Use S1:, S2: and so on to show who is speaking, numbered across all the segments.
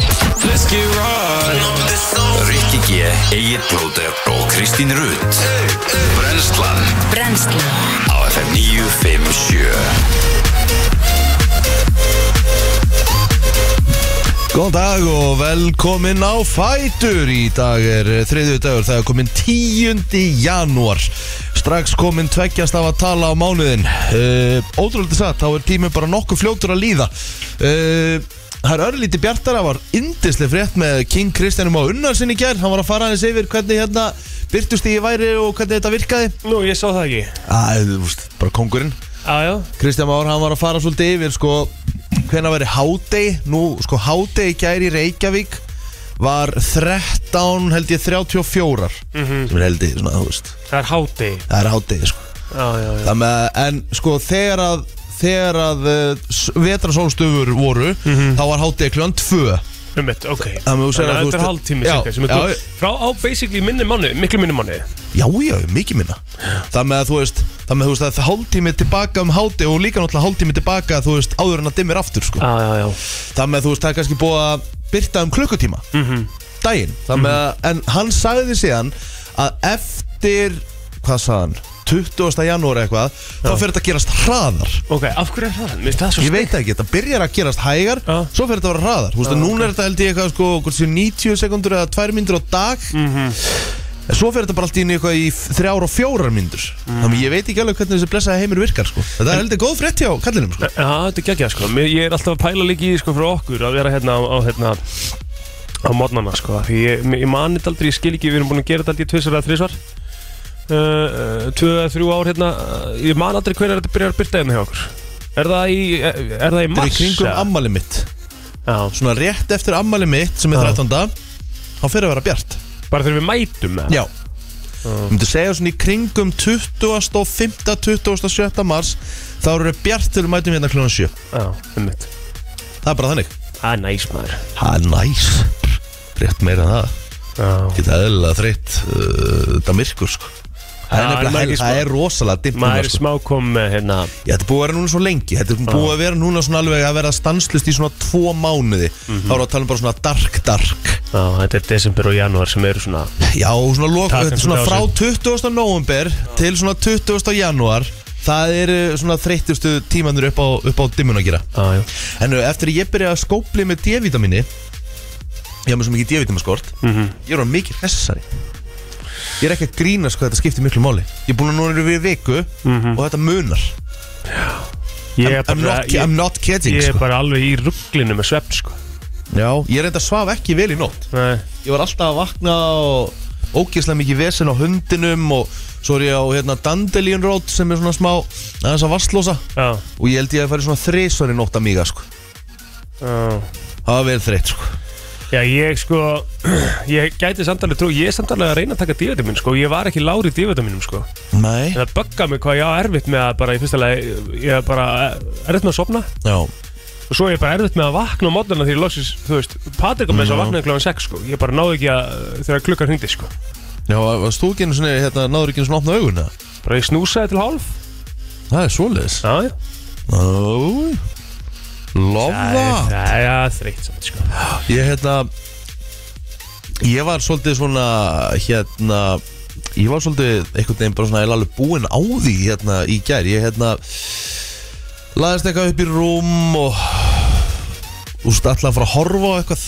S1: kannski ráð
S2: Rikki G, Egil Blóter og Kristín Rutt Brenslan
S3: Brennslan
S2: á FM 957
S4: Góðan dag og velkomin á Fætur Í dag er þriðju dagur, það er komin 10. janúar Strax komin tveggjast af að tala á mánuðin uh, Ótrúlega satt, þá er tíminn bara nokkuð fljótur að líða uh, Það er örlíti bjartara, var yndislega frétt með King Kristjánum á Unnarsinni gær Hann var að fara aðeins yfir hvernig hérna byrtust í væri og hvernig þetta virkaði
S1: Nú, ég sá það ekki
S4: Æ, þú veist, bara kongurinn
S1: Jájá,
S4: Kristján Már, hann var að fara svolítið yfir sko, hvenna væri hádegi nú, sko, hádegi í gær í Reykjavík var 13 held ég 34 sem er held ég, svona, þú veist
S1: það er háti
S4: það er hádegi, sko
S1: Jájá, já.
S4: Það með, en sko, þegar að þegar að uh, vetrasólstöfur voru, þá var hádegi kljóðan 2
S1: um mitt, ok
S4: Þannig að þú segir að þú
S1: þetta er
S4: veist-
S1: hálftími
S4: Já,
S1: cirka, sem er
S4: já,
S1: komið Frá á basically minni manni, miklu minni manni
S4: já, já, mikið minna það með að þú veist, það með þú veist að hálftími tilbaka um hádegi og líka náttúrulega hálftími tilbaka, þú veist, áður en að dimmir aftur, sko
S1: Jájá, já,
S4: Það með þú veist, það er kannski búið að byrta um klukkutíma Daginn Það með að, en hann sagði síðan Að eftir, hvað sagði hann 20. janúar eitthvað Þá fyrir þetta að gerast hraðar
S1: ok, af hverju er það? Mér finnst það svo
S4: Ég veit ekki, þetta byrjar að gerast hægar
S1: Já.
S4: Svo fyrir þetta að vera hraðar Þú veist, að núna er þetta held ég eitthvað sko hvort séu 90 sekundur eða 2 myndur á dag En svo fyrir þetta bara allt í einu eitthvað í 3 og 4 myndur Þannig að ég veit ekki alveg hvernig þessi blessaði heimur virkar sko. Þetta er heldur góð frétt hjá kallinum sko.
S1: Já, þetta er geggja sko Mér, Ég er alltaf að pæla líka í því sko frá okkur að vera hérna á, á hérna á modnana sko því ég, ég mani þetta aldrei, ég skil ekki, við erum búin að gera þetta aldrei tvisar eða þrisvar uh, uh, tvö eða þrjú ár hérna uh, ég man aldrei hvernig þetta byrjar að byrta hérna hjá okkur Er það í, er, er það
S4: Þetta er
S1: í
S4: í
S1: mars?
S4: kringum
S1: eða?
S4: ammali mitt
S1: Já,
S4: svona rétt eftir ammali mitt sem er
S1: Já.
S4: 13. þá fyrir að vera bjart
S1: bara þegar við mætum með
S4: Já Ég myndi segja svona í kringum 25. 27. mars þá eru bjart til mætum hérna kljóðan 7
S1: Já, einmitt
S4: Það er bara þannig
S1: Það er næs maður
S4: Það er næs Rétt meira en það
S1: Já
S4: Geta eðlilega þreytt uh, þetta myrkur sko Það
S1: Já,
S4: er,
S1: en maður
S4: nefnilega, sko.
S1: er ekki
S4: það er rosalega dimmt núna,
S1: Maður er
S4: sko.
S1: smá kom með hérna
S4: Já, Þetta er búið að vera núna svo lengi Þetta er búið að vera núna svona alveg að vera stanslust í svona tvo mánuði
S1: Mhm.
S4: Þá erum við að tala um bara svona dark dark
S1: Já, þetta er desember og janúar sem eru svona
S4: Já, svona, lok,
S1: Takk
S4: þetta er svona
S1: fyrir
S4: frá 20. november til svona 20. janúar Það eru svona þreyttustu tímanur upp á, upp á dimmun að gera
S1: Já, já
S4: En uh, eftir að ég byrja að skópli með D-vitamini Ég haf mér svo mikið D-vitaminskort
S1: Mhm.
S4: Ég er á mikið hressari Ég er ekki að grínast hvað þetta skiptir miklu máli Ég er búin að núna eru við viku og þetta munar
S1: Mhm. Ég er
S4: I'm, I'm,
S1: bara,
S4: not,
S1: ég,
S4: I'm not kidding
S1: ég er
S4: sko.
S1: bara alveg í rugglinu með svefn sko
S4: Já, ég reynda að svaf ekki vel í nótt
S1: Nei,
S4: ég var alltaf að vakna og ógeðslega mikið vesen á hundinum og svo er ég á hérna, Dandelion Road sem er svona smá aðeins að vastlósa
S1: já,
S4: og ég held ég að fara svona þrisvar í nótt að míga sko.
S1: já
S4: það var vel þreytt sko.
S1: Já, ég sko, ég gæti samtalið trú, ég er samtalið að reyna að taka divitamin sko, ég var ekki lári í divitaminum sko en
S4: Nei
S1: það bögga mig hvað ég á erfitt með að bara, í fyrsta lagi, ég er bara erfitt með að sofna
S4: Já,
S1: og svo er ég bara erfitt með að vakna á mótana því ég loksins, þú veist, Patrik kom þess að vakna kl. 6 sko, ég bara náði ekki að þegar klukkan hringdi sko,
S4: Já varst þú ekki einu svona, hérna, náður ekki einu svona opna augun eða?
S1: bara ég snúsaði til hálf
S4: Það er svoleiðis
S1: Já, já,
S4: Ó, Lofa
S1: það er ja, þreytt samt sko
S4: Ég hérna Ég var svolítið svona Hérna Ég var svolítið einhvern veginn bara svona eiginlega alveg búinn á því hérna í gær Ég hérna Laðist eitthvað upp í rúm og Úst allan fara að horfa á eitthvað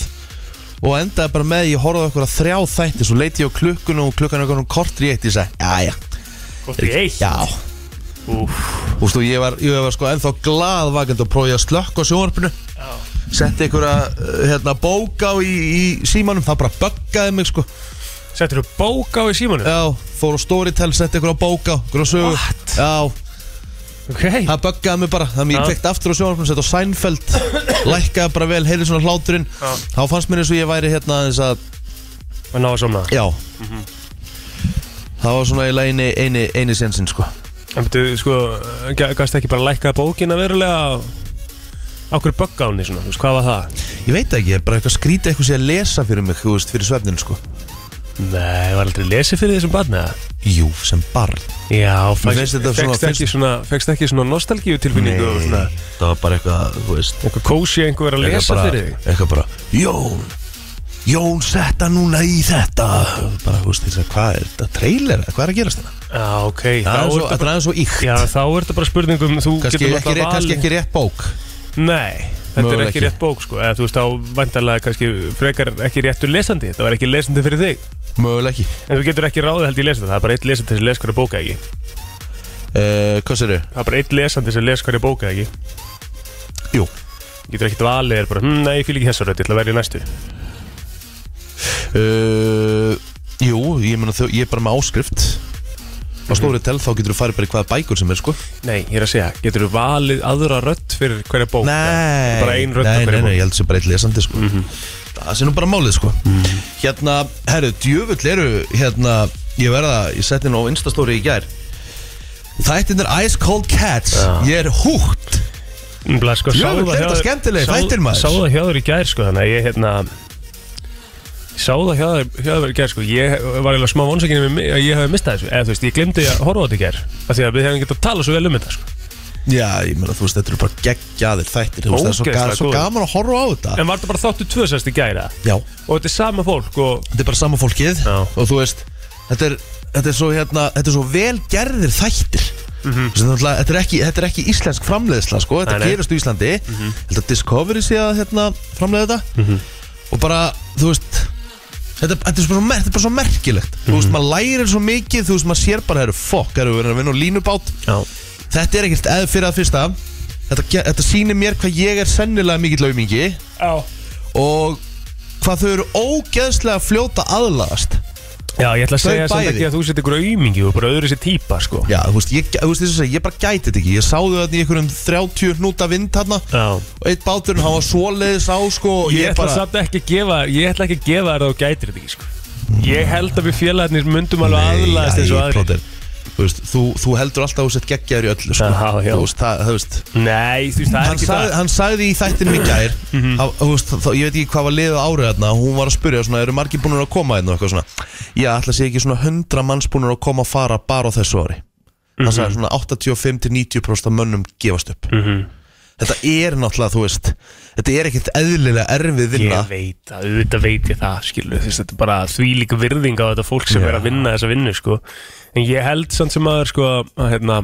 S4: Og endaði bara með ég horfði á eitthvað þrjá þætti Svo leiti ég á klukkun og klukkan eitthvað kortri eitt Ég sagði, já, já,
S1: Hvort ég eitt?
S4: já
S1: Úff,
S4: Ústu, ég var, ég var sko ennþá glaðvakandi og prófið að slökka á sjónvarpinu Setti einhverja uh, hérna, bóka á í, í símanum, það bara böggaði mig sko
S1: Settir þú bók á í símanu?
S4: Já, fór á Storytel, setti einhverja bóka á, einhverja sögu
S1: What?
S4: Já,
S1: Ok
S4: það böggaði mig bara, þannig að
S1: Já.
S4: ég kvekti aftur á sjónvarpinu, setti á Seinfeld Lækkaði bara vel, heyrði svona hláturinn
S1: Já.
S4: Þá fannst mér eins og ég væri hérna aðeins að,
S1: Og náða svona
S4: já
S1: Mhm.
S4: Það var svona eiginlega eini, eini, eini sensin sko
S1: En betur, sko, gæst ekki bara lækka bókina verulega á hverju bögga hún í svona, þú veist, hvað var það?
S4: Ég veit ekki, ég er bara eitthvað skrítið eitthvað sé að lesa fyrir mig, þú veist, fyrir svefninu sko
S1: Nei, ég var aldrei lesið fyrir þessum barni eða?
S4: Jú, sem barn
S1: Já,
S4: Mér finnst þetta svona-
S1: fegst ekki svona, fegst ekki svona nostalgíu tilfinningu og svona
S4: það var bara eitthvað, þú veist
S1: einhver kósi einhver að lesa
S4: bara,
S1: fyrir þig
S4: eitthvað bara, Jón Jón setta núna í þetta bara, þú veist, þess að hvað er þetta trailer, eða hvað er að gerast þetta?
S1: Já, ok
S4: Það er
S1: Þá
S4: svo,
S1: er
S4: þetta er aðeins svo íkt
S1: Já, þá er þetta bara spurningum Þú
S4: kannski
S1: getur
S4: ekki, rétt, kannski ekki rétt bók
S1: Nei, þetta er
S4: Mögulega
S1: ekki
S4: ekki.
S1: rétt bók sko Eða þú veist, þá væntalega kannski frekar ekki réttur lesandi Þetta var ekki lesandi fyrir þig
S4: Möguleg ekki
S1: En þú getur ekki ráðið held í lesandi Það er bara eitt lesandi sem les hverja bóka ekki
S4: uh, Hvað sér þau?
S1: Það er bara eitt lesandi sem les hverja bóka ekki
S4: Jú
S1: Þú getur ekkert valið er bara, hm, nei, ég fíl ekki þessar rödd Ég ætla að verja næstu
S4: uh, Jú, ég, mena, þau, ég er bara með áskrift á
S1: Mhm.
S4: stóri tel þá getur þú farið bara í hvaða bækur sem er sko
S1: Nei, ég er að segja, getur valið aðra rödd fyrir hverja bóka
S4: Nei,
S1: Bara ein rödd
S4: nei,
S1: af
S4: nei,
S1: hverju
S4: nei,
S1: bók. Mhm.
S4: ég held sem bara eitt lesandi sko. Það sé nú bara málið sko. Hérna, herru, djöfull eru hérna, ég verða, ég setti nú á instastóri í gær Þættin er Ice Cold Cats
S1: Já.
S4: Ég er húgt
S1: Nefnilega, sko,
S4: Jú,
S1: sá
S4: þetta er
S1: hjá þér-
S4: skemmtilegir
S1: sá-
S4: þættir, maður.
S1: Sá það hjá þér í gær sko Þannig að ég hérna Sá það hjá þér hjá þér í gær sko Ég var eiginlega smá vonsakinn með mig að ég hafi mistað þessu Eða þú veist, ég glemdi að horfa á þetta í gær Af því að við hefum getað að tala svo vel um þetta sko
S4: Já, ég meina, þú veist, þetta eru bara geggjaðir þættir Þú veist, það er svo,
S1: Ógeðslega
S4: ga- svo
S1: góður.
S4: gaman að horfa á þetta
S1: En var þetta bara þáttu tvö sérst í gæra
S4: Já,
S1: Og þetta er sama fólk og
S4: þetta er bara sama fólkið
S1: Já.
S4: Og þú veist, þetta er, þetta er svo, hérna, þetta er svo velgerðir þættir Þessi, náttúrulega, þetta, er ekki, þetta er ekki íslensk framleiðsla sko, Þetta
S1: Mhm. Nei, Mhm. nei.
S4: gerist í Íslandi mm Þetta Discovery sé að hérna, framleiða þetta
S1: Mhm.
S4: Og bara, þú veist Þetta, þetta, er, svo, mer- þetta er bara svo merkilegt Þú
S1: Mhm.
S4: veist, maður lærir svo mikið Þú veist, maður sér bara, herru, fokk, herru, við erum að vinna á línubát
S1: Já,
S4: Þetta er ekkert eða fyrir að fyrsta Þetta, ge- þetta sýnir mér hvað ég er sennilega mikill laumingi
S1: já.
S4: Og hvað þau eru ógeðslega fljóta aðlagast
S1: ég ætla að
S4: Þau
S1: segja samt
S4: bæði.
S1: ekki að þú sett ykkur aumingi og bara öðru sér típa sko
S4: Já, þú veist, ég, þú veist, þess að segja, ég bara gæti þetta ekki Ég sáðu þarna í einhverjum 30 hnúta vind hérna
S1: Já.
S4: Og eitt báturinn, hann var svoleiðis á sko og
S1: Ég ætla
S4: bara,
S1: samt ekki að gefa Ég ætla ekki að gefa þér að þú gætir þetta ekki sko Ég held að við félagarnir myndum alveg aðlaðast eins og
S4: Nei,
S1: aðrir
S4: Plóter, Þú veist, þú, þú heldur alltaf að sett geggjaður í öllu sko
S1: Aha, já.
S4: Þú veist, það, þú veist
S1: Nei, þú veist, það er
S4: Hann
S1: ekki það Mhm.
S4: sagði, hann sagði í þættinu í gær að, þú veist, þá, Ég veit ekki hvað var liðið á árið þarna Hún var að spyrja svona, eru margir búinur að koma hérna og eitthvað svona Já, ætla sé ekki svona 100 manns búinur að koma að fara bara á þessu ári Hann
S1: Mhm.
S4: sagði svona 85-90% af mönnum gefast upp Þetta er náttúrulega, þú veist Þetta er ekkert eðlilega erfið vinna
S1: Ég veit það, auðvitað veit ég það, skilu Þess, Þetta er bara því líka virðing á þetta fólk sem
S4: Já.
S1: er að vinna þessa vinnu sko. En ég held samt sem aður sko, að hérna,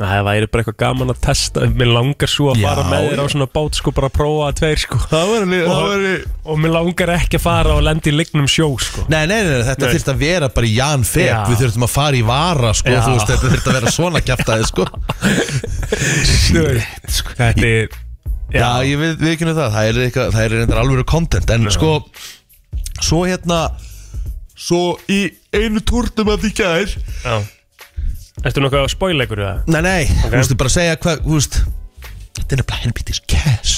S1: að það væri bara eitthvað gaman að testa Mér langar svo að
S4: Já,
S1: fara með þér á
S4: já.
S1: svona bát sko, bara að prófa að tveir sko.
S4: Það var líka,
S1: og, og mér langar ekki að fara og lenda í lignum sjó sko.
S4: Nei, nei, nei, nei, þetta
S1: Nei.
S4: þurft að vera bara í Jan Feb
S1: Já.
S4: Við þurftum að fara í vara, sko
S1: Já.
S4: Þú veist, þetta þurft að vera svona kjaftaði, sko
S1: Þú veist, sko, Þetta er
S4: Já, ég við, við kynum það, það er, eitthvað, það er reyndar alvöru content En sko, svo hérna Svo í einu tórnum af því gær
S1: já. Ertu nokkuð að spoila ykkur það?
S4: Nei, nei, þú veist, bara að segja hvað, þú veist Þetta er nefnilega helbítis cash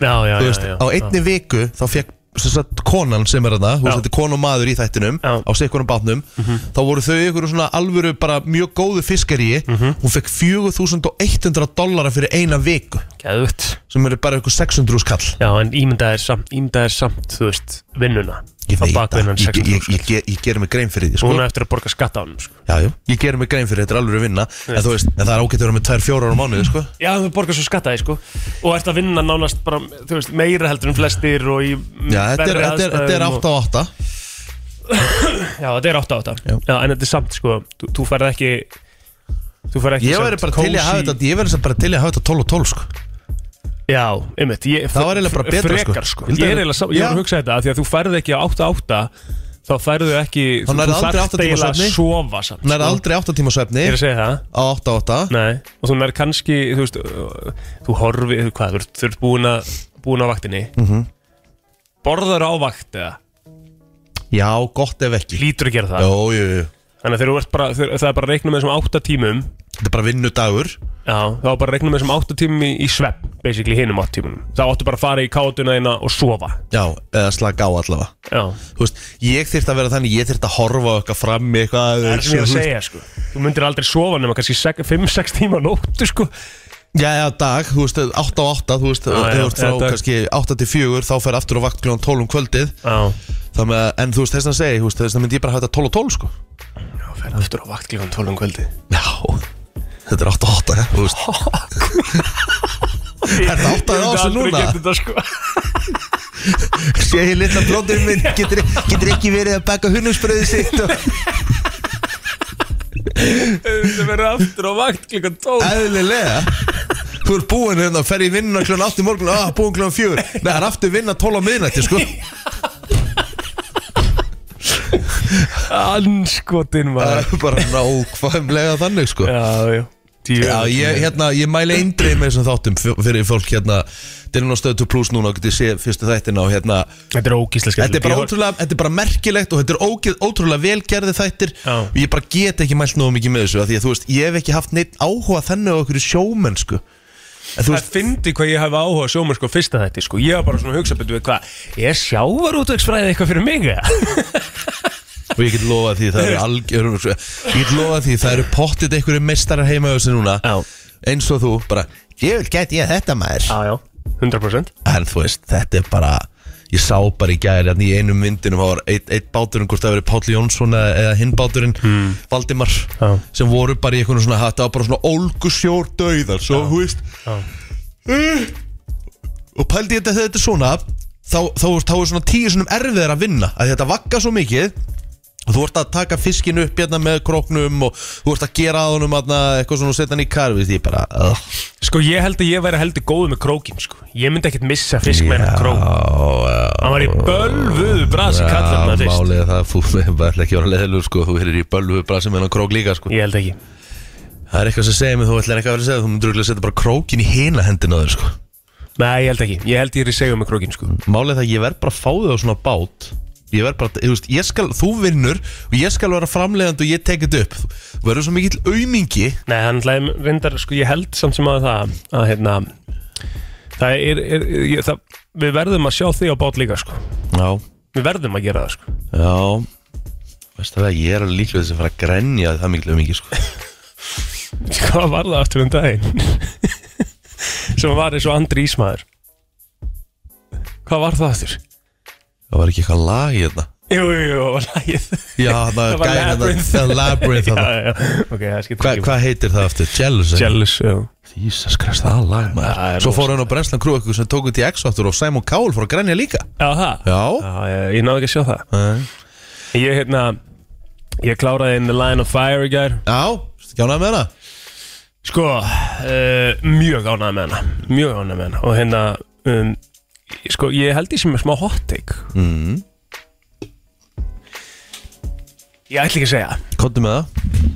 S1: Já, já,
S4: Þú
S1: já,
S4: veist,
S1: já,
S4: á einni viku þá fekk sem sagt, konan sem er þarna, þú veist,
S1: Já.
S4: þetta er kon og maður í þættinum
S1: Já.
S4: á sikkunum bátnum, þá voru þau ykkur svona alvöru bara mjög góðu fiskari hún fekk 4100 dollara fyrir eina viku,
S1: Geðvögt
S4: sem eru bara ykkur 600 skall
S1: Já, en ímyndaðir samt, ímyndaðir samt, þú veist, vinnuna
S4: ég
S1: Á
S4: veit
S1: bakvinnan
S4: það, ég,
S1: 600
S4: ég, ég, ég, ég gerir mig grein fyrir því sko.
S1: Hún er eftir að borga skatt á hann sko.
S4: já, já, ég gerir mig grein fyrir, þetta er alvöru vinna en, þú veist, en það er ágætt að vera með 2-4 ára mánuði sko.
S1: Já, þú borgar svo skattaði sko. Og ert að vinna nánast bara, þú veist, meira heldur en flestir og í
S4: já, þetta er,
S1: verri
S4: þetta er, þetta er
S1: aðstæðum
S4: 8 á 8
S1: og, Já, þetta er 8 á 8
S4: Já.
S1: já. en þetta er samt, sko, þú, þú færð ekki Þú færð ekki
S4: ég
S1: samt
S4: verður bara til í að hafa
S1: kósí-
S4: þetta ég verður bara til í að hafa þetta 12 og 12 sko.
S1: Já, einmitt ég,
S4: Það var eiginlega bara betra, sko.
S1: Frekar, sko,
S4: Vildi
S1: Ég er
S4: að-
S1: eiginlega, sam- ég
S4: Já.
S1: var að hugsa þetta af Því að þú færð ekki á 8 á 8 Þá færðu ekki
S4: Þá
S1: þú-
S4: nærðu
S1: þú
S4: aldrei
S1: þarft
S4: átta tíma
S1: eiginlega að
S4: svefni.
S1: sofa samt
S4: hún er
S1: sko.
S4: aldrei 8 tíma svefni
S1: Ég er að segja það
S4: á 8 á 8
S1: Nei, og þú nær kannski þú veist, uh, þú horfi, hvað, þú ert- þú ert búin að búin á vaktinni borðar á vakt eða
S4: Já, gott ef ekki
S1: lítur að gera það
S4: Jó, jú, jú
S1: þannig að þegar þú ert bara, þegar, það er bara að reikna með þessum átta tímum
S4: Þetta er bara vinnudagur
S1: já, þá er bara að reikna með þessum átta tímum í, í svepp basically hinum átta tímunum þá áttu bara að fara í kátuna eina og sofa
S4: Já, eða slaka á allavega
S1: já,
S4: Þú veist, ég þyrft að vera þannig Ég þyrft að horfa á eitthvað fram í eitthvað
S1: það er sem ég er að
S4: Þú veist,
S1: segja sko þú myndir aldrei sofa nema kannski 5-6 tíma á nóttu sko
S4: Já, já, dag, þú veist, 8 á 8 Þú veist,
S1: já,
S4: þegar þú ert
S1: eða
S4: frá
S1: dag.
S4: kannski 8 til 4 Þá fer aftur á vakt kljóðan 12 um kvöldið
S1: já,
S4: Þannig að, en þú veist, þess að segja Þú veist, þess að myndi ég bara hafa þetta 12 og 12, sko
S1: já fer aftur á vakt klíkan 12 um kvöldi
S4: Já, þetta er 8 á 8, þú veist Þetta áttaði á þessu núna.
S1: þetta sko
S4: Sé ég litla blóndur minn getur, getur ekki verið að baka hunnusbröðu sitt og
S1: Þetta verður aftur á vakt klukkan 12
S4: Eðlilega Þú ert búinn hérna að fer í vinnuna klón 8 í morgun ah, Búinn klón 4 Nei, það er aftur vinna 12 á miðnætti sko
S1: Anskotin
S4: Það
S1: maður
S4: er bara nákvæmlega þannig sko
S1: Já, já Tíu
S4: Já, ég, hérna, ég mæli eindreið með þessum þáttum f- fyrir fólk hérna Þetta er nú stöðu 2 plus núna og getið sé fyrstu þættin á hérna
S1: Þetta er ógíslega
S4: Þetta er bara ótrúlega, þetta er bara merkilegt og þetta er ógeð, ótrúlega velgerði þættir
S1: Já.
S4: og ég bara get ekki mælt nógu mikið með þessu af því að þú veist, ég hef ekki haft neitt áhuga þannig á okkur sjómennsku en þú
S1: Það
S4: veist,
S1: fyndi hvað ég hef áhuga sjómur sko fyrsta þetta sko Ég var bara svona að hugsa betur við hvað Ég sjávar útvegsfræði eitthvað fyrir mig eða?
S4: og ég get lofa því það eru algjör ég get lofa því það eru pottit einhverju meistarar heima á þessu núna
S1: Já.
S4: eins og þú, bara, ég vil get ég þetta maður
S1: Já, já 100%
S4: en þú veist, þetta er bara ég sá bara í gæri að í einum myndinum það var eitt, eitt báturinn, hvort það verið Páll Jónsson eða, eða hinn báturinn, Valdimar
S1: Hmm. Já.
S4: sem voru bara í einhvern svona þetta var bara svona ólgusjór döiðar svo, þú veist
S1: Já.
S4: Eh, og pældi ég þetta þegar þetta er svona þá, þá, þá er svona tíu svona erfiðar að vinna að þetta vakka svo mikið og þú ert að taka fiskin upp hérna með króknum og þú ert að gera að honum hérna, eitthvað svona og setja hann í kar, veist ég bara uh.
S1: Sko ég held að ég væri heldur góð með krókin sko Ég myndi ekkert missa fisk með hennar krók
S4: já,
S1: Hann var í bölvuðu brasi kallar maður fyrst
S4: málið er það að þú ætla ekki að vera leðilur sko, þú hefur í bölvu brasi með hann krók líka sko.
S1: Ég held ekki
S4: Það er eitthvað sem segir mig, þú ætlar eitthvað að vera að segja, þú myndur örugglega að setja bara krókin í hina hendina á þér sko.
S1: Nei, ég held ekki Ég held ég er í segja með krókin sko
S4: Málið er það að ég verð bara að fá þau á svona bát, ég verð bara, ég veist, ég skal, þú vinnur og ég skal vera framlegandi og ég tek þetta upp. Þú verður svo mikill aumingi,
S1: Nei, hann hlæði reyndar, sko, ég held samt sem að það að hérna það er, er ég, það, við verðum að sjá því á bát líka, sko
S4: já,
S1: við verðum að gera það, sko
S4: já, veist það að ég er alveg líklega þess að fara að grenja það mikill aumingi sko.
S1: Hvað var það aftur um daginn? sem var eins og andri ísmaður Hvað var það aftur?
S4: Það var ekki eitthvað lag í þetta.
S1: Jú, jú, jú, það var lagið
S4: Já, það var
S1: var
S4: gæðin að
S1: Labyrinth.
S4: það, Labyrinth
S1: Já,
S4: að það.
S1: já, ok, það skiptir
S4: Hvað
S1: ekki
S4: hva heitir það aftur? Jealous? eh?
S1: Jealous, já
S4: Jesus Christ, það lag
S1: Það er
S4: maður Svo fór hann á Brenslan Crew eitthvað sem tók út í X aftur og Simon Cowell fór að grænja líka
S1: Já, það?
S4: Já
S1: Já, ég, ég náði ekki að sjá það Ég, hérna, ég kláraði In the Line of Fire í gær
S4: Já, skjánaði með hana
S1: Sko, uh, mjög ánægð með hana Mjög ánægð með hana Og hérna, um, sko, ég held ég sem er smá hot take mm. Ég ætla ekki að segja
S4: Kottu með það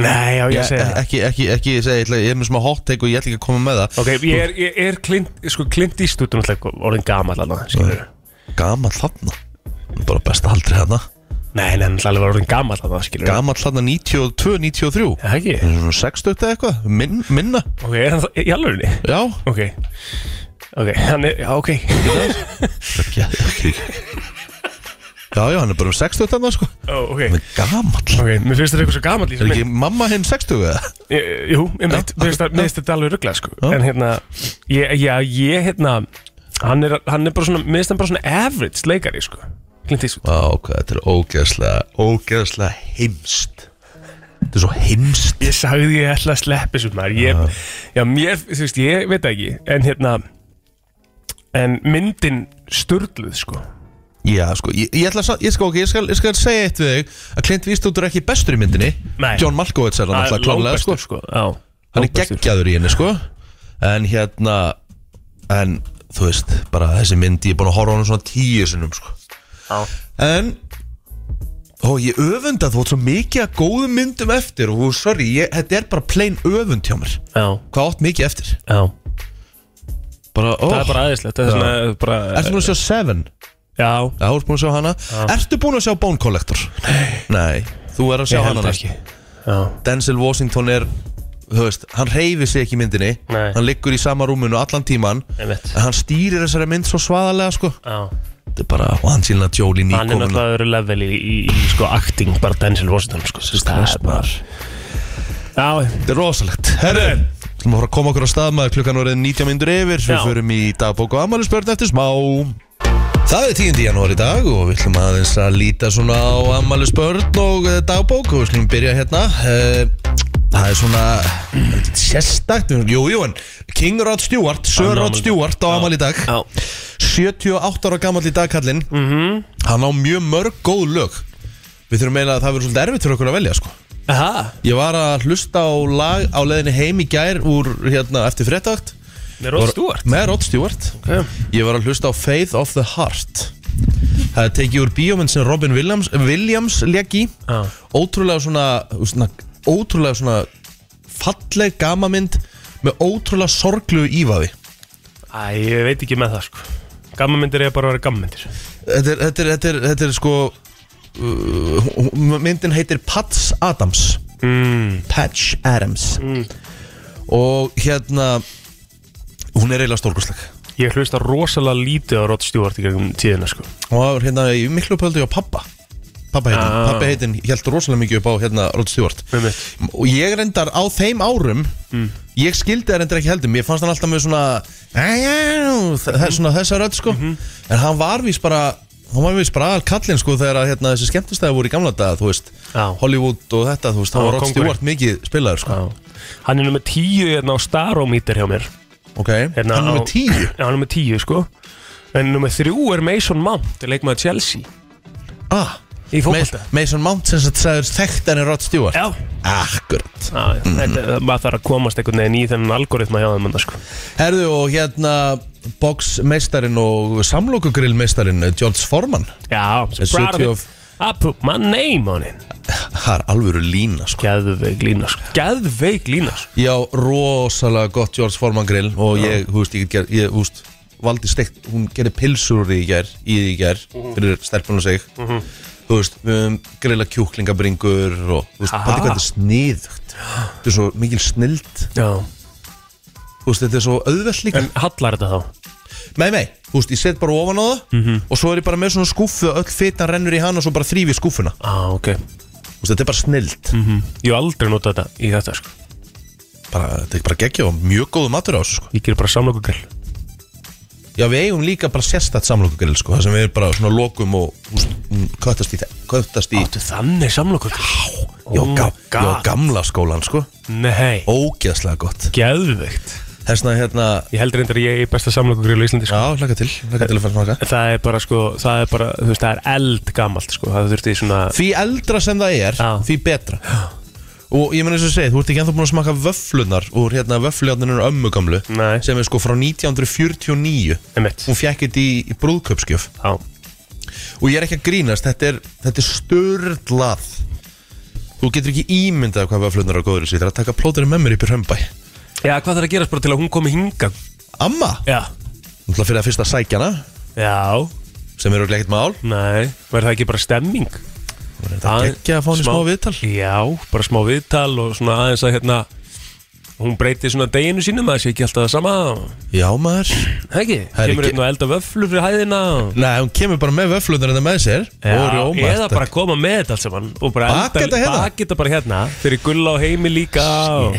S1: Nei, já, ég að segja það.
S4: Ekki, ekki, ekki, ég segi, ég ætla- ég er með smá hot take og ég ætla ekki að koma með það
S1: Ok, ég er, ég er klint, sko, klint í stúdum Orðin gamall alveg, skilur
S4: Gamal þarna Bara besta aldrei hana
S1: Nei, nei, hann er alveg orðin gamall alveg, skilur
S4: Gamal þarna 92, 93
S1: Það ekki?
S4: Það er svona 60 eða eitthvað, Min, minna
S1: Ok, er hann það í alvegni?
S4: Já
S1: Ok Ok, hann er, já, ok
S4: Já, ekki Já, já, hann er bara um 60 þarna sko
S1: Ó, Oh, Ok,
S4: Hann er gamal
S1: ok, mér finnst þetta eitthvað svo gamall í
S4: Er
S1: þessu
S4: ekki mamma hinn 60 eða?
S1: Ég- Jú, ég mitt,
S4: Já,
S1: mér finnst það-
S4: já.
S1: mér finnst þetta alveg ruggla sko.
S4: Já.
S1: En hérna, ég, já, ég hérna Hann er, hann er bara svona, mér finnst hann bara svona average leikari sko. Clint Eastwood
S4: Vá, hvað þetta er ógeðslega, ógeðslega heimst Þetta er svo heimst
S1: Ég sagði ég ætla að sleppa þessu maður ég, Já, mér, þú veist, ég veit það ekki En hérna En myndin sturluð sko.
S4: Já, sko, ég, ég ætla að, ég sko, ok, ég skal, ég skal segja eitt við þig Að Clint Eastwood er ekki bestur í myndinni
S1: Nei.
S4: John Malkovich er hann alltaf klálega, sko
S1: Langbestur, sko. Já,
S4: Hann er
S1: langbestur.
S4: geggjaður í henni, sko En hérna, en, þú veist, bara þessi mynd Ég er búin að horfa á hann svona tíu sinnum, sko
S1: Já.
S4: En Ó, ég öfunda þú átt svo mikið að góðum myndum eftir Og, sorry, ég, þetta er bara plain öfund hjá mér
S1: Já,
S4: Hvað átt mikið eftir?
S1: já
S4: Bara, ó,
S1: Það er bara aðeinslegt Það er svona bara
S4: Ertu búin að sjá Seven?
S1: Já,
S4: Já, þú ert búin að sjá hana
S1: Ah.
S4: Ertu búin að sjá Bone Collector? Nei þú er að sjá
S1: ég
S4: hana
S1: held
S4: næst
S1: ekki Já
S4: Denzel Washington er, þú veist, hann reyfi sig ekki í myndinni
S1: Nei.
S4: Hann liggur í sama rúminu allan tíman
S1: Einmitt.
S4: En hann stýrir þessari mynd svo svaðalega, sko
S1: Já,
S4: Þetta er bara, og hann sílna Jóli
S1: hann er
S4: nýkomuna
S1: náttúrulega öðru level í, í, í sko acting bara Denzel Washington sko Sist, það er bara já,
S4: Þetta er rosalegt Herru, við erum að fara að koma okkur á stað maður klukkan orðið 90 myndur yfir Við
S1: Já.
S4: förum í dagbók og ammælisbörn eftir smá Það er 10. janúar í dag og við ætlum aðeins að líta svona á ammælisbörn og eh, dagbók og við ætlum byrja hérna Eh, Það er svona sérstakt Jú, jú, en King Rod Stewart Sir
S1: Hann á
S4: Rod
S1: afmæli í dag.
S4: Stewart á amal í dag
S1: Já.
S4: 78 ára gammal í dag kallinn
S1: Mhm.
S4: Hann á mjög mörg góð lög Við þurfum meina að það verður svolítið erfitt fyrir okkur að velja sko
S1: Aha.
S4: Ég var að hlusta á lag á leðinni heim í gær úr hérna eftir frettagt
S1: Með Rod Stewart
S4: Með Rod Stewart
S1: Ok.
S4: Ég var að hlusta á Faith of the Heart Það er tekið úr bíómynd sem Robin Williams, Williams lék í
S1: Já.
S4: Ótrúlega svona, svona Ótrúlega svona Falleg gamamynd Með ótrúlega sorglu ífaði
S1: Æ, ég veit ekki með það sko Gammamyndir er bara að vera gammamyndir
S4: Þetta er, þetta er, þetta er, þetta er sko uh, hún- Myndin heitir Pats Adams
S1: mm.
S4: Patch Adams Og hérna Hún er eiginlega stórkustleg
S1: Ég hlusta rosalega lítið á Rod Stewart í gegnum tíðina sko
S4: Og það var hérna í miklu pöldu á pappa Pappa heitin,
S1: Ah.
S4: pappa heitin held rosalega mikið upp á hérna Rod Stewart
S1: Einmitt. Mm.
S4: Og ég reyndar á þeim árum Ég skildi það reyndar ekki heldur Mér fannst hann alltaf með svona "Æjá", þa- það er Svona þessa rödd sko
S1: Mhm.
S4: En hann var vís bara Hann var vís bara aðal kallinn sko Þegar að, hérna, þessi skemmtistæði voru í gamla daga Þú veist,
S1: Já.
S4: Hollywood og þetta Þú veist, hann
S1: Hann var
S4: var Rod
S1: kóngurinn.
S4: Stewart mikið spilaður sko
S1: Já. Hann er nummer tíu hérna á Starometer hjá mér
S4: Ok,
S1: hérna
S4: hann er
S1: á-
S4: með tíu
S1: Já, hann er nummer tíu sko En nummer þrjú er Mason Mount, leikmaður Chelsea
S4: ah,
S1: Í fótbolta
S4: Mason Mount sem sagt sagður þekkt en er Rod Stewart
S1: Já,
S4: Akkurat
S1: Ah, já Mm. þetta, maður þarf að komast einhvern veginn í þennan algoritma hjá þeim þarna, sko.
S4: Herðu og hérna boxmeistarin og samlokugrillmeistarin eh, George Foreman
S1: Já, so proud of it.
S4: 70 of-
S1: I put my name on it
S4: Það er alvöru lína sko
S1: Gæðveik lína sko. Gæðveik lína sko.
S4: Já, rosalega gott George Foreman grill og ég, þú veist, ég, get ger- ég, þú veist valdi steikt, hún gerði pilsur úr í ger í því í ger, fyrir stelpun og sig þú veist, við höfum grilla kjúklingabringur og, þú veist,
S1: Aha.
S4: bara þetta er sniðugt þetta er svo mikil snild
S1: Já,
S4: þú veist, þetta er svo auðvelt líka
S1: en hallar þetta þá?
S4: Nei, nei, þú veist, ég set bara ofan á það og svo er ég bara með svona skúfu og öll fitan rennur í hana og svo bara þrýfi skúfuna
S1: Á, ah, ok
S4: Þú veist, þetta er bara snild
S1: mm. Ég hef aldrei notað þetta í þetta sko.
S4: bara, Þetta er bara geggja og mjög góðu matur á þessu sko.
S1: Ég ger bara samlokugrell
S4: Já, við eigum líka bara sérstætt samlokugrill sko, það sem við erum bara svona lokum og þú veist, mm, köttast í það köttast í,
S1: Áttu Oh þannig samlokugrell? Já,
S4: já, ga já, gamla skólan sko,
S1: Nei,
S4: ógeðslega gott
S1: gæðveikt
S4: Þessna hérna,
S1: Ég held reyndar að ég er besta samlokugrell í Íslandi sko.
S4: já, hlaka til hlaka til að fara smaka
S1: Það er bara sko, það er bara, þú veist, það er eld gamalt sko Það þurfti svona
S4: Því eldra sem það er,
S1: Já.
S4: því betra Og ég meina eins og ég segi, þú ert ekki ennþá búin að smaka vöflunar úr hérna vöfljarnirinn ömmu gamlu
S1: Nei.
S4: sem er sko frá 1949
S1: Einmitt.
S4: Hún fjekk þetta í, í brúðkaupskjöf
S1: Já,
S4: Og ég er ekki að grínast, þetta er, þetta er störlað Þú getur ekki ímyndað hvað vöflunar á góður sér Það er að taka plóturinn með mér upp í römbæ
S1: Já hvað þarf að gerast bara til að hún komi hinga?
S4: Amma,
S1: Já
S4: náttúrulega fyrir að fyrsta sækjana
S1: Já,
S4: sem er örugglega ekkert mál
S1: nei, verður það ekki bara stemming?
S4: Þetta er ekki að fá henni smá viðtal
S1: Já, bara smá viðtal og svona aðeins að hérna Hún breytir svona deginu sínum að það sé ekki alltaf það sama
S4: Já maður
S1: Það ekki,
S4: Það er ekki-
S1: kemur hérna að elda vöflur fyrir hæðina og-
S4: Nei, hún kemur bara með vöflunar þetta með sér og rjóma
S1: eða bara koma með þetta allt saman og bara
S4: Baka þetta hérna?
S1: baka þetta bara hérna fyrir gulla og heimi líka og...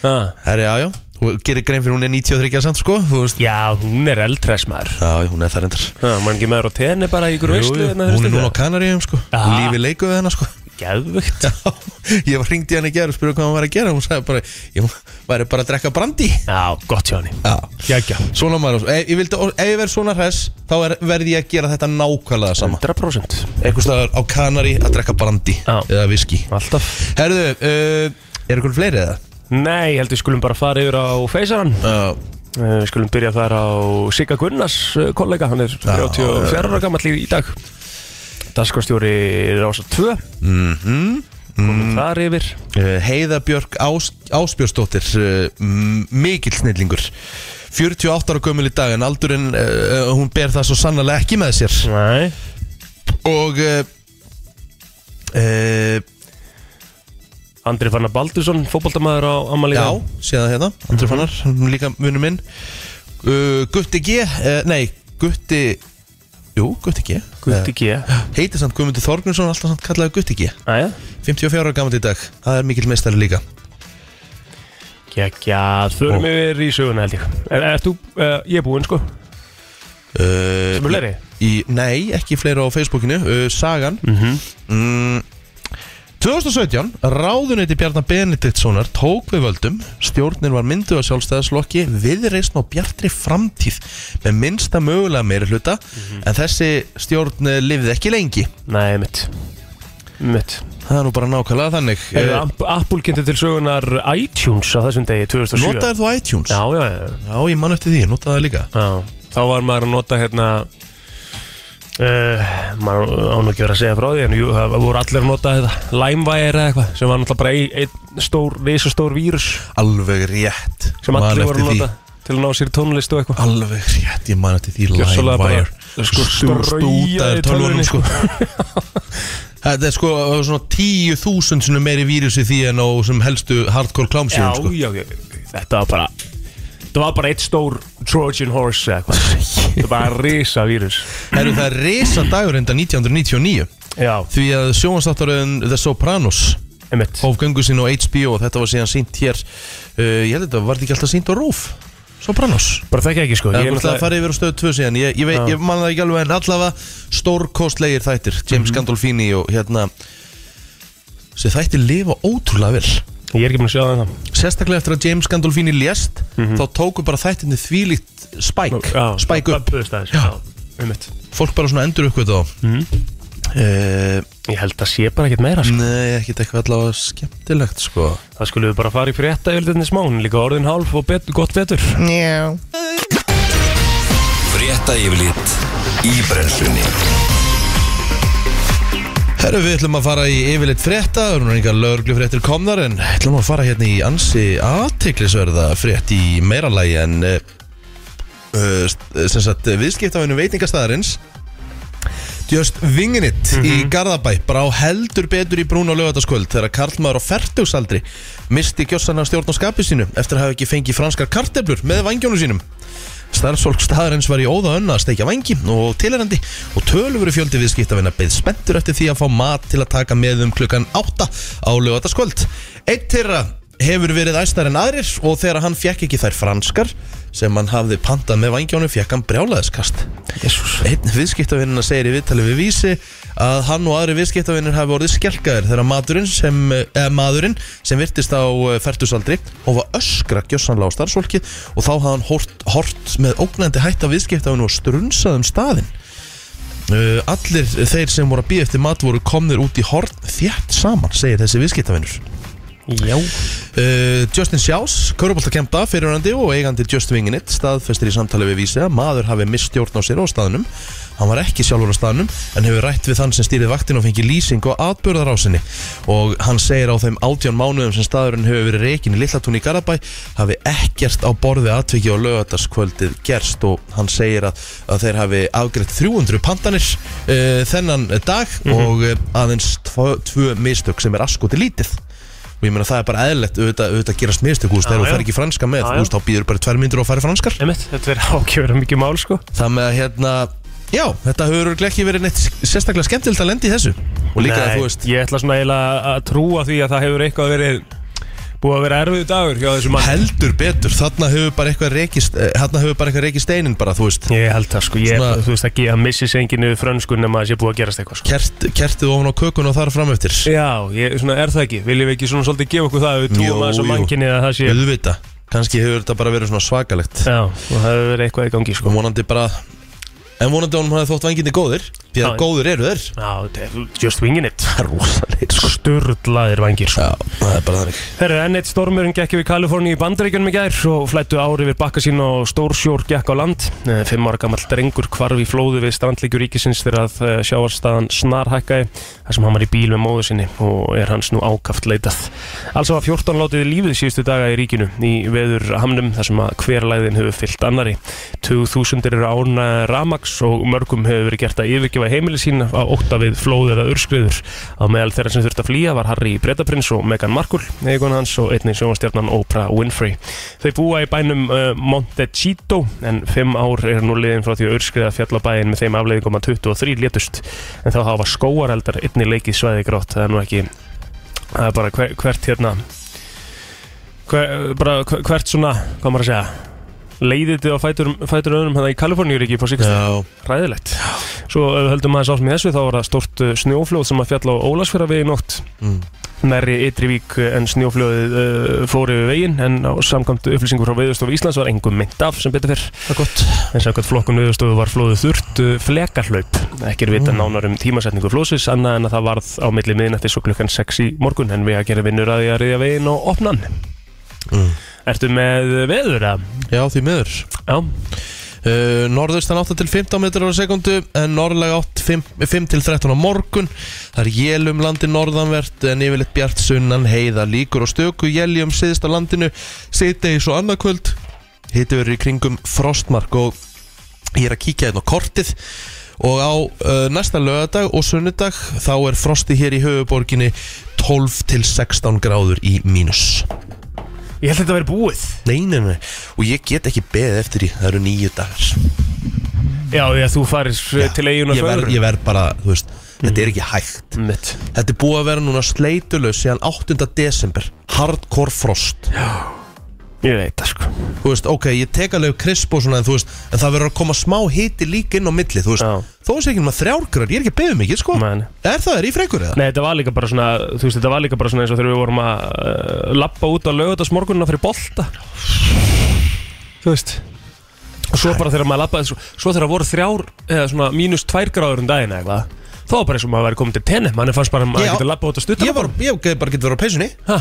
S1: Ha,
S4: Herri, já, já, hún gerir grein fyrir hún er 93 samt sko, þú veist
S1: Já, hún er eldhress maður
S4: Já, hún er það reyndar
S1: Ha, Mann ekki maður á tenni bara í ykkur veislu hérna,
S4: Hún er
S1: fyrstu
S4: núna á
S1: þetta?
S4: Kanaríum sko,
S1: Aha.
S4: hún lífi leiku við hennar sko
S1: Geðvögt
S4: Já, ég var hringd í hann í gerð og spurði hvað hann var að gera Hún sagði bara, ég væri bara að drekka brandi
S1: Já, gott hjá henni
S4: Já
S1: Jæja,
S4: Svona maður, ef ég, vildi, ef ég verð svona hress þá er, verð ég að gera þetta nákvæmlega sama
S1: 100%
S4: Einhvers staðar á Kanarí að drekka brandi
S1: Já.
S4: eða viski
S1: Alltaf
S4: Herðu, uh, er ykkur fleiri eða?
S1: Nei, ég held við skulum bara fara yfir á feysaran
S4: Já,
S1: Eh, Við skulum byrja þar á Sigga Gunnars eh, kollega, hann er 34 ára gammal í dag Daskarstjóri Rása 2 mm -hmm. Þar yfir
S4: Uh, Mhm. Heiða Björk Ás, Ásbjörnsdóttir uh, m- mikill snillingur 48 ára gömul í dag en aldurinn, uh, uh, hún ber það svo sannarlega ekki með sér
S1: Nei
S4: og uh, uh,
S1: Andri Fannar Baldursson, fótboltamaður á Mhm. Amalí
S4: já, sé það hérna Andri Fannar, hún er líka vinnu minn uh, Gutti G, uh, nei Gutti, jú, Gutti G
S1: Gutti G
S4: uh, heitir samt Guðmundur Þorgrinsson, alltaf samt kallaði Gutti G
S1: Æja,
S4: 54 ára gammal í dag, það er mikill meistari líka
S1: kekja, þurfum yfir í söguna held ég er, Ert þú, uh, ég er búinn sko
S4: uh,
S1: Sem er fleiri?
S4: Eh, Í, nei, ekki fleiri á Facebookinu uh, Sagan mm -hmm. mm, Tvö 2017, ráðuneyti Bjarnar Benediktssonar tók við völdum, stjórnin var mynduð á sjálfstæðaslokki, viðreysn og bjartri framtíð með minnsta mögulega meiri hluta,
S1: Mhm.
S4: en þessi stjórn eh, lifði ekki lengi.
S1: Nei, mitt Mitt
S4: Það er nú bara nákvæmlega þannig. Eh,
S1: Hefur App- Apple kynnti til sögunar iTunes á þessum degi 2007
S4: Notaðir þú iTunes?
S1: Já, já, já,
S4: Já, ég man eftir því, ég notaði það líka.
S1: já. Þá var maður að nota hérna Uh, maður án ekki verið að segja frá því en jú, það voru allir að nota þetta LimeWire eða eitthvað sem var náttúrulega bara ein- einn stór, risastór vírus
S4: Alveg rétt.
S1: sem
S4: Man
S1: allir
S4: eftir
S1: voru að
S4: því.
S1: nota til að ná sér í tónlist og eitthvað
S4: Alveg rétt, ég man eftir því
S1: Gjörsamlega bara,
S4: LimeWire
S1: sko, straujaði
S4: Stútaður tölvunum
S1: eh, tölvunni,
S4: sko Þetta er sko svona 10.000 sinni meiri vírusi því en á sem helstu hardcore
S1: já,
S4: klámsíðum sko
S1: já, já, þetta var bara þetta var bara eitt stór Trojan horse eða eitthvað þetta var bara risa vírus
S4: Herru það er resa dagur enda 1999
S1: já,
S4: Því að sjónvastáttaröðin The Sopranos
S1: einmitt
S4: hóf göngu sín á HBO og þetta var síðan sínt hér uh, Ég held þetta var þetta ekki alltaf sínt á RÚF Sopranos
S1: bara þekki ekki sko
S4: Það
S1: ég
S4: er
S1: er
S4: alltaf að
S1: náttúrulega
S4: fara yfir á stöðu 2 síðan Ég, ég, veit, ég man það ekki alveg en allavega stórkostlegir þættir James
S1: Mhm.
S4: Gandolfini og hérna Þessi þættir lifa ótrúlega vel
S1: ég er ekki búin að sjá það ennþá.
S4: Sérstaklega eftir að James Gandolfini lést Þá tóku bara þættinni þvílíkt spæk
S1: Mhm. já,
S4: Spæk upp
S1: bubbuðust aðeins,
S4: Já.
S1: já, einmitt
S4: Fólk bara svona endur uppkvæmt á
S1: Mhm.
S4: Eh,
S1: ég held að sé bara ekkert meira sko.
S4: Nei, ekkert eitthvað allavega skemmtilegt sko
S1: það skulle við bara fara í frétta yfirleitinni smán líka orðin hálf og bet gott betur
S4: Já
S2: Frétta yfirlit í brennslunni
S4: Herru, við ætlum að fara í yfirleitt frétta, það eru nú engar lögreglufréttir komnar en ætlum að fara hérna í ansi aðtiklisverða frétt í meira lagi en uh, uh, sem sagt viðskiptafinu veitingastæðarins Just Vinginit í Garðabæ brá heldur betur í brún á lögataskvöld þegar Karlmaður á fertugsaldri misti gjössan af stjórn og skapi sínu eftir að hafa ekki fengið franskar karteblur með vangjónu sínum Starfsfólk staðarins var í óða önna að steikja vangi og tilherandi og tölvöru fjöldi viðskiptavina beð spenntur eftir því að fá mat til að taka með um klukkan 8 á lögataskvöld. Eitt þeirra hefur verið æstar en aðrir og þegar hann fekk ekki þær franskar sem hann hafði pantað með vangjónu fekk hann brjálaðiskast.
S1: jésús
S4: Einn viðskiptavinnina segir í viðtali við vísi að hann og aðri viðskiptavinnir hafi orðið skelkaðir þegar maturinn sem, eh, maðurinn sem virtist á fertusaldri og var öskra gjössanlega á starfsfólkið og þá hafði hann hort, hort með ógnandi hætt af viðskiptavinn og strunsað um staðinn. Eh, Allir þeir sem voru að býja eftir mat voru komnir út í horn þjætt saman, segir þessi viðskiptavinnur.
S1: já
S4: Uh, Justin Sjás, köruboltakempa, fyrirhandi og eigandi Just Wingin It staðfestir í samtali við vísi að maður hafi mistjórn á sér á staðnum hann var ekki sjálfur á staðnum en hefur rætt við þann sem stýrið vaktin og fengið lýsing og atbörðar á sinni og hann segir á þeim átján mánuðum sem staðurinn hefur verið reikin í Lillatún í Garabæ hafi ekkert á borði atviki á lögataskvöldið gerst og hann segir að, að þeir hafi afgreitt 300 pandanir uh, þennan dag og uh, aðeins tvö, tvö mistök sem er askoti lítið og ég meina það er bara eðlilegt auðvitað, auðvitað gerast mistök úst,
S1: Já,
S4: þegar þú
S1: já.
S4: fær ekki franska með
S1: Já,
S4: já,
S1: já.
S4: úst, þá býður bara tvær myndir og færi franskar
S1: einmitt þetta er ákjöfra mikið mál sko
S4: það með að hérna já, þetta hefur örugglega ekki verið neitt sérstaklega skemmtilegt að lendi í þessu og líka
S1: Nei,
S4: að þú veist
S1: ég ætla svona eiginlega að trúa því að það hefur eitthvað verið búið að vera erfið dagur hjá þessu mann
S4: heldur betur, þarna hefur bara eitthvað reikist þarna hefur bara eitthvað reikist steinin bara, þú veist
S1: Ég held það sko, ég,
S4: Svona-
S1: þú veist ekki að missi senginu frönskun nema að sé búið að gerast eitthvað sko.
S4: kert, kertið ofan á kökun og þar fram eftir
S1: Já, ég, svona er það ekki, viljum við ekki svona svolítið gefa okkur það að við trúum
S4: Jú,
S1: að þessu
S4: jú.
S1: mannkinni að það sé
S4: auðvita, kannski hefur þetta bara verið svona svakalegt
S1: Já, og það hefur verið eitthvað í gangi sko
S4: og vonandi bara en vonandi honum hafði þótt vangindi góðir því að
S1: Já.
S4: góðir eru þeir
S1: Já, þetta er just winging it
S4: það er rosalegir sko.
S1: Sturlaðir vangir sko
S4: já, það er bara þannig
S1: Herru, enn eitt stormurinn gekk yfir Kaliforni í Bandaríkjunum í gær og flættu ári yfir bakka sín og stórsjór gekk á land. Eh, Fimm ára gammal drengur hvarf í flóðu við strandleikjur ríkisins þegar að eh, sjávarstaðan snarhækkaði þar sem hann var í bíl með móðu sinni og er hans nú ákaft leitað. Alls var 14 látið lífið síðustu daga í ríkinu í veður hamnum þar sem að hverlæðin hefur fyllt annari. 2000 eru án ramaks og mörgum hefur verið gert að yfirgefa heimili sín á ótta við flóð eða urskriður. Á meðal þeirra sem þurft að flýja var Harry Bretaprins og Meghan Markle, eigin hans og einnig sjónastjarnan Oprah Winfrey. Þau búa í bænum uh, Montecito en fimm ár er nú liðin frá því að urskriða fjallabæin með þeim afleiðingum að 23 létust en þá hafa skóareldar einnig leikið svæði grátt, það er nú ekki það er bara hver, hvert hérna hver, bara hver- hvert svona hvað maður að segja leiðitið á fætur, fætur öðrum hérna í Kaliforníuríki på síkast
S4: já,
S1: ræðilegt eh, svo ef við höldum aðeins áfram í þessu þá var það stort uh, snjóflóð sem að fjalla á Ólasfjara í nótt
S4: Mm.
S1: nærri Ytrivík en snjóflöðið uh, fór yfir veginn en á samkvæmt upplýsingum frá Veðurstofu Íslands var engum mynd af sem betur fyrr
S4: Það er gott
S1: en samkvæmt flokkun Veðurstofu var flóðið þurrt uh, flekarhlaup ekki
S4: Mm.
S1: er vita nánar um tímasetningu flóðsins annað en að það varð á milli miðnættis og klukkan 6 í morgun en við að gera vinnur að því að riðja veginn og opna hann
S4: Mm.
S1: Ertu með veður að?
S4: Já, því miður
S1: Já,
S4: uh, Norðaustan 8 til 15 metrar á sekundu En norðlega 8, 5, 5 til 13 á morgun Það er jél um landi norðanvert En yfirleitt bjart sunnan heiða líkur og stöku Jéli um síðust á landinu Síðdegis og annarkvöld Hittu verið í kringum frostmark Og ég er að kíkja hérna á kortið og á uh, næsta lögadag og sunnudag þá er frosti hér í höfuborginni 12 til 16 gráður í mínus
S1: ég held þetta að vera búið
S4: Nei, nei, nei, og ég get ekki beðið eftir því, það eru nýju dagar
S1: Já, því að þú farir eh, til eigin og
S4: ég verð, ég verð bara, þú veist, þetta er ekki hægt
S1: Mitt.
S4: Þetta er búið að vera núna sleitulaus síðan 8. desember, hardcore frost
S1: Ég veit það sko
S4: Þú veist, ok, ég tek alveg krisp og svona en þú veist, en það verður að koma smá hiti líka inn á milli, þú veist
S1: Já.
S4: Þó sé ekki um að þrjárgrar, ég er ekki að beðið mikið, sko
S1: Man.
S4: Er það, er í frekur eða?
S1: Nei, þetta var líka bara svona, þú veist, þetta var líka bara svona eins og þegar við vorum að uh, lappa út á lögutarsmorgunna fyrir bolta Þú veist Og svo bara þegar maður lappaði, svo, svo þegar voru þrjár, eða svona mínus tvær gráður um daginn eða eitthvað Þá var bara eins og maður væri komin til tenni, manni fannst bara að maður
S4: Já.
S1: getur lappa út á stutta
S4: Ég var, ég hef bara getið verið á peysunni
S1: Ha?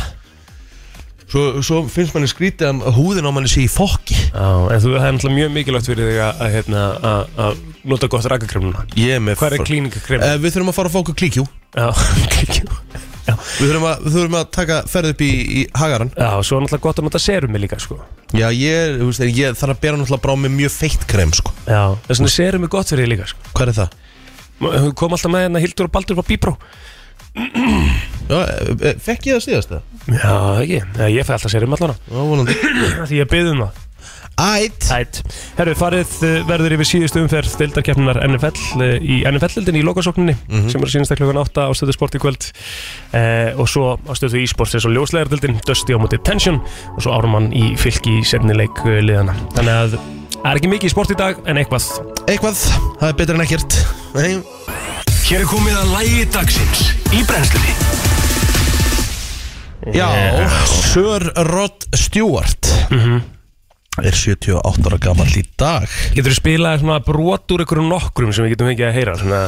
S4: svo, svo finnst manni skrítið að húðin á manni sé í fokki
S1: Já, en þú, það er náttúrulega mjög mikilvægt fyrir þig að, að, hérna, að, að nota gott rakakremluna
S4: Ég er með
S1: Hvað er klíningakremin?
S4: Eh, Við þurfum að fara að fá okkur klíkjú
S1: Já, klikkjú Já,
S4: Við þurfum að, við þurfum að taka ferð upp í, í hagaran
S1: já og svo er náttúrulega gott að nota serumi líka, sko
S4: Já, ég, er, þú veist, en ég þarf að bera náttúrulega bara á mig mjög feitt krem sko.
S1: Já, þess vegna serum er gott fyrir þig líka sko.
S4: Hvað er það?
S1: Hún kom alltaf með hérna Hildur og Baldur á Bíbró
S4: Já, eh, eh, Fekk ég það síðast það?
S1: Já, ekki, Já, ég fæ alltaf serum allan
S4: Já, vonandi
S1: Því ég byggði um það
S4: Ætt
S1: Ætt Herru, farið eh, verður yfir síðustu umferð Deildarkeppnunar NFL eh, í NFL-dildinni í lokasókninni sem er að sínast að klukkan 8 á stöðu sport í kvöld eh, og svo á stöðu e-sports eins og ljóslegardildin Dusty á móti Tension og svo Ármann í fylki í sefnileik liðana Þannig að það er ekki mikið í sport í dag en eitthvað
S4: Eitthvað, það er betra en ekkert Nei.
S2: Hér er komið að lægi dagsins í brennslunni
S4: Já, Sir Rod Stewart Er 78 ára gammal í dag
S1: Getur þú spilað svona brot úr einhverjum nokkrum sem við getum fengið að heyra svona,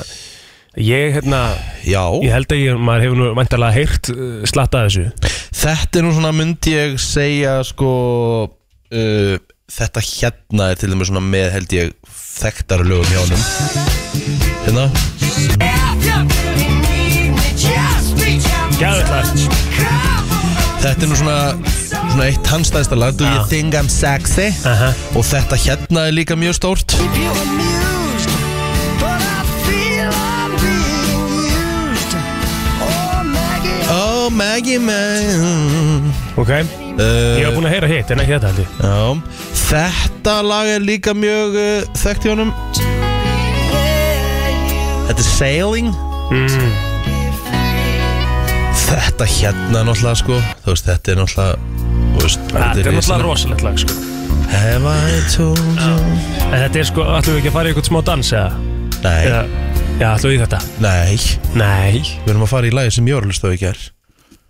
S1: Ég, hérna,
S4: Já
S1: ég held að ég, maður hefur nú vantarlega heyrt uh, slatta af þessu
S4: Þetta er nú svona myndi ég segja sko uh, Þetta hérna er til dæmis svona með held ég þekktar lögum hjá honum Hérna Þetta er nú svona, svona eitt handstæðsta lag Do you think I'm sexy?
S1: Aha.
S4: Og þetta hérna er líka mjög stórt Oh Maggie man
S1: Ok, ég
S4: uh,
S1: hef búin að heyra hitt en ekki þetta held ég
S4: já. Þetta lag er líka mjög uh, þekkt hjá honum Þetta er Sailing
S1: mm,
S4: Þetta hérna náttúrulega sko Þú veist, þetta er náttúrulega þú veist,
S1: Mm. Þetta er
S4: risalegt.
S1: náttúrulega rosalegt lag sko
S4: Have I told you
S1: En þetta er sko, ætlum við ekki að fara í einhvern smá dans eða?
S4: Nei,
S1: Eða, já, ætlum við í þetta?
S4: nei
S1: Nei
S4: Við erum að fara í lagi sem ég var að hlusta á í gær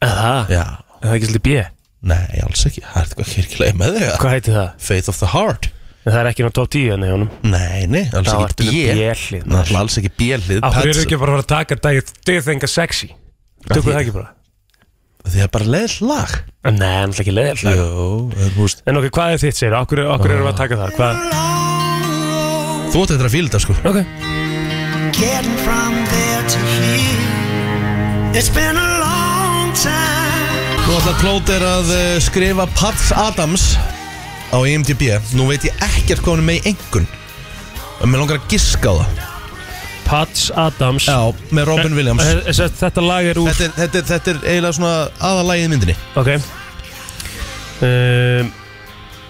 S1: Eða það?
S4: Já,
S1: Er það ekki svolítið bjö?
S4: nei, alls ekki Það er eitthvað kirkilega með þig eða?
S1: Hvað heiti það?
S4: Faith of the Heart
S1: En Það er ekki náttúrulega top 10 en í honum
S4: Nei, nei, alls
S1: Þá ertu
S4: ekki
S1: með
S4: bjél
S1: B-hlið, maður.
S4: Náttúrulega alls ekki bjélið
S1: Af hverju eru ekki bara að fara að taka dagið Do you think I'm sexy? Tökum við það ekki bara?
S4: Því að bara leið lag
S1: Nei, náttúrulega ekki leðið
S4: Jó, en þú veist
S1: En ok, hvað er þitt segir? Okkur, okkur erum við að taka það? Hvað?
S4: Þú átt eitthvað að fíla þetta sko
S1: Ok
S3: Getting from there to here. It's been a long time.
S4: Nú ætla Klót er að eh, skrifa Pats Adams á IMDb Nú veit ég ekkert hvað hann er með í engun En mér langar að giska á það
S1: Pats Adams
S4: Já, með Robin Williams
S1: Eh, eh, sem sagt, Þetta lag er úr
S4: Þetta er, þetta, er, þetta er eiginlega svona aðalægið myndinni
S1: Ok um,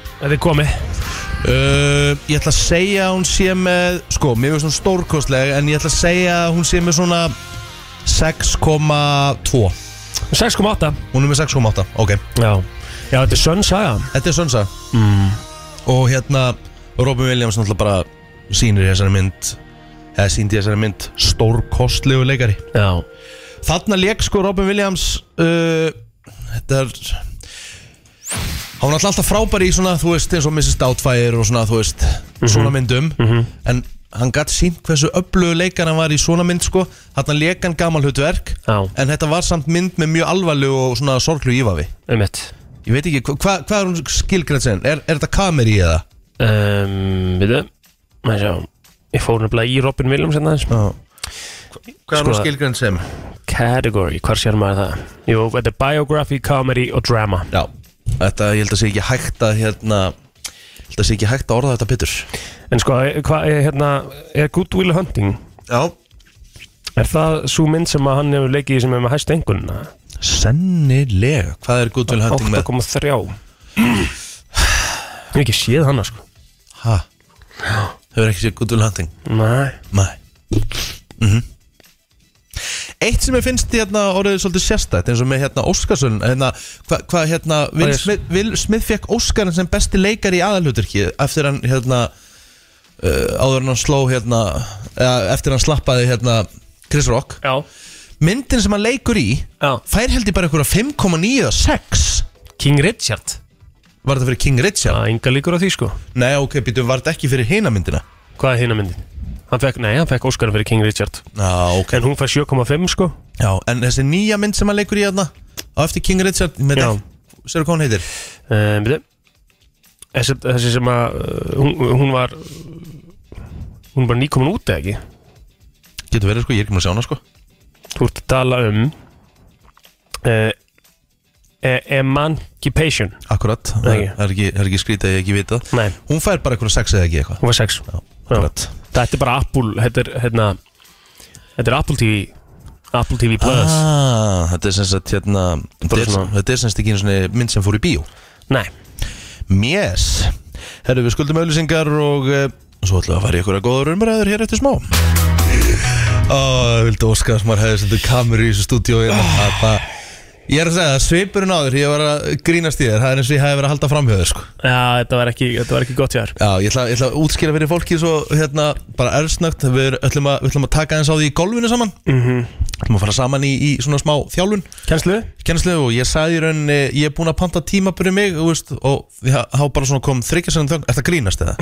S1: Þetta er komið
S4: uh, Ég ætla að segja að hún sé með Sko, mér finnst hún stórkostleg En ég ætla að segja að hún sé með svona 6,2
S1: 6,8
S4: Hún er með 6,8, ok
S1: Já Já, þetta er Sönn Saga
S4: Þetta er Sönsa mm. Og hérna, Robin Williams náttúrulega bara Sýnir í þessari mynd Eða sýndi í þessari mynd stórkostlegu leikari
S1: Já
S4: Þarna leik sko Robin Williams uh, Þetta er Hann var náttúrulega alltaf frábær í svona Þú veist, eins og Mrs. Doubtfire og svona Þú veist, svona myndum En hann gatt sínt hversu öflugu leikar hann var í svona mynd sko Þarna leik hann gamal hlutverk
S1: Já.
S4: En þetta var samt mynd með mjög alvarlegu og svona sorglu ífafi
S1: um mitt
S4: Ég veit ekki, hva- hvað hva er hún skilgrænt sen? Er, er þetta kameri eða?
S1: um, Við þau, maður sjá Ég fór nefnilega í Robin Williams hérna aðeins
S4: Já Hvað er hún
S1: Sko-
S4: skilgrænt sem?
S1: Category, hvar sér maður það? Jú, þetta er biography, comedy og drama
S4: Já, þetta ég held að sé ekki hægt að hérna Ég held að sé ekki hægt að orða þetta Pétur
S1: En sko, hvað er hérna Er Good Will Hunting
S4: Já
S1: Er það svo mynd sem að hann hefur leikið í sem hefur með hæst engunna?
S4: Sennilega, hvað er Goodwill Hunting með?
S1: 8,3 Ég hef ekki séð hana sko
S4: Ha? Hefur ekki séð Goodwill Hunting?
S1: Nei
S4: Nei Mhm. Eitt sem ég finnst hérna orðið svolítið sérstætt eins og með hérna Óskarsson hérna, hvað hva, hérna Will
S1: Hvað er-
S4: Smith, Will Smith fekk Óskarinn sem besti leikari í aðalhuturki eftir hann hérna uh, áður en hann sló hérna eða, eftir hann slappaði hérna Chris Rock
S1: Já
S4: myndin sem hann leikur í
S1: Já.
S4: fær held ég bara einhverja 5,9 eða 6
S1: King Richard
S4: var þetta fyrir King Richard
S1: Það enga líkur á því sko
S4: nei ok, býtum, var þetta ekki fyrir hina myndina
S1: Hvað er hina myndin? Hann fekk, nei, hann fekk Óskarin fyrir King Richard
S4: já, ok
S1: En hún fær 7,5 sko
S4: já, en þessi nýja mynd sem hann leikur í hérna á eftir King Richard með
S1: Já.
S4: þetta, sér hvað hún heitir
S1: um, þessi, þessi sem að uh, hún, hún var Hún var nýkomin út eða ekki
S4: getur verið sko, ég er ekki maður að sjá hana sko
S1: Þú ert að tala um uh, e- Emancipation
S4: akkurat, það
S1: Nei.
S4: er- það er ekki, það er ekki skrítið að ég ekki vita
S1: Nei,
S4: hún fær bara einhverja 6 eða ekki eitthvað
S1: hún var 6
S4: já, akkurat
S1: Þetta er bara Apple Þetta er, hérna, þetta er Apple TV Apple TV Plus
S4: ah, þetta er sem sagt hérna þetta er,
S1: svona-
S4: þetta er sem sagt ekki einu sinni mynd sem fór í bíó
S1: Nei,
S4: Yes Herru, við skuldum auðlýsingar og uh, svo ætlum við að fara í ykkur að góða rumræður hér eftir smá Ó, ég vildi óska að maður hefði sendur kameru í þessu stúdíó Ég er að segja það, svipurinn áður, ég var að grínast í þér Það er eins og ég hefði verið að halda framhjóður sko.
S1: já, þetta var ekki, þetta var ekki gott hjá þér
S4: Já, ég ætla, ég ætla að útskýra fyrir fólki svo hérna, bara erfsnögt Við ætlum að, við ætlum að taka eins á því í golfinu saman mm -hmm. ætlum að fara saman í, í svona smá þjálfun
S1: Kennslu?
S4: kennslu og ég sagði í rauninni ég er búin að panta tíma byrju mig þú veist, og þá bara svona kom þryggja sem þögn Þetta grínast eða?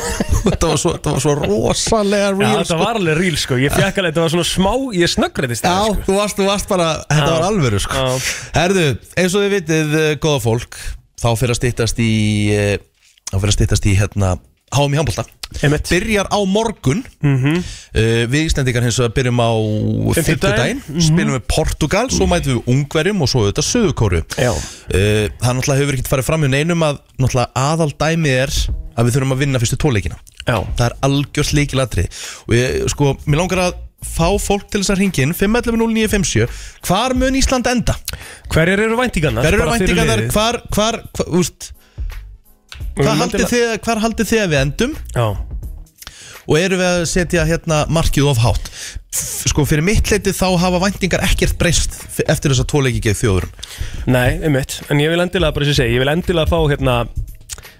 S4: þetta, var svo, þetta var svo rosalega
S1: Já,
S4: real
S1: þetta var alveg real sko Ég fekk alveg, þetta var svona smá Ég sko. snöggræðist
S4: Já, þú varst, þú varst bara, þetta var alvöru sko.
S1: Já.
S4: Herðu, eins og þið vitið, eh, góða fólk Þá fyrir að styttast í eh, Þá fyrir að styttast í hérna Háum í handbólta
S1: Einmitt. Mhm.
S4: Byrjar á morgun mm Við Íslendingar hins vegar byrjum á
S1: Fimmtudaginn. Mhm.
S4: Fimmtudaginn, spilum við Portugal Svo mætum við Ungverjum og svo auðvitað Suðukóru
S1: Já.
S4: Eh, Það náttúrulega hefur ekkert farið fram hjá neinum að Náttúrulega aðal dæmið er Að við þurfum að vinna fyrstu tóleikina
S1: Já.
S4: Það er algjörst líkilatri Og ég, sko, mér langar að fá fólk til þess að ringin 511-0957 Hvar mun Ísland enda?
S1: Hverjar eru væntingarnar?
S4: Hver eru
S1: Bara fyrir
S4: væntingar þar?
S1: liðið?
S4: Hvar, hvar, hvar, úst,
S1: Við
S4: hvar,
S1: erum
S4: haldið
S1: endilega-
S4: þið, hvar haldið þið að við endum?
S1: Já,
S4: Og eru við að setja hérna markið of hátt? F- Sko, fyrir mitt leiti þá hafa væntingar ekkert breyst f- Eftir þess að tóleiki geð þjóðurum
S1: nei, einmitt En ég vil endilega, bara þess að segja Ég vil endilega fá hérna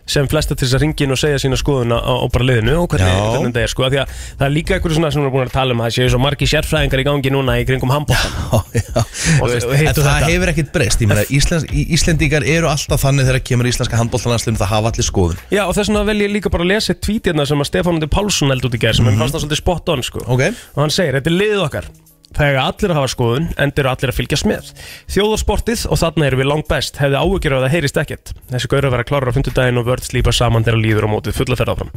S1: sem flesta til þess að ringin og segja sína skoðuna á, á bara liðinu og hvernig
S4: Já.
S1: hvernig þetta er sko af því að það er líka eitthvað svona sem við erum búin að tala um að það séu svo margi sérfræðingar í gangi núna í kringum handbóttan Og-
S4: Veist,
S1: og
S4: En
S1: hittu
S4: það
S1: þetta.
S4: hefur ekkert breyst Ég meina, Íslands, í- Íslendingar eru alltaf þannig þegar kemur íslenska handbóltalanslum það hafa allir skoðun
S1: Já og þess vegna vel ég líka bara að lesa tweetirna sem að Stefán Undir Pálsson held út í gerð sem mm -hmm. fannst það svolítið spot on sko
S4: Ok.
S1: og hann segir þetta er liðið okkar þegar allir að hafa skoðun endur allir að fylgjast með þjóðarsportið og þarna erum við langt best hefði áhugir af að það heyrist ekkert þessi gaur að vera klárar á fundudaginn og vörð slípa saman þegar líður og mótið fulla ferð áfram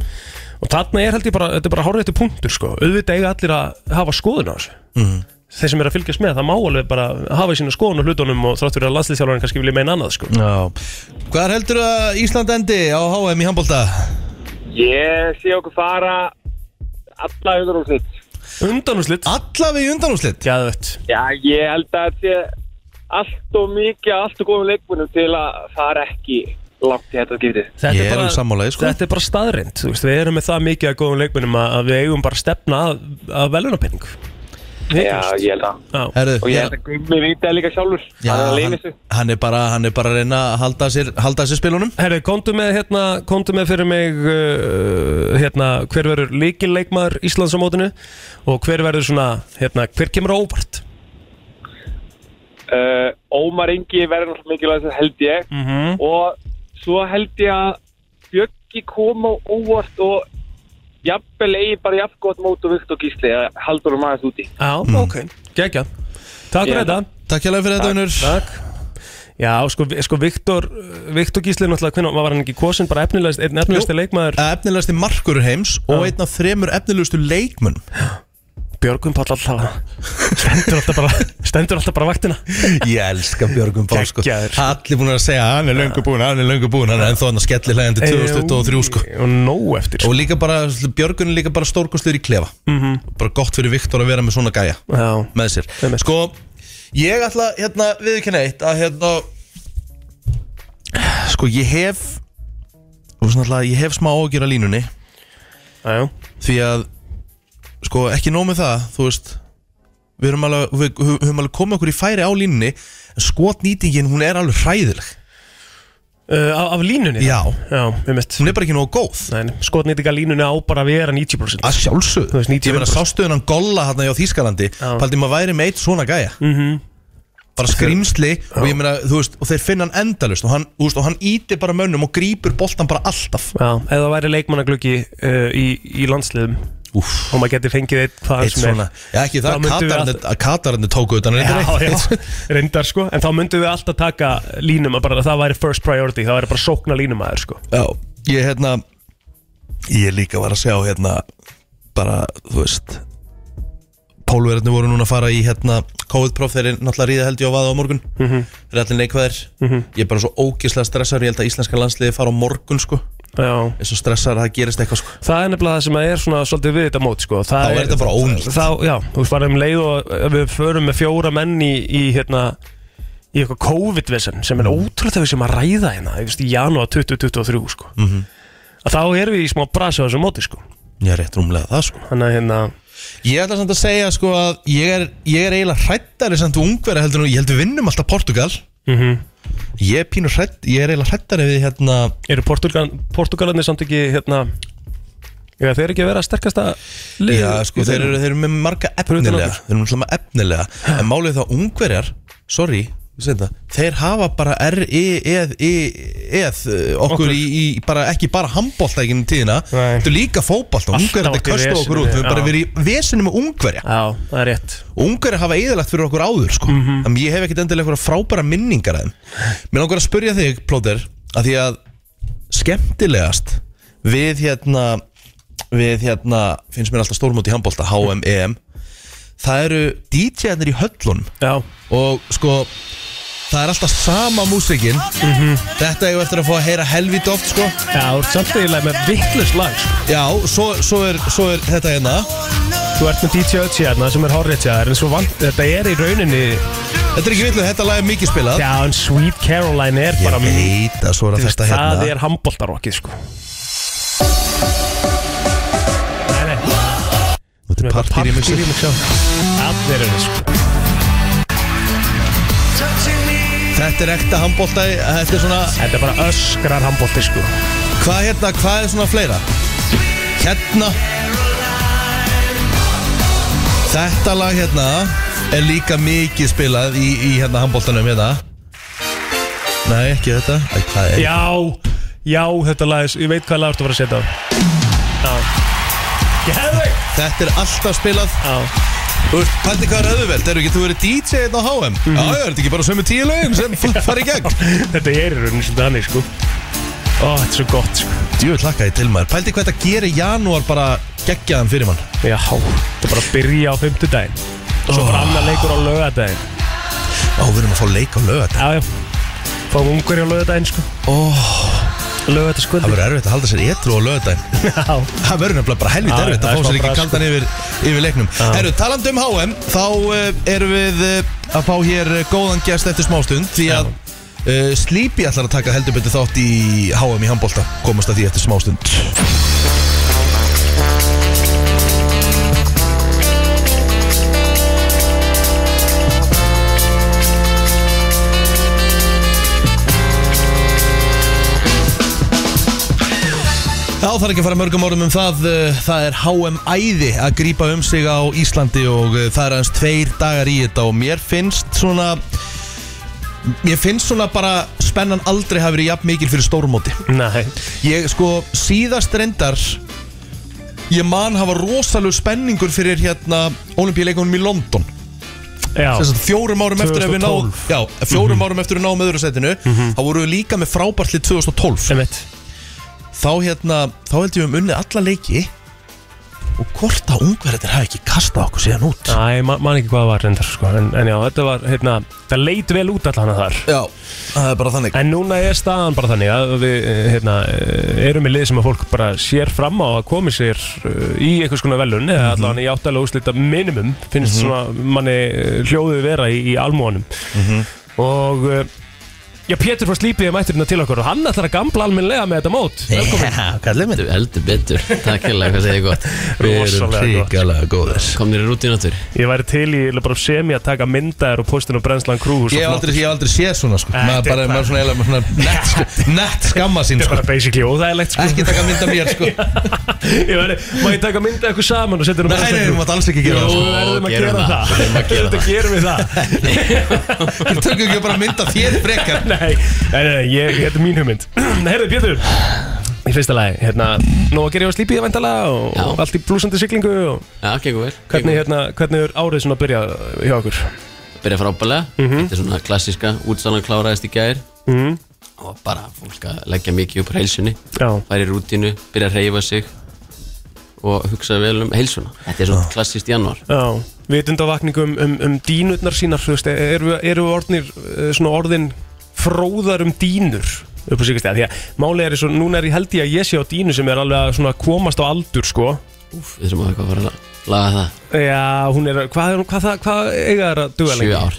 S1: og þarna er held ég bara, þetta er bara horfið punktur sko auðvitað eiga allir að hafa skoðun á þessu þeir sem er að fylgjast með það má alveg bara hafa sína skoðun og hlutunum og þrátt fyrir að landslýstjálfarinn kannski vilja meina annað sko
S4: Já. Hvar heldur að Ísland endi á HM í handbólta?
S5: Ég sé okkur fara alla hundar og snitt.
S1: undanúslitt
S4: Alla við undanúslitt
S1: Gæðvett
S5: Já, ég held að þetta sé allt og mikið, allt og góðum leikmunum til að fara ekki langt í þetta skiptið.
S1: Þetta
S4: Ég er alveg sammála því, sko.
S1: Þetta er bara staðrind veist, Við erum með það mikið að góðum leikmennum að, að við eigum bara að stefna að, að velunarpenning
S5: Já, ég held að.
S1: Já,
S4: Herðu,
S5: Og ég
S4: já,
S5: held að Gummi viti það líka sjálfur. Hann
S4: já,
S5: er að
S4: hann,
S5: leyna þessu.
S4: hann, er bara, hann er bara að reyna að halda sér, halda sér spilunum
S1: Herri, komdu með, hérna, komdu með fyrir mig uh, hérna, hver verður líkinleikmaður Íslands á mótinu og hver verður svona, hérna, hver kemur á óvart
S5: uh, Ómar Ingi verður náttúrulega mikilvæg þess held ég
S1: Mhm.
S5: og svo held ég að Bjöggi kom á óvart og jafnvel eigi bara jafn gott mót og vikt og gísli að haldur um aðeins úti
S1: Já,
S4: Mm.
S1: ok, geggja Takk fyrir
S5: Já.
S1: þetta
S4: Takk hérlega fyrir þetta, Unur
S1: Takk Já, sko, sko Viktor, Viktor Gísli náttúrulega, hvernig var hann ekki kosin bara efnilegst, einn efnilegsti leikmaður
S4: Efnilegasti markur heims og einn af þremur efnilegustu leikmunum
S1: Björgum Páll alltaf stendur alltaf bara stendur alltaf bara vaktina
S4: Ég elska Björgum Pál sko
S1: Geggjaður, sko.
S4: Allir búin að segja hann er löngu búinn, hann er löngu búinn Hann er ennþá hann að skelli hlægandi 2023 sko
S1: og nóg eftir sko.
S4: Og líka bara, Björgun er líka bara stórkostur í klefa -hmm. Bara gott fyrir Viktor að vera með svona gæja
S1: Já,
S4: Með sér
S1: Einmitt.
S4: Sko, ég ætla, hérna, viðkynna eitt Að hérna Sko, ég hef Þú veist náttúrulega, ég hef smá ágjur að línunni
S1: já, já,
S4: Því að Sko ekki nóg með það Þú veist Við höfum alveg, við, við höfum alveg komið okkur í færi á línunni En skotnýtingin hún er alveg hræðileg
S1: uh, af, af línunni
S4: Já
S1: já við mitt
S4: Hún er bara ekki nóg góð
S1: skotnýtinga línunni á bara að vera 90%
S4: Að sjálfsög
S1: Þú veist, 90%
S4: Ég meina sástuðunan golla hérna hjá Þýskalandi Paldi maður væri með eitt svona gæja -hmm.
S1: Mhm.
S4: Bara skrýmsli Og ég meina þú veist Og þeir finna hann endalust Og hann, þú veist, og hann ítir bara mönnum Og grípur boltan bara alltaf
S1: Já, ef það væri leikmannaglöggi uh, í, í landsliðum
S4: Úff
S1: og maður geti fengið eitt hvað
S4: Eitt
S1: sem er
S4: svona Já ekki
S1: Þá
S4: það
S1: myndum við
S4: Katararnir- að Katararnir tóku utan hann
S1: Já,
S4: reyndar
S1: já,
S4: eitt.
S1: reyndar sko En þá myndum við alltaf taka línum að bara að það væri first priority Það væri bara sókna línum aður sko
S4: Já, ég hérna Ég líka var að sjá hérna Bara, þú veist Pólverðinu voru núna að fara í hérna COVID-próf, þeir eru náttúrulega að ríða held ég á vaða á morgun Þeir eru allir neikvæðir Ég er bara svo ógislega stressar, ég held að íslenska landsliði fara á morgun sko
S1: Já
S4: Eins og stressar að það gerist eitthvað sko
S1: Það er nefnilega það sem er svona svolítið við þetta mót sko.
S4: Þá er þetta bara ónýtt.
S1: Þá, já, þú veist, varum leið og ef við förum með fjóra menn í, í hérna í eitthvað COVID-vesen sem er
S4: Mhm.
S1: ótrúlega þegar við sem að ræða hérna þú veist, í janúar 2023 sko.
S4: Mhm.
S1: að þá erum við í smá brasi á þessu móti sko.
S4: Ég er rétt rúmlega það sko
S1: þannig að hérna
S4: Ég ætla samt að segja sko að ég er, ég er eiginlega hrættari samt ungveri heldur nú Ég held við vinnum alltaf Portugal Ég er pínur hrætt, ég er eiginlega hrættari við hérna
S1: eru Portugal, Portugalarnir samt ekki hérna Já, þeir eru ekki að vera sterkasta lið
S4: Já, sko,
S1: í
S4: þeir
S1: þeim.
S4: eru, þeir eru með marga
S1: utan
S4: efnilega
S1: okkur.
S4: Þeir eru náttúrulega með efnilega En málið þá ungverjar, sorry ég segi það, Þeir hafa bara R-E-E-E -E okkur,
S1: Okkur.
S4: okkur. Í, í, bara, ekki bara handbólta ekki um tíðina
S1: Nei.
S4: Þetta er líka fótbolta
S1: Alltaf
S4: Ungverjar þetta
S1: átt í
S4: kastu
S1: veseni,
S4: okkur út Við
S1: já.
S4: höfum bara verið í vesinu með ungverja
S1: Já, það er rétt
S4: Ungverjar hafa eðalagt fyrir okkur áður sko.
S1: Mhm.
S4: Þannig ég hef ekkit endilega eitthvað frábæra minningar að þeim Mér langar að spyrja þig, Plóter að Því að skemmtilegast Við hérna Við hérna, finnst mér alltaf stórmót í handbólta HM, EM Það eru DJ-arnir í höllunum
S1: Já,
S4: Og sko Það er alltaf sama músikin
S1: Mhm.
S4: Þetta hefur eftir að fá að heyra helvít oft sko
S1: já þú ert samt eiginlega með vittlust lag sko.
S4: Já, svo, svo, er, svo er þetta hérna
S1: Þú ert með DJ Ötzi hérna sem er horrið hjá þér en svo vant, þetta er í rauninni
S4: Þetta er ekki villu, þetta lag er mikið spilað
S1: Já, en Sweet Caroline er
S4: Ég
S1: bara
S4: veit að svo er að þetta hérna
S1: Það er handbóltarokkið sko Nei, nei
S4: Þetta er partýrýmixi
S1: partýrýmix á Allir eru sko
S4: Þetta er ekta handbólta Þetta er svona
S1: Þetta er bara öskrar handbólti sko
S4: Hvað hérna, hvað er svona fleira? Hérna Þetta lag hérna Er líka mikið spilað í, í hérna handbóltanum hérna Nei, ekki þetta Æ, hvað er?
S1: Já, já, þetta lag er- Ég veit hvað lag ertu að fara að setja á Já Geðveik
S4: Þetta er alltaf spilað
S1: Já,
S4: Pætti hvað er öðuvelt? Eru ekki, þú verið DJ hérna á HM? Mm -hmm. Já, já, er þetta ekki bara sömu tíu lögum sem fara í gegn?
S1: þetta er í rauninni svolítið hannig sko Ó, þetta er svo gott sko
S4: Djú, hlakkaði til maður Pældi hvað þetta gerir janúar bara geggjaðan fyrir mann
S1: Já, þetta er bara að byrja á fimmtudaginn Svo bara annar leikur á lögadaginn
S4: Ó, við erum að fá leik á lögat
S1: Já, já Fá ungverja á lögadaginn sko
S4: Ó, það
S1: Lögadagskvöldi
S4: verður erfitt að halda sér etru á lögadaginn
S1: Já,
S4: Það verður nefnilega bara helvít
S1: Já,
S4: erfitt
S1: það
S4: að fá
S1: er
S4: sér
S1: smá
S4: ekki
S1: brask. sko.
S4: kaldan yfir, yfir leiknum Herru, talandi um HM Þá uh, erum við uh, að fá hér uh, góðan gest eftir smástund Því að uh, Sleepy ætlar að taka heldur betur þátt í HM í handbolta Komast að því eftir smástund Já, það er ekki að fara mörgum orðum um það uh, Það er HM æði að eh, grípa um sig á Íslandi og uh, það er aðeins tveir dagar í þetta og mér finnst svona Mér finnst svona bara spennan aldrei hafi verið jafn mikil fyrir stórmóti
S1: Nei
S4: Ég sko síðast reyndar Ég man hafa rosalegu spenningur fyrir hérna Olimpíuleikunum í London
S1: Já,
S4: Þess að fjórum árum eftir að við náum
S1: 2012.
S4: Já, fjórum árum eftir að við náum öðru setinu Þá voru við líka með frábærtlið 2012
S1: emitt
S4: Þá hérna, þá heldum við um unnið alla leiki Og hvort að ungverðin hafi ekki kastað okkur síðan út
S1: Æ, man, man ekki hvað það var reyndar sko En, en já, þetta var, hérna, það leit vel út allan að þar
S4: Já, það er bara þannig
S1: En núna er staðan bara þannig að við eh, hérna, eh, erum í lið sem að fólk bara sér fram á að komi sér eh, í einhvers konar velun
S4: Mhm.
S1: eða allavega í áttalega úslita minimum finnst svona manni eh, hljóðið vera í, í almónum
S4: Mhm.
S1: og eh, já, Pétur frá Slípið er mætturinn til okkar og hann ætlar að gamla almennlega með þetta mót
S4: Já, kallið minn
S6: Þú heldur betur, takk hérlega, hvað segir gott
S4: Við erum
S1: Rosalega gott.
S4: ríkalega góðir
S6: Komnir í rútin áttur
S1: Ég væri til í eiginlega bara semi að taka myndaðir og postin og brennslan krú
S4: Ég hef aldrei, ég hef aldrei séð svona sko
S1: Nei,
S4: Maður
S1: þetta er
S4: bara,
S1: bara-
S4: maður svona eiginlega með svona nett, sko, nett skamma sín
S1: Þetta er
S4: sko
S1: bara basically óþægilegt sko
S4: Ekki taka mynda mér sko
S1: Ég væri, má ég taka myndað eitthvað saman og setja hún
S4: Nei, nei, þú mátt alls ekki gera það
S1: Við
S4: sko
S1: verðum að
S6: gerum
S1: gera
S6: það.
S1: það
S6: Verðum að gera
S1: Þetta gerum við það
S4: Þú tökum ekki bara mynda þér frekar
S1: Nei, nei, nei, ég, þetta er mín hugmynd Herðu, Pétur Í fyrsta lagi, hérna, nú að gera ég á slípið vantala og
S6: Já.
S1: allt í blúsandi siglingu og
S6: Já, gengur vel
S1: hvernig, hérna, hvernig er árið svona að byrja hjá okkur?
S6: Byrja frábælega, þetta er svona klassiska Útsalan kláraðist í gær
S1: Mm.
S6: Og bara fólk að leggja mikið upp heilsunni
S1: Já,
S6: Færi í rútinu, byrja að reyfa sig Og hugsa vel um heilsuna Þetta er svona klassist í januar
S1: já, vitundavakning um, um, um dínutnar sínar, þú veist, e- eru, eru orðnir, eh, svona orðin fróðar um dínur upp á síkast eða því að málið er eins og núna er ég held ég að ég sé á dínu sem er alveg að svona komast á aldur sko
S6: Úf, við þurfum að eitthvað að fara að laga það
S1: Já, hún er, hvað, er hún- hvað, það- hvað eiga þær að duga lengi?
S6: Sjö ár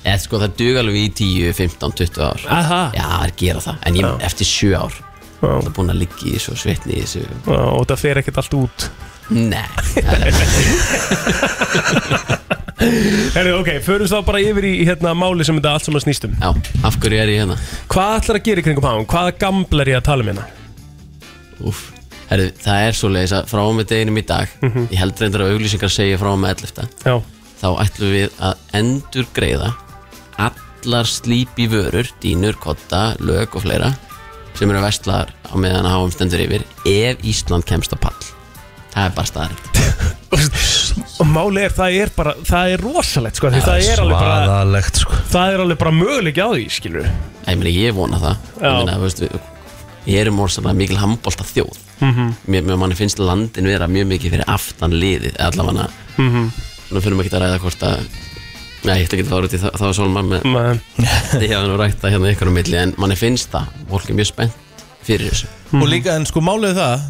S6: Eða sko það duga alveg í 10, 15, 20 ár
S1: Aha,
S6: Já, það gera það En ég,
S1: Já.
S6: eftir sjö ár
S1: Já.
S6: Það er búin að ligga í þessu og svitni í þessu
S1: Já, og það fer ekkert allt út
S6: Nei, það er
S1: Herru, ok, förum þá bara yfir í hérna máli sem þetta allt saman snýst um
S6: Já, af hverju er ég hérna?
S1: Hvað ætlar að gera í kringum hann? Hvaða gamble er ég að tala um hérna?
S6: Úf, herru, það er svo leiðis að frá og með deginum í dag Ég held reyndar að auglýsingar segja frá og með 11
S1: Já,
S6: Þá ætlum við að endur greiða Allar slípi vörur, dínur, kotta, lög og fleira Sem eru vestlaðar á meðan að háum stendur yfir Ef Ísland kemst á pall Það er bara staðarind
S1: og máli er, það er bara, það er rosalegt sko, því það er alveg bara
S4: Svaðalegt sko
S1: Það er alveg bara möguleik á því, skilur
S6: Ég meina, ég vona það Ég
S1: Já.
S6: meina, þú veist, við Ég erum orðsannlega mikil handbólta þjóð mm -hmm. Mér, mér manni finnst landin vera mjög mikið fyrir aftan liðið eða Allavega mm -hmm. Nú fyrir maður ekki að ræða hvort að Nei, ég ætla ekki að fara út í það, það var svolma með
S1: Men,
S6: Ég hafði nú rætt það hérna ykkur á milli En manni finnst það, fólk er mjög spennt fyrir þessu
S1: Mhm.
S4: Og líka en sko málið er það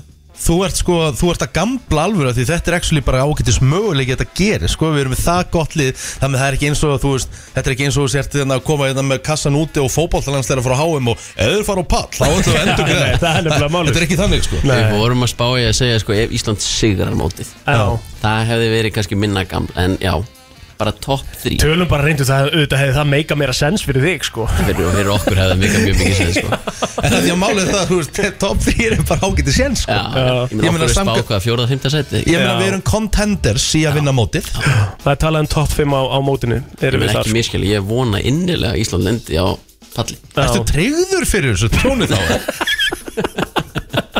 S4: Þú ert sko, þú ert að gambla alvöru af Því þetta er actually bara ágættis möguleik að Þetta gerir sko, við erum með það gott lið Þannig að það er ekki eins og að þú veist Þetta er ekki eins og þú sért þannig að koma hérna með kassan úti Og fótballtalandsleira frá HM og Eður fara á pall, þá ertu að endur
S1: Nei, það er nefnilega málið.
S4: Þetta er ekki þannig sko
S6: Við vorum að spá ég að segja sko Ef Ísland sigrar mótið
S1: Já
S6: Það hefði verið kannski minna gamla En já, bara topp þrý
S1: Tölum bara reyndu það, auðvitað hefði það meika meira sens fyrir þig, sko
S6: Fyrir, fyrir okkur hefði mikið mjög mikið séð sko
S4: En það er málið er það, þú veist, top 3 er bara ágættis sér sko
S6: Já, ég meina
S4: Ég meina,
S6: okkur er spá
S4: samkvæmt-
S6: hvað, fjóraða, fymta seti
S4: Ég meina
S1: Já.
S4: við erum contenders í að vinna mótið
S1: Það er talað um topp 5 á, á mótinu, erum
S6: Ég
S1: við
S6: meina
S4: sko.
S1: þar
S6: ekki miskjali, ég vona innilega að Ísland lendi á palli
S1: Já.
S4: Ertu treyður fyrir þessu tjónu þá?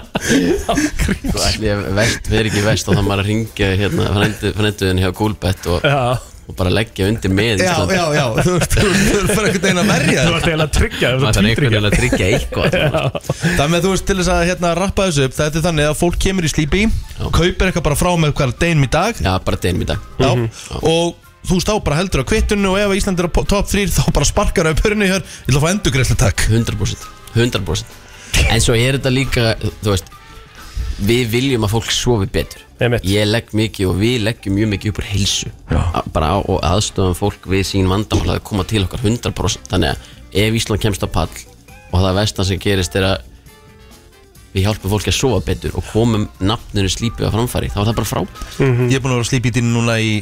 S6: Svo ætli ég vest, við ekki vest og það maður að ringja hérna frændu- frænduðin hjá Gúlbett og,
S1: Já,
S6: og bara leggja undir með
S4: já,
S6: Ísland
S4: já, já, þú veist, þú veist, þú veist, fyrir einhvern veginn að verja
S1: þú
S4: þér.
S1: ert eiginlega að tryggja þú ert að
S6: Það er einhvern
S1: títryggja.
S6: veginn að tryggja eitthvað
S4: Þannig að þú veist, til þess að hérna rappa þessu upp Þetta er þannig að fólk kemur í slípi Kaupir eitthvað bara frá með hvað er deginum í dag
S6: Já, bara deginum í dag
S4: Já,
S1: Mhm.
S4: og þú stá bara heldur á kvittunni Og ef að Ísland er á po- top 3 þá bara sparkar upp hörni hér Ég ætla að fá endurgreislu takk
S6: 100% 100% En svo er þetta líka, þú veist Við viljum að fólk sofi betur
S1: Einmitt.
S6: Ég legg mikið og við leggjum mjög mikið upp úr heilsu A- Bara á og aðstofum fólk við sín vandamál að koma til okkar 100% Þannig að ef Ísland kemst á pall Og það vestan sem gerist er að Við hjálpum fólki að sofa betur Og komum nafninu slípið á framfæri Þá er það bara frá
S4: Ég er búin að vera slípi í dýnu núna í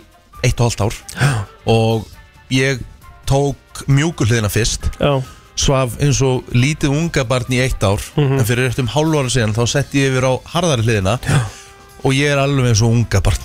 S4: Eitt og halvt ár Og ég tók mjúkulhliðina fyrst
S1: Já,
S4: svaf eins og lítið unga barn í eitt ár en fyrir rétt um hálf ára síðan þá setti ég yfir á harðari hliðina og ég er alveg eins og unga barn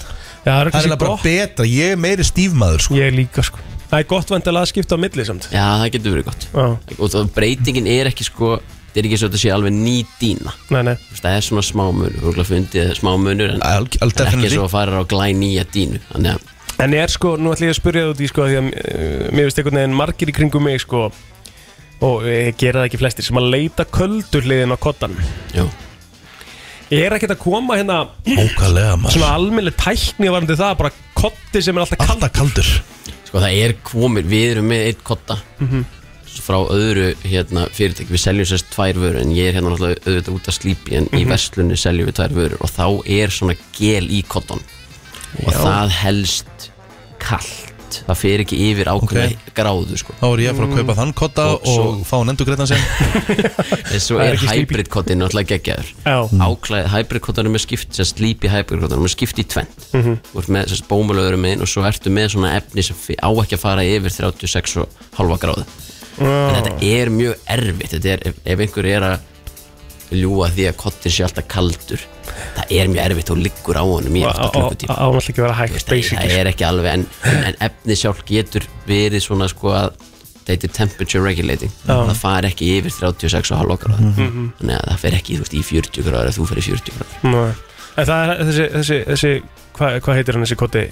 S1: Já, það er
S4: það er
S1: kannski
S4: eiginlega bara
S1: gott
S4: betra, ég er meiri stífmaður sko.
S1: Ég líka, sko Það er gott vandilega að skipta á milli samt
S6: Já, það getur verið gott
S1: Já,
S6: Og það, breytingin er ekki sko Það er ekki svo að þetta sé alveg ný dýna
S1: nei, nei
S6: Þú veist, Það er svona smá munur Þú erum fundið smá munur En
S4: Al- al-
S6: það er ekki
S4: definitely.
S6: svo að fara á glæ nýja dýnu Þannig að
S1: En er sko, nú ætlum ég að spyrja þú því sko Því að eh, mér finnst einhvern veginn margir í kringum mig sko Og eh, gera það ekki flestir Sem að leita köldur hliðin á kottan
S6: Já,
S1: Er ekkert að koma hérna
S4: Ókalega maður
S1: Svona almennileg tækni varandi það Bara kotti sem er alltaf kald
S4: Alltaf kaldur
S6: sko það er komið Við erum með eitt kotta Frá öðru hérna, fyrirtæk Við seljum sérst tvær vörur En ég er hérna náttúrulega auðvitað út að slípi En í verslunni seljum við tvær vörur Og þá er svona gel í kottan Og það helst kalt Það fer ekki yfir ákveðna gráðu sko.
S4: Þá er ég að fara að kaupa þann kotta
S6: Og svo-
S4: og fá hann endur greiðan sem
S6: En svo
S1: Það er
S6: er
S1: ekki sleepy.
S6: hybrid kottinn náttúrulega geggjaður
S1: Já,
S6: áklæðið hybridkottanum er skipt sem slípi hybridkottanum er skipt í tvent mm -hmm. og með þessast bómulöður með og svo ertu með svona efni sem fi- á ekki að fara yfir 36 og halva gráðu en
S1: Ah.
S6: þetta er mjög erfitt þetta er, ef, ef einhver er að ljúa því að kottin sé alltaf kaldur það er mjög erfitt og liggur á honum í
S1: á-
S6: alltaf
S1: á- á-
S6: klukkutíma
S1: á- ámall ekki að vera hægt
S6: Nei, það
S1: Ah, basically
S6: er ekki alveg en, en efni sjálf getur verið svona sko að það heitir temperature regulating það far ekki yfir 36,5 gráður þannig að það fer ekki þú veist, í 40 gráður að þú fer í 40 gráður
S1: Nei. En það er þessi, þessi, þessi hvað hva heitir hann þessi kotti?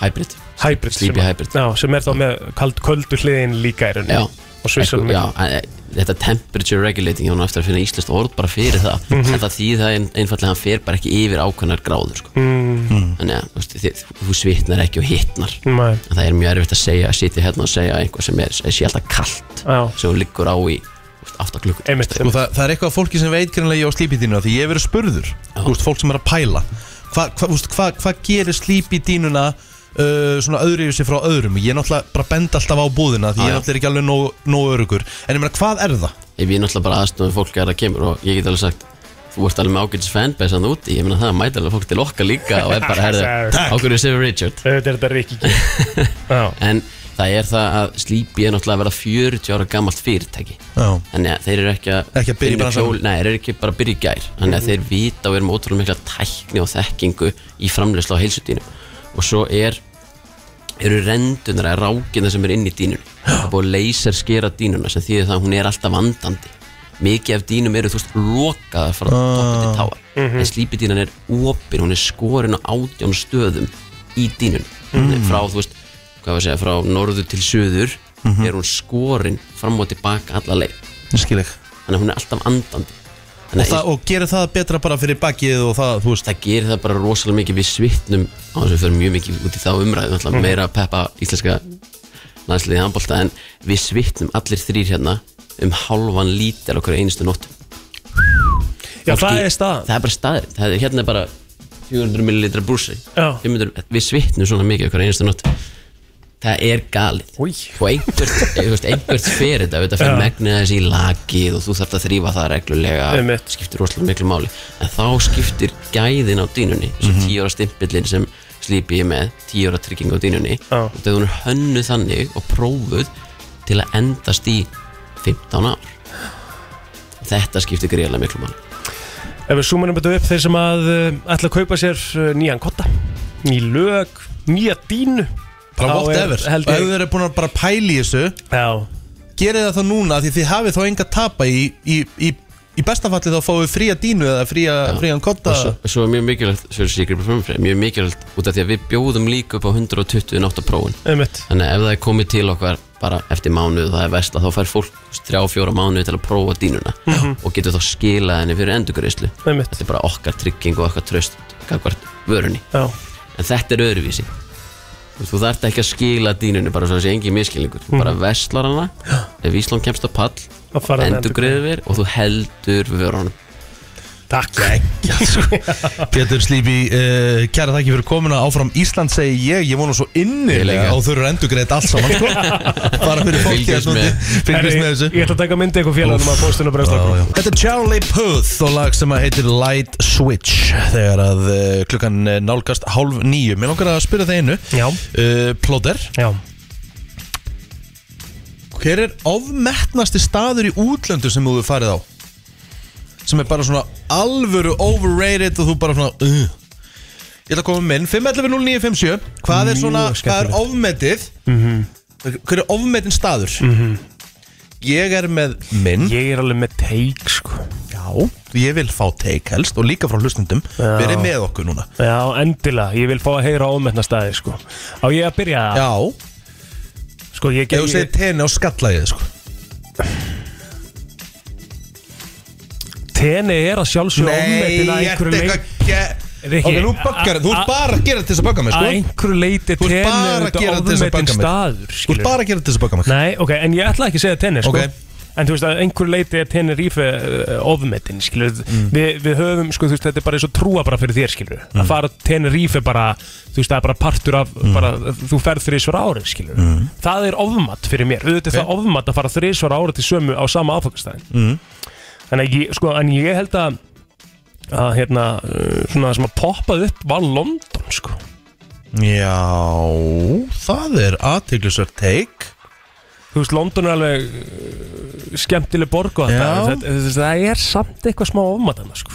S6: hybrid
S1: Hybrid
S6: Sleepy
S1: sem,
S6: hybrid.
S1: Já, sem er þá með kald, köldu hliðin líka í rauninni
S6: Já.
S1: Og svissunum
S6: já, en, eh, þetta temperature regulating hún á eftir að finna íslenskt orð bara fyrir það
S1: Mhm.
S6: en það þýð það ein- einfallega að hann fer bara ekki yfir ákveðnar gráður sko. mm. þannig að þú veist, þið- þú svitnar ekki og hitnar
S1: Nei,
S6: en það er mjög erfitt að segja að sitja hérna og segja eitthvað sem er, sé alltaf kalt
S1: já,
S6: sem hún liggur á í 8 klukkur
S1: einmitt
S4: Og Sko, það, það er eitthvað að fólki sem veit greinlega ég á sleepy dínuna Því ég hef verið spurður Þú veist, fólk sem er að pæla Hvað hva, hva, hva gerir sleepy dínuna uh, Svona öðru yfir sig frá öðrum Ég er náttúrulega bara bend alltaf á búðina Því
S6: Já,
S4: ég
S6: já.
S4: er náttúrulega ekki alveg nóg, nóg örugur En ég meina, hvað er það?
S6: ef ég náttúrulega bara aðstofið fólk að það kemur og ég get alveg sagt þú ert alveg með ágætis fanbase hann úti ég meina það mæta alveg fólk til okkar líka og er bara herðu
S1: Takk.
S6: ákveður Sigur Richard
S1: Þetta er þetta Rikki G Já,
S6: en það er það að Sleepy er náttúrulega að vera 40 ára gamalt fyrirtæki
S4: Já,
S6: þannig að þeir eru ekki að
S4: Ekki að byrja í
S6: finna
S4: bransanum.
S6: kjól- nei, þeir eru ekki bara að byrja í gær þannig að þeir vita og eru með ótrúlega mikla tækni og þekkingu í framleyslu á heilsutínum og svo er eru rendunar að rákina sem er inn í dínun það er búið að laser skera dínuna sem þýðir það að hún er alltaf andandi mikið af dínum eru þú veist lokaða frá ah. toppi til táar en slípidínan er opin, hún er skorin á átján stöðum í dínun mm. frá þú veist, hvað var að segja, frá norðu til söður
S4: Mhm.
S6: er hún skorin fram og tilbaka alla leið
S4: ég skil ég
S6: þannig að hún er alltaf andandi
S4: og,
S6: þannig að
S4: það, og gerir það betra bara fyrir bakið og það, þú veist
S6: það gerir það bara rosalega mikið við svitnum á þess að við förum mjög mikið út í þá umræðu mm.
S4: Mhm.
S6: meira að peppa íslenska landsliðið í handbólta en við svitnum allir þrýr hérna um halvan lítir okkur einustu nótt
S1: já
S6: Fólki-
S1: það er staðan
S6: það er bara staðin, það er, hérna er bara 400 millilitra brúsi
S1: Já.
S6: 500, við svitnum svona mikið okkur einustu nótt það er galið
S1: Új.
S6: og einhvert, eh, þú veist, einhvert fer þetta þetta fer
S1: Já.
S6: megnið þessi í lakið og þú þarf að þrýfa það reglulega
S1: Einmitt.
S6: skiptir rosalega miklu máli en þá skiptir gæðin á dýnunni þessi
S1: Mhm.
S6: tíu ára stimpillin sem slípi ég með tíu ára trygging á dýnunni
S1: Já.
S6: og þegar hún er hönnuð þannig og prófuð til að endast í 15 ár þetta skiptir greiðlega miklu máli
S1: Ef við zoomunum betur upp þeir sem að uh, ætla að kaupa sér uh, nýjan kotta Ný lög, nýja dínu
S4: bara
S1: þá
S4: whatever,
S1: er- held
S4: og ef
S1: ég-
S4: þið eru búin að bara pæli þessu
S1: Já,
S4: gerir það þá núna því þið hafið þá enga tapa í, í, í, í bestafalli þá fáið fría dínu eða fría, frían kotta
S6: og svo, svo er mjög mikilvægt svo er Secret Performance mjög mikilvægt út af því að við bjóðum líka upp á 128 prófin
S1: einmitt
S6: þannig að ef það er komið til okkar bara eftir mánuð og það er vesla þá fær fólk 3-4 mánuð til að prófa dínuna og getur þá skilað henni fyrir endurgreyslu
S1: Einmitt.
S6: þetta er bara okkar trygging og okkar tröst kakvart vörunni
S1: Já,
S6: en þetta er öðruvísi Þú veist, þú þarft ekki að skila dínunni bara svo þessi engin miskilningur þú bara veslar hana ef Ísland kemst á pall
S1: að fara að
S6: endurgreður og þú heldur vörunum
S1: Takk
S4: sko. Pétur Slíbi, uh, kæra þakki fyrir komuna áfram Ísland segi ég, ég vona svo innilega
S6: Ég líka.
S4: og þurfur endugreitt allt saman sko. bara fyrir fólki
S6: Fylgjast
S4: hérna úti.
S6: með.
S4: fylgjast
S1: Herri,
S4: með þessu
S1: Ég ætla að taka myndi eitthvað félagum að postinu og bremsa okkur
S4: Já, já. Þetta er Charlie Puth og lag sem að heitir Light Switch þegar að uh, klukkan eh, nálgast hálf nýju. Mér langar að spyrja það einu
S1: Já.
S4: uh, Plóter,
S1: Já,
S4: hver er ofmetnasti staður í útlöndu sem þú hefur farið á? Sem er bara svona alvöru overrated og þú bara svona uh. Ég ætla að koma með minn 511 0957 Hvað er svona,
S1: Mjög
S4: hvað
S1: Mhm.
S4: er
S1: skemmtilegt.
S4: ofmetið hver er ofmetin staður
S1: Mhm.
S4: ég er með minn
S1: Ég er alveg með teik sko
S4: já, ég vil fá teik helst og líka frá hlustundum
S1: Já.
S4: verið með okkur núna
S1: Já, endilega, ég vil fá að heyra ámetna staði sko Á ég að byrja það?
S4: já,
S1: Sko, ég,
S4: ef
S1: ég,
S4: þú segir tenni á skallaðið sko.
S1: Tene er að sjálfsögja
S4: nei,
S1: ofmetin að
S4: ég er
S1: einhverju
S4: eitthvað
S1: leik
S4: að ge-
S1: Rikki,
S4: ok, nú bakkar, þú
S1: a-
S4: ert bara að gera þetta til þess að bakka mig
S1: Að
S4: sko.
S1: einhverju leiti
S4: Þú ert
S1: Tene
S4: bara að
S1: er
S4: gera þetta til þess að
S1: ofmetin
S4: baka mig.
S1: staður
S4: þú ert
S1: skilurðu.
S4: bara að gera þetta til þess að bakka mig
S1: Nei, ok, en ég ætla ekki að segja tennis
S4: Ok.
S1: sko. En þú veist að einhverju leiti er Tenerife uh, ofmetin skilur, við, við höfum, sko, þú veist, þetta er bara eins og trúa bara fyrir þér, skilur Að fara á Tenerife bara, þú veist, það er bara partur af bara, Þú ferð þrísvar árið, skilur Það er ofmat fyrir mér Auðvitað er það ofmat að fara þrísvar árið til sömu á sama áfangastæðin
S4: Mhm.
S1: Þannig að ég, sko, en ég held að að hérna, uh, svona sem að poppað upp var London, sko
S4: já, það er aðteglisverð teik
S1: þú veist, London er alveg uh, skemmtileg borg og
S4: Já.
S1: þetta, þetta, þetta, það er samt eitthvað smá ofmatana, sko.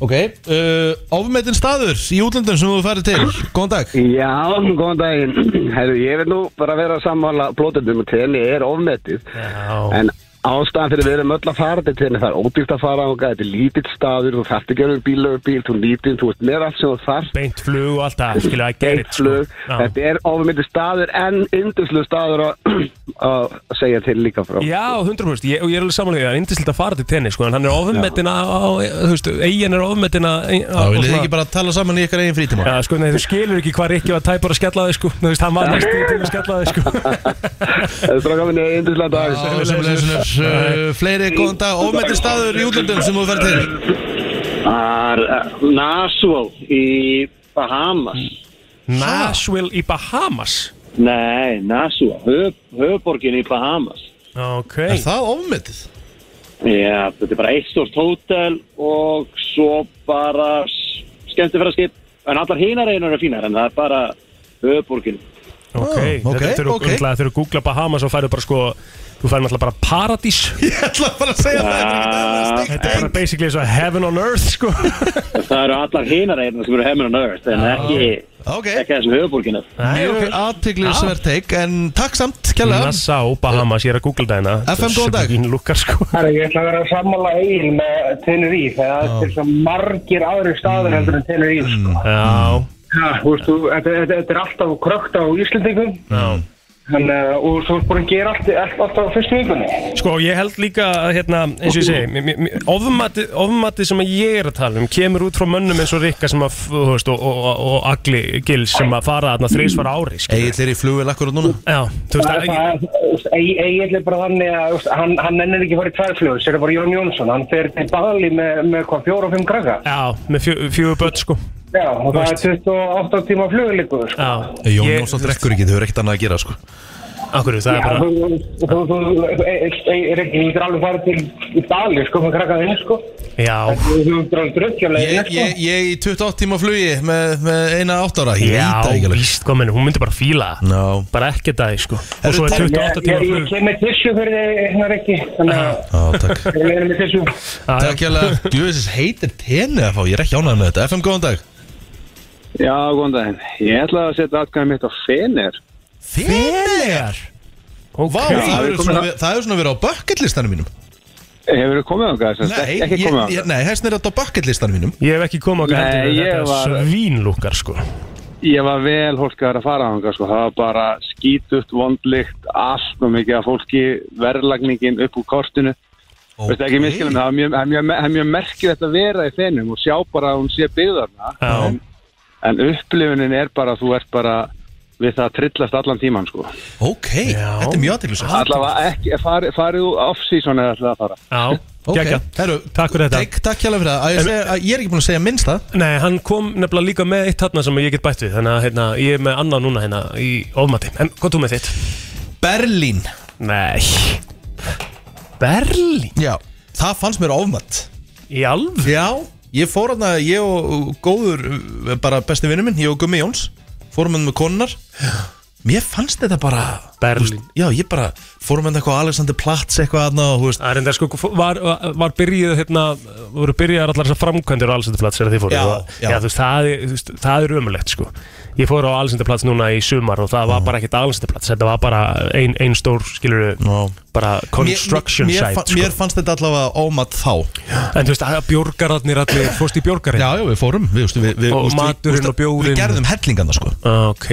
S4: ok, uh, ofmetin staður í útlöndum sem þú ferði til góðan dag
S7: Já, góðan daginn. Herru, ég vil nú bara vera að sammála blótendum og tenni er ofmetið.
S1: Já.
S7: En ástæðan fyrir við erum öll að fara til tenni, það er ódýrt að fara ánga, þetta er lítill staður, þú þarft ekki að vera bíl og bíl, þú nýtinn, þú ert með allt sem þú þarft.
S1: Beint flug og allt það, sko. skilja, að gera
S7: Eitt flug, þetta er ofmetið staður en yndislu staður að að segja til líka frá.
S1: Já, 100% ég, og ég er alveg samanlega, það er indislegt að fara til tennis sko, en hann er ofmetin á, á, þú veist, eigin er ofmetin á, á
S4: þá viljið þið ekki bara tala saman í ykkar eigin frítíma
S1: Já, sko, nei, þú skilur ekki hvað Rikki var tæpar að skella á þig, sko, þú veist, hann var næstu til að skella á þig, sko.
S7: Þetta er strákafinni yndislu dagur.
S4: Já, sem leysnir uh, Fleiri góðan dag, ofmetin staður í útlöndum sem þú ferð til
S8: Það er Nasvo eh, í Bahamas.
S1: Nashville í Bahamas.
S8: Nei, Nasvo, höf, höfborgin í Bahamas.
S1: Ok.
S4: Er það ofmetið?
S8: Já, þetta er bara eitt stort hótel og svo bara skemmti fyrir að skip. En allar hinar einar eru fínar, en það er bara höfborgin.
S1: Ok,
S4: Ah, ok,
S1: þetta þurfa
S4: ok.
S1: okay. að googla Bahamas og færðu bara sko þú færðu náttúrulega bara paradís
S4: Ég ætla bara að segja það þetta er ekki
S1: þetta er bara basically eins og heaven on earth sko Nei,
S8: Það eru allar hinar einar sem eru heiminn og nörð, en ekki, hérna
S4: Ok,
S8: ekki þessum höfborginu.
S1: ok.
S4: mjög aðteglisverð teik En takk samt, kjærlega
S1: Nassau, Bahamas, ég er að googla það hérna
S4: FM, góðan dag.
S1: Ín lukkar sko
S9: Herra, ég ætla að vera að sammála eigin með Tenerife, það er til svo margir aðri staðar heldur en Tenerife, sko.
S1: Já,
S9: Ja, þú veist, þú- þetta, þetta, þetta er alltaf krökt á Íslendingum,
S1: já
S9: en, uh, og svo er búin að gera allt, allt, allt á fyrstu vikunni.
S1: Sko, ég held líka að, hérna, eins og ég segi, mi- mi- mi- ofmatið ofmatið sem að ég er að tala um kemur út frá mönnum eins og Rikka sem að, f- þú veist, og, og, og, og Agli Gils sem að fara þarna þrísvar ári, sko.
S4: Egil er í flugvél akkur núna
S1: Já, þú veist, að,
S9: Egil er bara þannig að þú veist, hann, hann ennir ekki að fara í tværfljóð, sér er bara Jón Jónsson, hann fer til Bali með, með hvað, fjóra og fimm krakka.
S1: já, með fjö, fjögur börn, sko.
S9: Já, og það
S1: Veist.
S9: er 28 tíma flugulíkuð, sko.
S1: Já.
S4: Jón
S1: Ég-
S4: Jónsson drekkur ekki, þau eru ekkert annað að gera sko
S1: Akkur, það
S9: Já,
S1: er bara...
S9: þú, þú, þú, þú, er ekki, þú getur alveg farið til Bali, sko, með krakkaðinu, sko.
S1: Já,
S9: Þú getur alveg drukkjulega,
S4: Ég, ég, ég í 28 tíma flugi með, með eina átt ára Ég
S1: já,
S4: veit það ekki alveg
S1: víst hvað menn, hún myndi bara fíla það
S4: Ná
S1: bara ekki það, sko og
S4: Herru,
S1: svo er
S4: takk.
S1: 28 tíma
S9: Ég, ég
S1: flug
S9: kem með tissu fyrir þig, hérna Rikki, þannig að
S4: Á, takk
S9: ég leiðir með tissu.
S1: Já, já.
S4: Takk kjærlega Gljóðisins heitir tenni að fá, ég er ekki ánægð með þetta FM, góðan dag
S7: Já, góðan daginn. Ég ætla að setja atkvæðið mitt á fenir.
S4: Feneyjar
S1: Ok.
S4: Vá, það hefur svona, það hefur svona verið á bucketlistanum mínum
S7: Hefur þú komið ánga?
S4: Nei,
S7: ekki
S4: ég,
S7: komið ánga.
S4: ég, nei, hæstin er þetta á bucketlistanum mínum
S1: Ég hef ekki komið á
S7: Nei,
S1: gændinu
S7: ég
S1: þetta
S7: var-
S1: var... svínlúkar, sko
S7: Ég var vel hólkaður að fara þangað sko, það var bara skítutt, vondlikt, allt og mikið að fólki, verðlagningin upp úr kortinu, okay. veistu ekki miskilum, það er mjög, það er mjög, það er mjög merkilegt að vera í fennum og sjá bara að hún sé byggðarna,
S1: Já.
S7: en, en upplifunin er bara, að þú ert bara við það að trillast allan tíman sko.
S4: Ok,
S1: Já.
S4: þetta er mjög aðteglisverð
S7: Allavega ekki, fari, farið þú off-season eða ætlaði að fara.
S1: Já,
S4: Ok,
S1: okay.
S4: herru,
S1: Takk fyrir þetta.
S4: Takk, takk hérlega fyrir það Að ég, segja, að ég er ekki búin að segja minnst það
S1: Nei, hann kom nefnilega líka með eitt þarna sem ég get bætt við þannig að hérna, ég er með annað núna hérna í ofmati En hvað þú með þitt?
S4: Berlín
S1: Nei Berlín?
S4: Já Það fannst mér ofmatt
S1: Í alveg?
S4: Já Ég fór hann að ég eh, og og góður uh, bara besti vinnu minn Ég og Gummi Jóns Fórum hann með konunnar hérna mér fannst þetta bara þú
S1: Berlín.
S4: veist, já, ég bara fórum með eitthvað á Alexander Platz eitthvað aðna og þú veist
S1: Það er enda sko, var, var byrjuð hérna, voru byrjaðar allar þessar framkvæmdur á Alsendarplats þegar þið fóru
S4: Já, já.
S1: þú veist, það, er- þú veist, það er ömulegt sko Ég fór á Alsendarplats núna í sumar og það var bara ekkert Alsendarplats Þetta var bara ein, ein stór, skilur
S4: Ná.
S1: bara construction
S4: mér, mér, fa-
S1: site sko.
S4: mémér fannst þetta allavega ómat þá
S1: En þú veist, það bjórgararnir allir, fórst í bjórgarinn
S4: já, já, við fórum við, við, við, við, þú
S1: Og
S4: veist, við-
S1: maturinn
S4: þú veist,
S1: og bjórinn.
S4: við gerðum hellingarna sko
S1: Ah, Ok,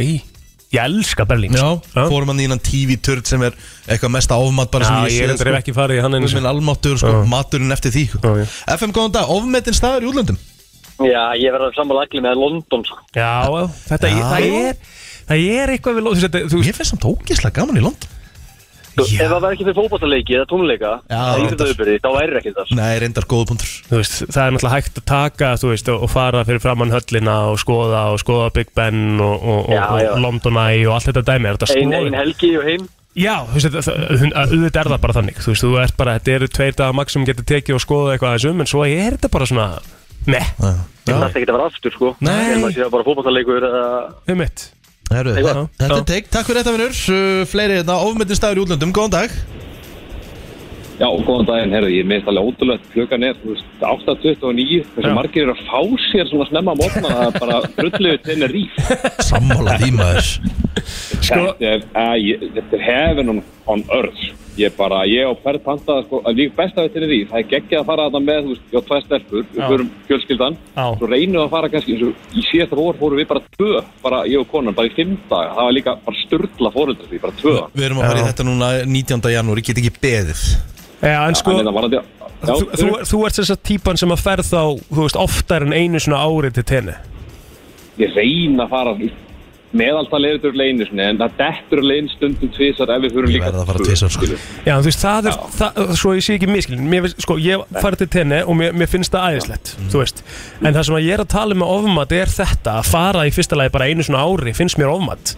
S1: ég elska Berlín
S4: Já,
S1: sko. Já.
S4: fórum hann í innan TV-turd sem er eitthvað mesta ofmat bara sem
S1: Já,
S4: ég
S1: ég
S4: séð,
S1: reyndar hef ekki farið í hann einu
S4: Guð
S1: sinni.
S4: minn almáttur, sko, maturinn eftir því
S1: Já, já.
S4: FM, góðan dag, ofmetin staður í útlöndum
S8: Já, ég verður sammála allir með London sko.
S1: Já, já, þetta
S4: Já.
S1: Það, er, það er eitthvað við lóðum Þú veist,
S4: Mér finnst samt ógeðslega gaman í London
S8: Ef það var ekki fyrir fótballleiki eða tónleika
S4: Já, Sko-
S8: eða
S4: reyndar.
S8: íþróttaviðburði, þá væri ekki þar
S4: Nei, reyndar góða punktur
S1: þú veist, það er náttúrulega hægt að taka þú veist, og og fara fyrir framann höllina og skoða og skoða Big Ben og, og, og,
S8: Já, já.
S1: og London Eye og allt þetta dæmi er þetta
S8: Ein,
S1: skoðun?
S8: ein helgi og heim
S1: Já, þú veist, það- það- hún- að- auðvitað er það bara þannig þú veist, þú ert bara, þetta eru tveir dagar maks sem getur tekið og skoða eitthvað aðeins um en svo er þetta bara svona, meh,
S8: Það er ekki að vera aftur sko
S1: Nei.
S8: En maður sé bara fótballleikur eða
S1: um mitt
S4: Heru,
S1: Já,
S4: Þetta
S1: já.
S4: er teik, takk fyrir þetta vinnur uh, Fleiri þetta, ofmetin staður í útlöndum, góðan dag
S10: Já, góðan daginn, herðu, ég meðst alveg ótrúlega klukkan er, þú veist, 8.29, þessi
S1: Já.
S10: margir eru að fá sér svona snemma mótna, það er bara drulluðu tenni ríf.
S4: Sammála því maður
S1: Sko-
S10: Þetta er, að, ég, þetta er heaven on, on earth. Ég bara, ég og Perð pantaði, sko, að líka besta við tenni ríf, það er geggjað að fara þetta með, þú veist, ég á tvær stelpur,
S1: Já.
S10: við förum fjölskyldan,
S1: Já.
S10: svo reynum við að fara kannski, eins og í síðasta vor fórum við bara tvö, bara ég og konan, bara í fimm daga, það var líka bara sturdla fóröldur því, bara tvö.
S4: Við erum að fara í
S1: Já.
S4: þetta núna 19. janúar, ég get ekki beðið
S1: Já, en sko,
S10: Þannig að það var að, hérna já,
S1: þú, þú, þú ert þess að típan sem að ferð þá, þú veist, oftar en einu svona ári til tenni
S10: ég reyna að fara meðaltal er þetta úr leinu sinni, en það dettur lein stundum tvisar ef við fyrir
S4: Ég
S10: líka
S4: verð að fara tvisvar, sko.
S1: Já, þú veist, það er, það, svo ég sé ekki miskilin mér, finnst- Sko, ég farið til tenni og mér, mér finnst það æðislegt, þú veist En það sem að ég er að tala um með ofmat er þetta Að fara í fyrsta lagi bara einu svona ári, finnst mér ofmat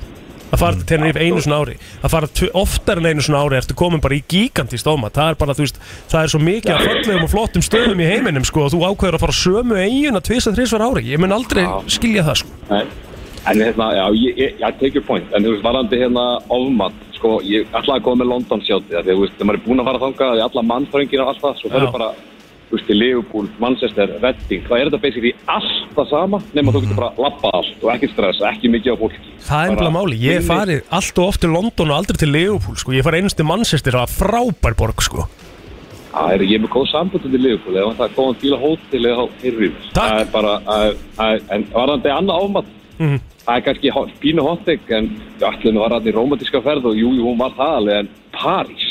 S1: Að fara til tenni einu svona ári Að fara tv- oftar en einu svona ári ertu komin bara í gigantist ofmat Það er bara, þú veist, það er svo mikið af fallegum og flottum stöðum í heiminum, sko Og þú ákveður að fara á sömu eiguna tvisa, þrísvar ári Ég mun aldrei skilja það, sko
S10: Nei. en hérna, já, ég, ég, ég tekið point en þú veist, varandi hérna ofmatt sko, ég ætlaði að koma með London sjátti því að þú veist, þegar maður er búinn að fara þangað, því alla mannfröngin og allt það, svo
S1: Já.
S10: fyrir bara þú veist, í Liverpool, Manchester, Redding það er þetta basically allt það sama nema þú getur bara lappa allt og ekki stress, ekki mikið á fólki
S1: Það er
S10: Bara
S1: nefnilega máli, ég hef
S10: inni.
S1: farið allt og oft til London og aldrei til Leopold sko. Ég hef farið einust til Manchester, það var frábær borg sko.
S10: Það er ég er með góð sambundum til Liverpool eða það er góðan bíl á hótel eða á heyrðum
S1: Takk.
S10: Það er bara, að, að, en varðandi annað ámatt
S1: Mhm.
S10: Það er kannski hó- pínu hottek en við ætlum að vara hann í romantíska ferð og jú, jú, hún var það alveg en París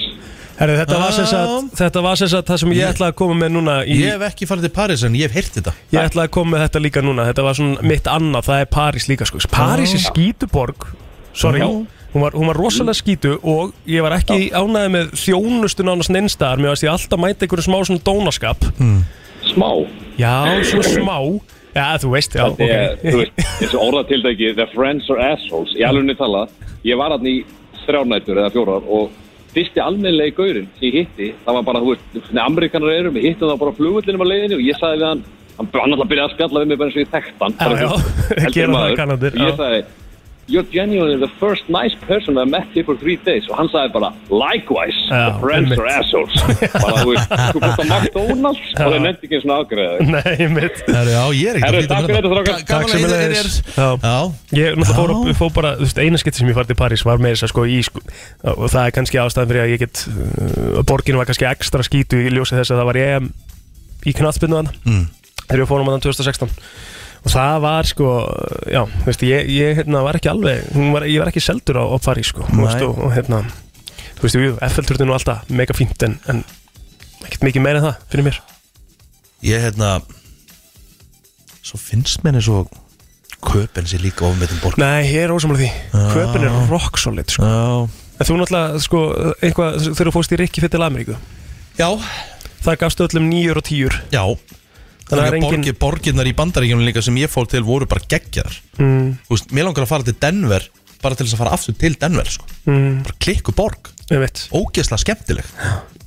S1: Herri, þetta, var sem sagt, Ah. þetta var sem sagt það sem ég
S4: Ég-
S1: ætlaði að koma með núna í,
S4: Ég
S1: ég,
S4: hef ekki farið til Paris en ég hef heyrt þetta
S1: ætlaði að koma með þetta líka núna Þetta var svona mitt annað, það er París líka sko. París er skítuborg Sorry, hún var, hún var rosalega skítu og ég var ekki ánæði með þjónustu nánast neinstar Mér varst ég alltaf mæta einhverju smá svona dónaskap
S10: Smá
S1: Já, svona smá Já, þú veist, já,
S10: okay. ég,
S1: ok
S10: Þú veist, þessu orðatildæki The Friends are Assholes, ég alveg niður tala Ég var hann í þrjárnætur eða fjórar og fyrsti almennilegi gaurinn sem ég hitti, það var bara, þú veist, amerikanar eru mig, hittum það bara á flugullinum á leiðinu og ég sagði við hann, hann hann alltaf byrjaði að skalla við mig bara eins og ég þekkt hann
S1: Já,
S10: bara,
S1: já,
S10: þú veist, eldri
S1: gera það
S10: maður.
S1: Kanadir,
S10: Og
S1: já.
S10: ég sagði, you're genuinely the first nice person I met here for three days og hann sagði bara, likewise,
S1: Já,
S10: the friends
S1: einmitt.
S10: are assholes bara, þú veist, þú búst að McDonalds og það nefndi ekki svona afgreðið
S1: Nei, mitt
S4: Heru, Já, ég er ekki
S10: Herru, takk fyrir þetta, strákar.
S1: Takk sem
S4: Gaman að
S1: leiðis.
S4: heyra þér
S1: Já.
S4: Já,
S1: Ég náttúrulega fór,
S4: Já.
S1: upp- fór bara, þú veist, eina skitt sem ég farið til París var með þess að sko í, sko, og það er kannski ástæðan fyrir að ég get, uh, borgin var kannski ekstra skítu í ljósi þess að það var ég um, í knattspinnu þann, mm. þegar við fórum að 2016 og það var sko, já, þú veist, ég, ég hérna var ekki alveg, hún var, ég var ekki seldur á, á París sko, þú veist, og, og hérna, þú veist, jú, FL-turðin og alltaf, mega fínt en, en ekkert mikið meira en það fyrir mér.
S4: ég hérna svo finnst mér eins og köpen sér líka ofmetin borg
S1: Nei, ég er ósamlega því, köpun er rock solid sko.
S4: Já,
S1: En þú náttúrulega, sko, eitthvað, þegar þú fórst í Rikki fyrir til Ameríku,
S4: já,
S1: það gafstu öllum nýjur og týjur.
S4: já.
S1: Þannig
S4: Þannig að
S1: að engin-
S4: borgi, borginnar í bandaríkjunum líka sem ég fór til voru bara geggjaðar
S1: Mm.
S4: Þú veist, mér langar að fara til Denver bara til þess að fara aftur til Denver sko.
S1: Mm.
S4: bara klikku borg,
S1: Ég veit,
S4: ógeðslega skemmtileg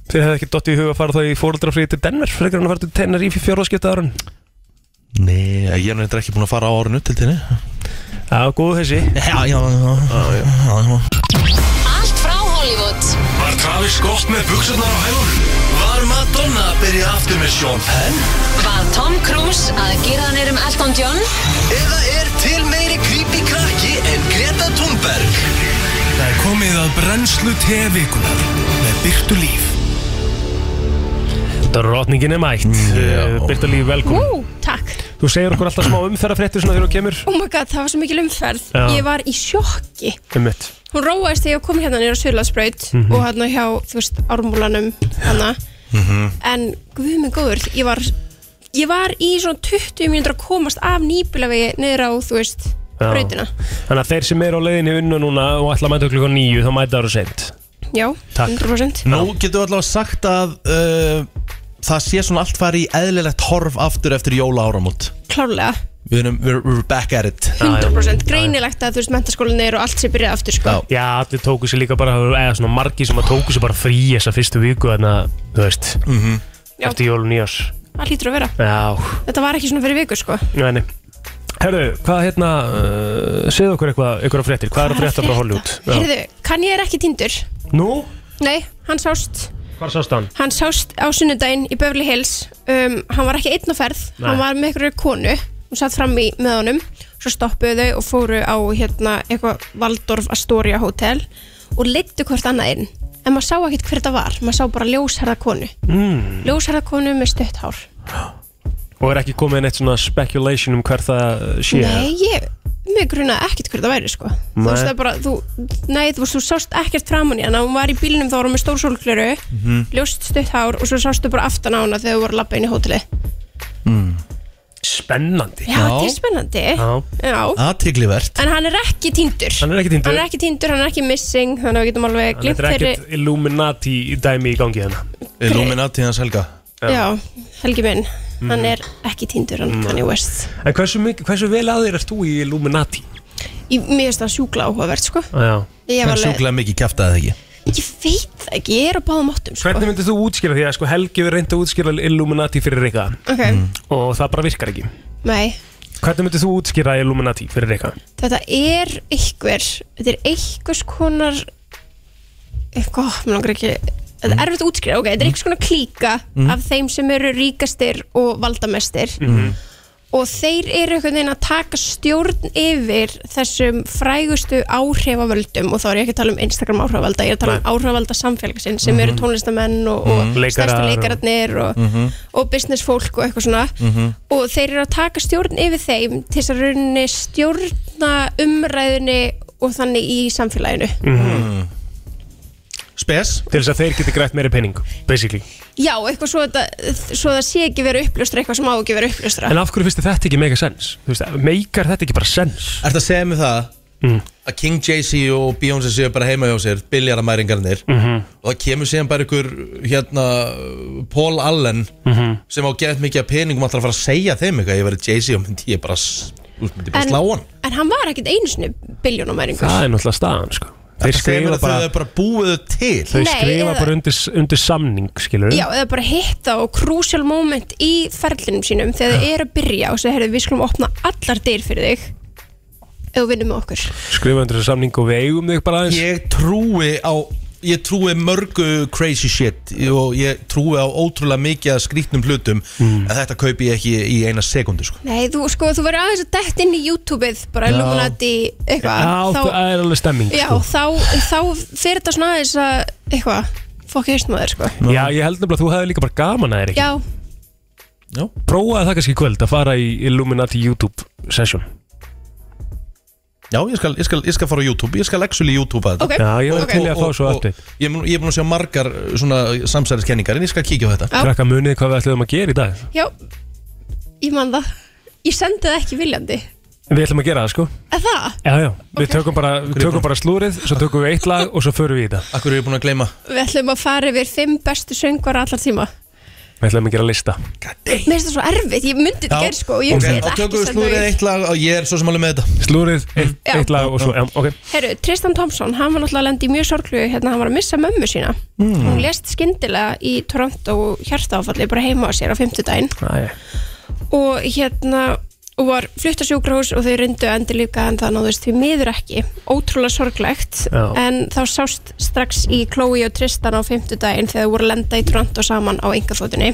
S1: þér hefði ekki dottið í huga að fara þá í fóröldrafríði til Denver, frekar en að fara til Tenerife í fjórðarskipta árun.
S4: Nei, ég er neitt ekki búin að fara á árinu til þinni
S1: Já, góðu þessi.
S4: Já, já, já, já, já.
S11: Allt frá Hollywood
S2: Var Travis Scott með buksunar á hælunum?
S11: Var Madonna að byrja aftur með Sean Penn? Var Tom Cruise að gera hann erum Elton John? Eða er til meiri creepy krakki en Greta Thunberg?
S2: Það er komið að brennslu tevikunar með Byrtu Líf
S1: Drotningin er mætt yeah. Byrta Líf, velkomin
S10: Ú, takk
S1: Þú segir okkur alltaf smá umferðarfréttir svona þegar þú kemur
S10: Oh my god, það var svo mikil umferð
S1: Já.
S10: Ég var í sjokki
S1: Einmitt.
S10: Hún róaðist þegar ég kom hérna nýra Sjölandsbraut
S1: Mhm.
S10: og hérna hjá, þú veist, ármúlanum hana. En guð minn góður, ég var ég var í svona 20 mínútur að komast af nýbílavegi niður á, þú veist,
S1: Já.
S10: brautina
S1: Þannig að þeir sem eru á leiðinni í vinnu núna og ætla að mæta klukkan nýju þá mæta það eru seint
S10: Já,
S1: Takk.
S10: 100%
S4: Nú getum við allavega sagt að uh, það sé svona allt fari í eðlilegt horf aftur eftir jóla áramót
S10: Klárlega,
S4: Við erum we're, we're back at it
S10: 100% greinilegt að þú veist, mentaskólinni eru og allt sem byrjaði aftur, sko
S1: Já, allir tóku sér líka bara eða svona margi sem að tóku sér bara frí þessa fyrstu viku þannig að, þú veist
S10: Já.
S1: eftir jólun í ás
S10: Það hlýtur að vera
S1: Já,
S10: Þetta var ekki svona fyrir viku, sko
S1: næni Herðu, hvað hérna uh, segðu okkur eitthvað, eitthvað fréttir, hvað er að
S10: Hvað er að
S1: frétta frá Hollywood? Já.
S10: Heyrðu, kann ég er ekki tindur?
S1: Nú,
S10: Nei, hann sást
S1: hvað sást hann?
S10: Hann sást á sunnudaginn í Beverly Hills um, Hann var ekki einn á ferð
S1: Nei.
S10: Hann var með einhverju konu Hún satt fram í með honum Svo stoppuðu þau og fóru á hérna, eitthvað Valdorf Astoria Hotel Og leittu hvert annað inn En maður sá ekkert hver þetta var Maður sá bara ljósherða konu
S1: Mm.
S10: Ljósherða konu með stutt hár
S1: Og er ekki komið neitt svona speculation um hver það uh, sé?
S10: Nei, ég Mér grunaði ekkert hver þetta væri sko Þú
S1: Nei.
S10: veist það bara þú, Nei, þú, veist, þú sást ekkert framan í hana Hún var í bílnum þá var hún með stór sólgleru
S1: Mhm.
S10: Ljóst stutt hár og svo sástu bara aftan á hana Þegar þú voru að labba inn í hóteli
S1: Spennandi
S10: Já, þetta er spennandi Já.
S4: Aðtiglivert
S10: En hann er ekki týndur
S1: Hann er ekki týndur.
S10: Hann er ekki týndur, hann er ekki missing Þannig að við getum alveg
S1: Þannig
S10: glimt
S1: þetta er
S10: þeirri
S1: ekkert Illuminati í dæmi í gangi hérna
S4: Illuminati hans Helga
S10: Já, Helgi minn
S1: Mhm.
S10: Hann er ekki týndur, hann Kanye West
S1: En hversu, mik- hversu vel að þér ert þú í Illuminati?
S10: Í- Mér finnst það sjúkla áhugavert sko
S1: Já.
S10: Ég var alveg,
S4: mikið kæftaði það ekki
S10: ég veit það ekki, ég er á báðum áttum sko.
S1: Hvernig myndir þú útskýra því að sko Helgi við reynda að útskýra Illuminati fyrir Rika
S10: Ok,
S1: og það bara virkar ekki
S10: nei
S1: Hvernig myndir þú útskýra Illuminati fyrir Rika?
S10: Þetta er einhver Þetta er einhvers konar eitthvað, mér langar ekki Þetta
S12: Mm.
S10: er erfitt að útskýra, ok, þetta er einhvers konar klíka
S12: Mhm.
S10: af þeim sem eru ríkastir og valdamestir
S12: Mm-hmm.
S10: og þeir eru einhvern veginn að taka stjórn yfir þessum frægustu áhrifavöldum og þá er ég ekki að tala um Instagram áhrifavalda, ég er að tala um
S12: Nei.
S10: áhrifavalda samfélagsinn sem eru
S12: Mhm.
S10: tónlistamenn og, og
S12: Mhm.
S10: stærstu
S12: Leikarar og-
S10: leikararnir og,
S12: Mhm.
S10: og businessfólk og eitthvað svona
S12: Mm-hmm.
S10: og þeir eru að taka stjórn yfir þeim til þess að rauninni stjórna umræðinni og þannig í samfélaginu
S4: Spes
S1: Mhm. Til þess að þeir geti grætt meiri pening, basically
S10: Já, eitthvað svo, þetta, svo það sé ekki verið upplustra eitthvað sem á ekki verið upplustra
S1: En af hverju finnst þér þetta ekki mega sens? Þú veist, meikar þetta ekki bara sens?
S4: Ertu að segja mig það
S1: Mm.
S4: að King Jay-Z og Beyoncé séu bara heima hjá sér biljaramæringarnir
S1: Mhm.
S4: og það kemur síðan bara ykkur hérna Paul Allen
S1: Mhm.
S4: sem á gett mikið af peningum ætlar að fara að segja þeim eitthvað ég verið Jay-Z og myndi ég bara, s- þú myndi bara
S10: En-
S4: slá hann
S10: En hann var ekkit einu sinni biljónumæringur
S1: Það er náttúrulega staðan sko
S4: Ertu að segja mér að þau bara búið til
S1: Þau
S10: Nei,
S1: skrifa
S10: eða-
S1: bara undir, undir samning skilur
S10: Já, eða bara hitta og crucial moment í ferlinum sínum þegar þið eru að byrja og segja, heyrðu, við skulum opna allar dyr fyrir þig ef þú vinnum með okkur
S1: Skrifa undir þessu samning og við eigum þig bara aðeins
S4: Ég trúi á Ég trúi mörgu crazy shit og ég trúi á ótrúlega mikið af skrítnum hlutum
S1: Mm.
S4: en þetta kaupi ég ekki í eina sekundu sko.
S10: Nei, þú, sko, þú verður aðeins að dætt inn í YouTube-ið bara
S4: Já.
S10: illuminati eitthvað
S1: Já,
S10: þá,
S1: það er alveg stemming
S10: já
S1: sko.
S10: þá, þá fyrir þetta svona aðeins að eitthvað, fokk heist maður sko.
S1: Já, ég held nefnilega að þú hefði líka bara gaman að þér ekki
S10: Já,
S1: Prófaði það kannski í kvöld að fara í Illuminati YouTube session
S4: Já, ég skal, ég, skal, ég skal fara á YouTube, ég skal actually YouTube að þetta
S1: Ok. Já, ég væri til í að fá svo
S4: og, og, Ég er mun- ég er búin að sjá margar uh, svona samsæðiskenningar en ég skal kíkja á þetta
S10: Já.
S1: Krakka munið hvað við ætlum að gera í dag
S10: já, ég man það Ég sendi það ekki viljandi
S1: Við ætlum að gera það sko
S10: Er það?
S1: Já, já, við tökum bara, við tökum bara slúrið Svo tökum við eitt lag og svo förum við í það
S4: Akkur er við búin að gleyma
S10: Við ætlum að fara yfir fimm bestu söngvar allar tíma
S1: Við ætlum að gera lista
S10: Mér finnst það svo erfitt, ég myndi þetta gerð sko og ég
S4: ok.
S10: okay.
S4: Þá
S10: ekki
S4: tökum við
S10: senda
S4: slúrið
S10: það í-
S4: eitt lag og ég er svo sem alveg með þetta
S1: Slúrið, eitt,
S10: Já.
S1: eitt lag og svo, já, ok
S10: Herru, Tristan Thompson, hann var náttúrulega að lenda í mjög sorglu hérna, hann var að missa mömmu sína
S4: Hmm.
S1: Mm.
S10: hún lest skyndilega í Toronto hjartáfalli bara heima á sér á fimmtudaginn
S1: Æ,
S10: og hérna og var flutt á sjúkrahús og þau reyndu að endurlíka en það náðist því miður ekki ótrúlega sorglegt
S12: Já.
S10: en þá sást strax í Chloe og Tristan á fimmtudaginn þegar þau voru að lenda í Toronto saman á engaþótunni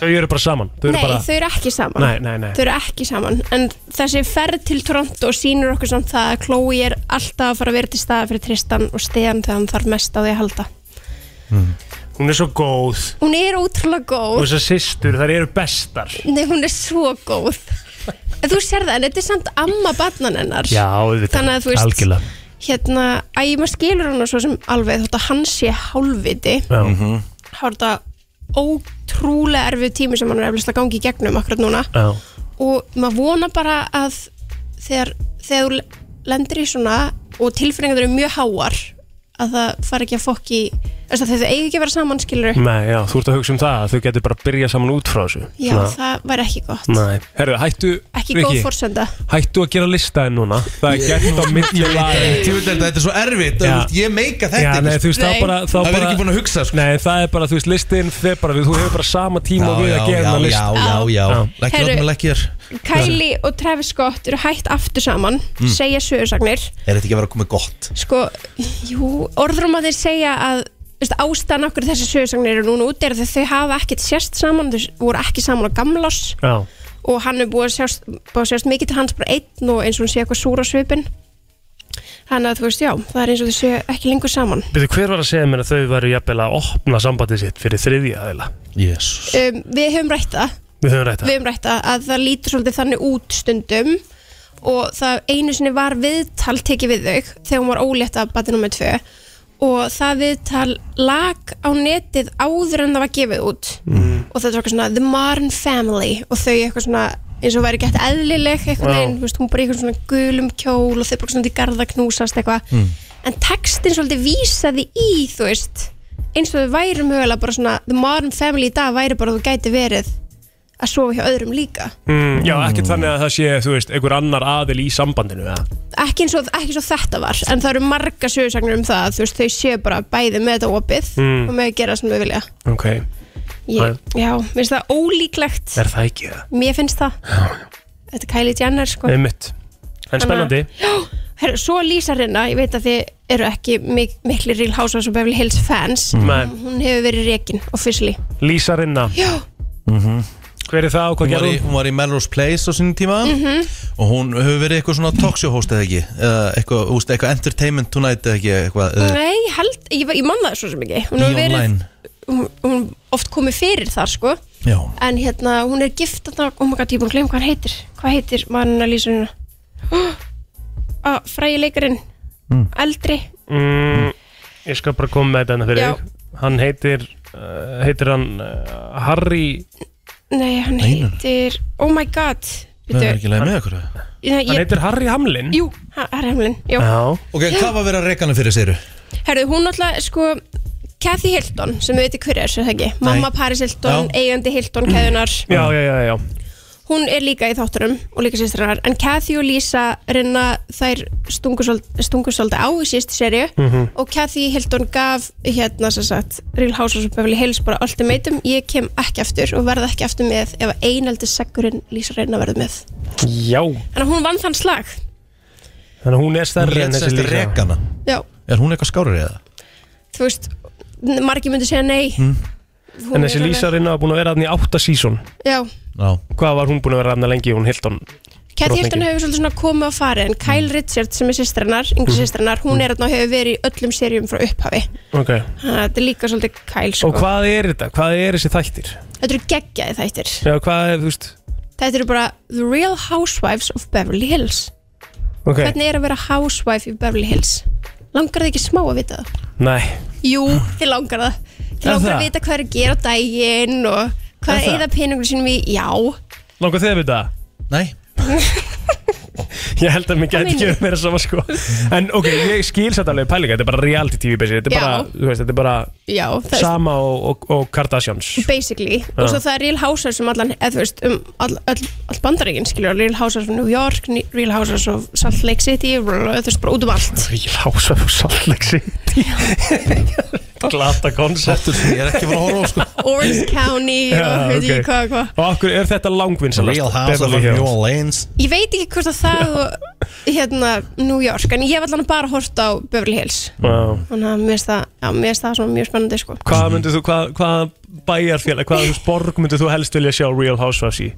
S1: Þau eru bara saman þau eru
S10: Nei,
S1: bara...
S10: þau eru ekki saman
S1: Nei, nei, nei.
S10: Þau eru ekki saman En þessi ferð til Toronto sýnir okkur samt það að Chloe er alltaf að fara að vera til staða fyrir Tristan og Stan þegar hann þarf mest á því að halda
S1: Hún er svo góð
S10: Hún er ótrúlega
S1: Og
S10: góð
S1: þessar systur, þær eru bestar
S10: Nei, hún er svo góð En Þú sér það, en þetta er samt amma barnan hennar
S1: Já, auðvitað.
S10: Þannig að þú veist
S1: Algjörlega.
S10: Hérna, æ, maður skilur hann svo sem alveg þótt að hann sé hálfviti
S1: Já mm -hmm.
S10: Há er þetta ótrúlega erfið tími sem hann er eflust að gangi í gegnum akkurat núna
S1: Já
S10: og maður vona bara að þegar, þegar þú le- lendir í svona og tilfinningar eru mjög háar að það fari ekki að fokki þess að þau eigi ekki að vera saman skilur
S1: Nei, já, þú ert að hugsa um það að Þau getur bara að byrja saman út frá þessu
S10: já, það væri ekki gott,
S1: Nei, herru, hættu
S10: ekki
S1: Riki,
S10: góð fórsenda
S1: Hættu að gera lista en núna Það er gert á milli
S4: Ég
S1: lagi
S4: veit þetta, þetta er svo erfitt
S1: Já.
S4: ja. Ég meika þetta sko.
S1: Já, nei, þú veist, þá bara þá
S4: Það verður ekki búin að
S1: hugsa sko. Nei, það er bara, þú veist, listin fer bara við, Þú hefur bara sama tíma
S4: Já,
S1: og við
S4: já,
S1: að gera
S4: já,
S1: þennan list
S4: já, já, já.
S10: Ekki láta Heyrðu, mig leggja
S1: þér
S10: Kylie og Travis Scott eru hætt aftur saman
S4: Mm.
S10: segja sögursagnir
S4: Er þetta ekki að vera að koma gott?
S10: sko, jú, orðrum að þeir segja að þú veist, ástæðan okkur þessi sögursagnir eru núna út er að þau hafa ekkert sérst saman þau voru ekki saman á gamlás
S1: Já,
S10: og hann er búið að sjást, búið að sjást mikið til hans bara einn og eins og hún sé eitthvað súr á svipin þannig að þú veist já það er eins og þau séu ekki lengur saman
S1: Byrðu, hver var að segja mér að þau væru jafnvel að opna sambandið sitt fyrir þriðja aðila? Yes.
S10: um, við höfum rætt það
S1: Við höfum rætt
S10: við
S1: það.
S10: höfum rætt það að það lítur svolítið þannig út stundum og það einu sinni var viðtal tekið við þau þegar hún var ólétt af bati nummer 2 og það viðtal lag á netið áður en það var gefið út og þetta var eitthvað svona The Marn Family og þau eitthvað svona eins og væri gett eðlileg eitthvað
S12: Já.
S10: wow. veist, hún bara í eitthvað svona gulum kjól og þau bara svona til garða knúsast eitthvað en textin svolítið vísaði í þú veist eins og þau væri mögulega bara svona The Modern Family í dag væri bara að þú gæti verið að sofa hjá öðrum líka
S1: Mm, já, ekkert þannig að það sé, þú veist, einhver annar aðil í sambandinu, eða?
S10: ekki eins og, ekki eins og þetta var en það eru marga sögursagnir um það að þú veist þau séu bara bæði með þetta opið
S1: Mm.
S10: og með að gera sem þau vilja
S1: Ok.
S10: Ég, já, mér finnst það ólíklegt
S1: Er það ekki það?
S10: mér finnst það þetta er Kylie Jenner sko
S1: Einmitt. En spennandi.
S10: Já, herru, svo Lísa Rinna, ég veit að þið eru ekki mik mikli Real Housewives og Beverly Hills fans
S1: Nei.
S10: hún hefur verið rekin, officially
S1: Lísa Rinna.
S10: Já,
S1: Hver er það og hvað
S4: Hún var
S1: gerði
S4: í- Hún var í Melrose Place á sinni tíma
S10: Mhm.
S4: Og hún hefur verið eitthvað svona talk show host eða ekki Eða eitthvað, þú veist, eitthvað entertainment tonight eða ekki eitthvað eða-
S10: Nei, ég held, ég, var- ég man það svo sem ekki Hún
S4: Í
S10: hefur verið,
S4: online.
S10: hún, hún oft komið fyrir þar sko
S4: Já.
S10: En hérna, hún er gift þarna, oh my god, ég er búin að glemma hvað hann heitir Hvað heitir mann að lýsa hérna? Oh, ah, frægi leikarinn, eldri
S1: Mm, ég skal bara koma með þetta hérna fyrir
S10: Já.
S1: þig. Hann heitir, uh, heitir hann uh, Harry...
S10: Nei, hann
S1: Nei, nei, nei.
S10: heitir, oh my god
S1: Nei, það er
S4: ekki leið með okkur
S10: Ég-
S1: Hann heitir Harry Hamlin?
S10: Jú, ha- Harry Hamlin, já
S4: Ok, hvað var verið að reka hana fyrir séru?
S10: Herðu, hún alltaf, sko Kathy Hilton, sem við veitum hver er, sem það ekki Mamma Paris Hilton,
S1: Já.
S10: eigandi Hilton, keðunar
S1: Já, já, já, já.
S10: hún er líka í þátturum og líka sýstrannar en Kathy og Lisa reyna þær stungu svol- stungu svolítið á í síst serju
S12: Mhm.
S10: og Kathy Hilton gaf hérna sem sagt Real Housewives of Beverly Hills bara ultimatum, ég kem ekki aftur og verð ekki aftur með ef einaldi seggurinn Lisa reyna verður með
S1: Já.
S10: en hún vann þann slag
S1: Þannig að hún er stærri
S4: Hún
S1: en
S4: lét
S1: þessi
S4: sérst
S1: Lísa.
S4: reka hana.
S10: já,
S4: Er hún eitthvað skárið eða?
S10: þú veist, n- margir myndi segja nei
S1: Mm.
S10: Hún
S1: En
S10: er
S1: þessi
S10: alveg-
S1: Lísa Rinna var búin að vera hann í átta sísón.
S10: já,
S4: Já.
S1: Hvað var hún búin að vera hann lengi, hún Hilton?
S10: Kathy Hilton
S1: drottningin? Mm.
S10: hefur svolítið svona komið á farið en Kyle Richards sem er sýstrannar, yngri
S1: Mhm.
S10: sýstrannar hún er hérna og hefur verið í öllum serjum frá upphafi
S1: Ok.
S10: Þannig að Þetta er líka svolítið kæl sko.
S1: Og hvað er þetta? Hvað er þessi þættir?
S10: Þetta eru geggjaði þættir
S1: Já, hvað er, þú veist,
S10: Þetta eru bara The Real Housewives of Beverly Hills
S1: ok.
S10: Hvernig er að vera housewife í Beverly Hills? Langar þið ekki smá að vita það?
S1: Nei.
S10: Jú, þið langar það Þið
S1: Ah. Er
S10: langar
S1: það?
S10: að vita hvað er að gera á daginn og
S1: Er
S10: hvað er
S1: það?
S10: eða peningur sínum í Já,
S1: Langar þið að vita það?
S4: Nei
S1: Ég held að mér gæti ekki verið meira sama sko En ok, ég skil satt alveg pælinga Þetta er bara reality tv basically Þetta er bara,
S10: Já.
S1: þú veist, þetta er bara
S10: já það er
S1: Sama og, og, og Kardashians
S10: Basically,
S1: Já.
S10: og svo það er Real Housewives um allan, eða þú veist, um all, all, all bandaríkinn, skiljur, Real Housewives of New York Ni- Real Housewives of Salt Lake City blah, blah, blah, þú veist, bara út um allt
S1: Real Housewives of Salt Lake City Glata koncept
S4: Ég er ekki að fara að horfa á sko
S10: Orange County og
S1: Já,
S10: veit ég
S1: ok.
S10: hvað hvað
S1: Og okkur er þetta langvinnsalast
S4: Real House of New Orleans
S10: Ég veit ekki hvort að það og, hérna New York en ég hef allan bara hort á Beverly Hills
S1: wow.
S10: þannig að mér finnst það, já, mér finnst það svona mjög spennandi sko.
S1: Hvað myndir þú, hvað, hvað bæjarfélag, hvað borg myndir þú helst vilja sjá Real Housewives í?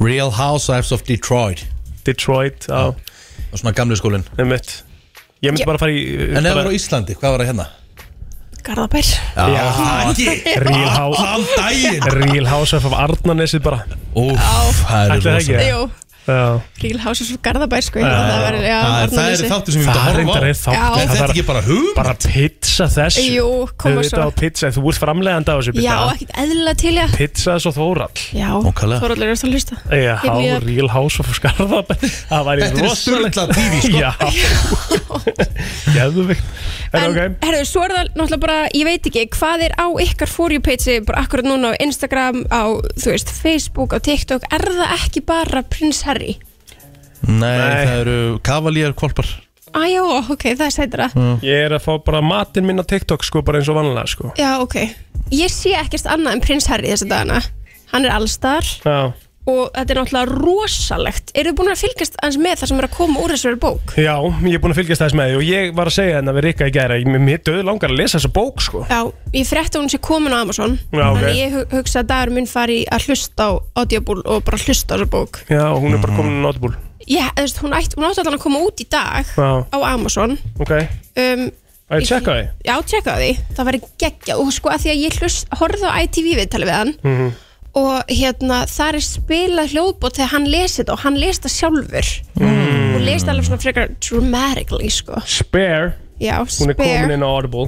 S4: Real Housewives of Detroit
S1: Detroit, á
S4: Og svona gamlu skólinn
S1: Einmitt Ég myndi bara fara í
S4: En ef það var á Íslandi, hvað var það hérna?
S10: Garðabær
S4: Já,
S1: Real Housewives Real Housewives af Arnanesi bara
S4: Úff, það
S1: Ætli það ekki?
S10: Jú,
S1: Já
S10: Real Houses of Garðabær sko, ég held að það væri- já, Arnarnesi.
S1: Það er reyndar einn þáttur.
S10: Já.
S1: Það
S10: Þetta
S1: þarf
S10: ekki
S4: bara hugmynd
S1: Bara pizza þessu
S10: Jú, koma
S1: Þau vita
S10: svo.
S1: á pizza Þú ert framlegandi á þessu
S10: Já,
S1: Birta.
S10: ekkert eðlilega til ég
S1: Pizza svo þórall
S10: Já,
S1: Nákvæmlega.
S10: Þorallur er það að hlusta
S1: Já,
S10: Ég mjög-
S1: Real House of Skarðabæ Það væri
S4: Þetta er sturlað tífi,
S1: sko Já Geðvikt En ok
S10: Herru, svo er það náttúrulega bara, ég veit ekki, hvað er á ykkar For You page bara akkurat núna á Instagram, á, þú veist, Facebook, á TikTok, er það ekki bara Prince Harry?
S4: Nei, það eru kavalýjar kvolpar
S10: Æjó, ok, það er sætara.
S1: Ég er að fá bara matinn minn á TikTok sko bara eins og vanlega sko
S10: Já, ok. Ég sé ekkert annað en Prince Harry þessa dagana. Hann er allstar
S1: Já
S10: og þetta er náttúrulega rosalegt. Eru þið búin að fylgjast aðeins með það sem er að koma úr þessari bók?
S1: Já, ég er búin að fylgjast þess með því og ég var að segja henn að við Rikka í gæra, ég mér döð langar að lesa þessa bók sko
S10: Já, ég frétti að hún sé komin á Amazon.
S1: Já, ok.
S10: Þannig ég hu- hugsa að dagur minn fari í að hlusta á Audible og bara hlusta á þessa bók.
S1: Já, og hún er bara komin á notbúl
S10: Já, þú veist, hún, ætt, hún átti allan að koma út í dag
S1: Já,
S10: á Amazon
S1: ok Það
S10: um,
S1: er tjekka því
S10: Já, tjekka á því, það væri geggja og sko að því að ég hlust, horfði á ITV viðtali við hann
S1: Mhm.
S10: og hérna þar er spilað hljóðbót þegar hann lesi þetta og hann lesi það sjálfur mm. og lesi það alveg svona frekar dramatically sko
S1: Spare,
S10: Já,
S1: hún er komin
S10: spare,
S1: inn á Audible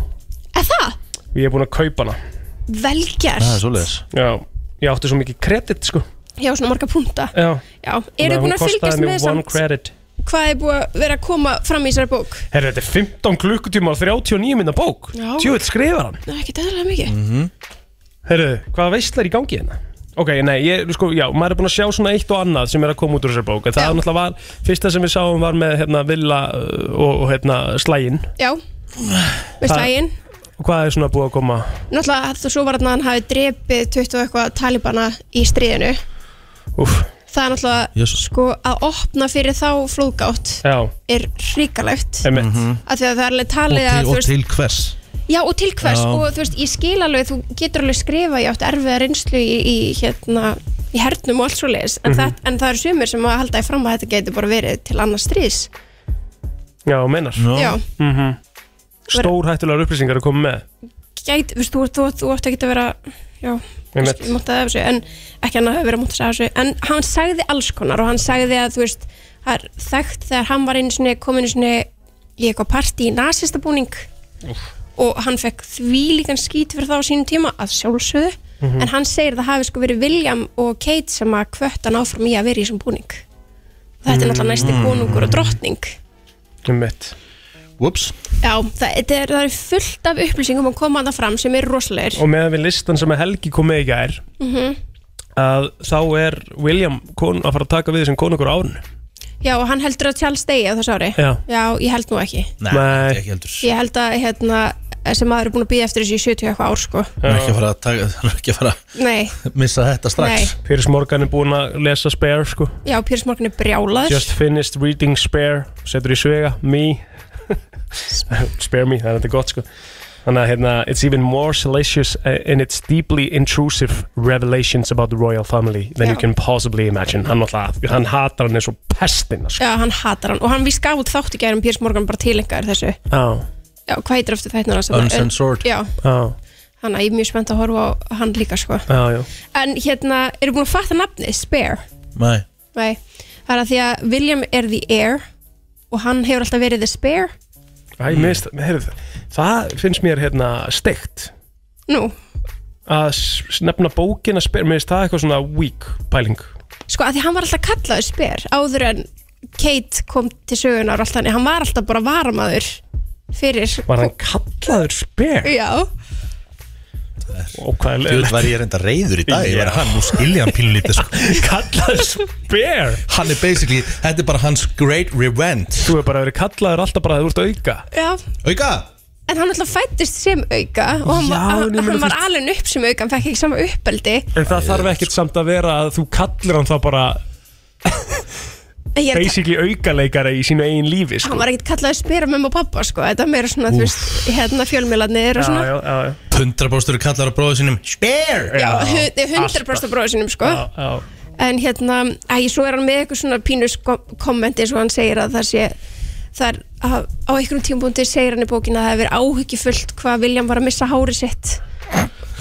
S10: er það?
S1: Ég er búin að kaupa hana
S10: Velgjart,
S4: svoleiðis
S1: Já, ég átti svo mikið kredit sko
S10: já svona marga punta
S1: Já,
S10: Já, eru þið búin að fylgjast með
S1: Hún kostaði mig one
S10: samt
S1: credit
S10: hvað er búin að vera að koma fram í þessari bók?
S1: Herru, þetta er 15 klukkutíma og 39 minna bók
S10: Já.
S1: Tjóðið skrifar hann
S10: Það er ekki dæðilega mikið
S1: Herru, hvað veistlar í gangi hérna? Ok, nei, ég, sko, já, maður er búin að sjá svona eitt og annað sem er að koma út úr þessar bók En það er náttúrulega var, fyrsta sem við sáum var með, hérna, Villa uh, og, og hérna, Slægin
S10: Já, veist
S1: Það-
S10: lægin
S1: Og hvað er svona búið að koma?
S10: Náttúrulega þú svo var þarna að hann hafi drepið 20 og eitthvað talibana í stríðinu
S1: Úff.
S10: Það er náttúrulega
S1: Jesus.
S10: sko að opna fyrir þá flóðgátt
S1: Já,
S10: er hrikalegt
S1: emitt mm
S10: af því að það er alveg talið að þú veist
S4: hvers?
S10: Já og til hvers
S4: Já.
S10: og þú veist ég skil alveg þú getur alveg skrifa ég átt erfiða reynslu í, í hérna í hernum og allt svo leis en,
S1: Mhm.
S10: það, en það eru sumir sem að halda í fram að þetta geti bara verið til annars stríðs
S1: Já, meinar
S10: Já.
S1: mm -hmm. Stórhættulegar upplýsingar að koma með
S10: Gæt, veist, þú, þú, þú átt ekki að vera já,
S1: Einmitt.
S10: mótaði af þessu en ekki hann að hafa verið mótaði af þessu en hann sagði alls konar og hann sagði að þú veist, það er þekkt þegar hann var einu sinni kominu sinni í eitthvað partí í nasistabúning og hann fekk því líkan skít fyrir það á sínum tíma að sjálfsögðu
S12: Mhm.
S10: en hann segir að það hafi sko verið William og Kate sem að kvött hann áfram í að vera í þessum búning þetta er náttúrulega næsti konungur og drottning
S1: Emitt
S4: Whoops
S10: já, það, þetta er, það er fullt af upplýsingum að koma að það fram sem er rosalegir
S1: Og meðan við listan sem að Helgi kom með í gær
S10: mm
S1: að þá er William kon, að fara að taka við sem konungur á árinu
S10: Já, og hann heldur að Charles Day á þessu ári
S1: Já.
S10: ég held nú ekki
S1: Nei, Nei. ekki heldur
S10: Ég held að hérna, þessi maður er búin að býða eftir þessu í 70 eitthvað ár sko
S4: Hann er ekki að fara að taka, hann er ekki að fara
S10: Nei,
S4: að missa þetta strax
S10: Nei.
S1: Pyrrhus Morgan er búinn að lesa Spare sko
S10: já, Pírs Morgan er brjálaður
S1: Just finished reading Spare Setur í svega, me Spare me, það er þetta gott sko Þannig að hérna, it's even more salacious uh, in its deeply intrusive revelations about the royal family than you can possibly imagine. Hann, náttúrulega- hann hatar hann eins og pestina sko.
S10: Já, hann hatar hann og hann víst gaf út þátt í gærum Pírs Morgan bara tilengar þessu
S1: Já.
S10: Já, hvað heitir eftir þættina hans?
S1: Uncensored.
S10: Já,
S1: Já,
S10: þannig að ég er mjög spennt að horfa á hann líka sko
S1: já, já.
S10: En hérna, eru búin að fatta nafnið, Spare
S4: Nei
S10: Nei, það er að því að William er the heir og hann hefur alltaf verið the spare
S1: Æ, mm. mist, heyrðu, það finnst mér hérna steikt
S10: Nú,
S1: að s- s- nefna bókina spyr, mér finnst það eitthvað svona weak pæling
S10: sko að því hann var alltaf kallaður spyr áður en Kate kom til sögunar og allt þannig, hann var alltaf bara varamaður fyrir
S1: Var hann kallaður spyr?
S10: Já,
S1: Og hvað er
S4: Þú var ég reynda reyður í dag Ég var
S1: Já.
S4: hann, nú skilja hann pínlítið sko.
S1: Kallaður spare
S4: Hann er basically, þetta er bara hans great revenge
S1: Þú hefur bara verið kallaður alltaf bara að þú ert auka
S10: já,
S4: Auka
S10: en hann alltaf fættist sem auka og hann,
S1: Já,
S10: var,
S1: en ég
S10: hann,
S1: meina,
S10: hann
S1: þú
S10: var
S1: veist-
S10: alveg upp sem auka hann fekk ekki sama uppeldi
S1: En það þarf ekkert samt að vera að þú kallir hann þá bara
S10: En ég er að-
S1: basically aukaleikara í sínu eigin lífi sko.
S10: hann var ekkert kallað að spyrja mömmu og pappa sko. þetta er meira svona, þú veist, hérna fjölmiðlarnir og svona
S1: já, já, já.
S12: 100% kallar á bróðu sínum Spare
S10: Já, hu- þið er 100% bróðu sínum sko.
S1: já.
S10: en hérna, æ, svo er hann með eitthvað svona pínus kommenti svo hann segir að það sé það er, að, á einhverjum tímpúndi segir hann í bókinu að það hefur áhyggjufullt hvað William var að missa hári sitt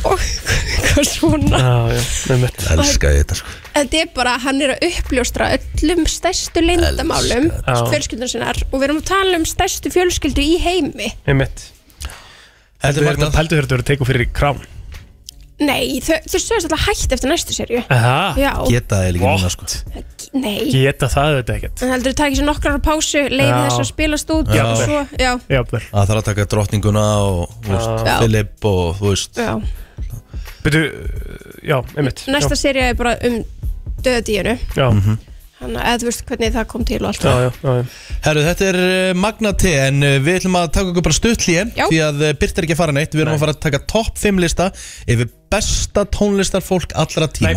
S10: og eitthvað svona
S1: Já, já, með mitt
S10: Elska
S4: ég þetta sko
S10: þetta er bara, hann er að uppljóstra öllum stærstu leyndamálum
S1: Elska þetta. Já.
S10: fjölskyldun sinnar og við erum að tala um stærstu fjölskyldu í heimi
S1: Með mitt Heldur þér þetta heldur þér þetta verið teiku fyrir í krám
S10: nei, þau, þau sögast alltaf hægt eftir næstu serju já,
S1: Geta það líka núna sko
S10: nei
S1: Geta það þetta ekkert
S10: En heldur þú takið sér nokkrar á pásu, leiði
S4: Já.
S10: þess að spilast út
S4: Já.
S10: og svo, já,
S1: Jafnvel
S4: Það þarf að taka drottninguna og þú veist,
S10: Já.
S4: Filip og þú veist
S10: já.
S1: Byrju, já, einmitt
S10: Næsta serið er bara um döðdíinu,
S1: Já
S10: þannig að þú veist hvernig það kom til og allt.
S1: já, já.
S4: Herru, þetta er eh, Magna T en eh, við ætlum að taka okkur bara stutlíi
S10: Já.
S4: því að eh, Byrta er ekki að fara neitt við erum að fara að taka topp 5 lista yfir besta tónlistar fólk allra tíma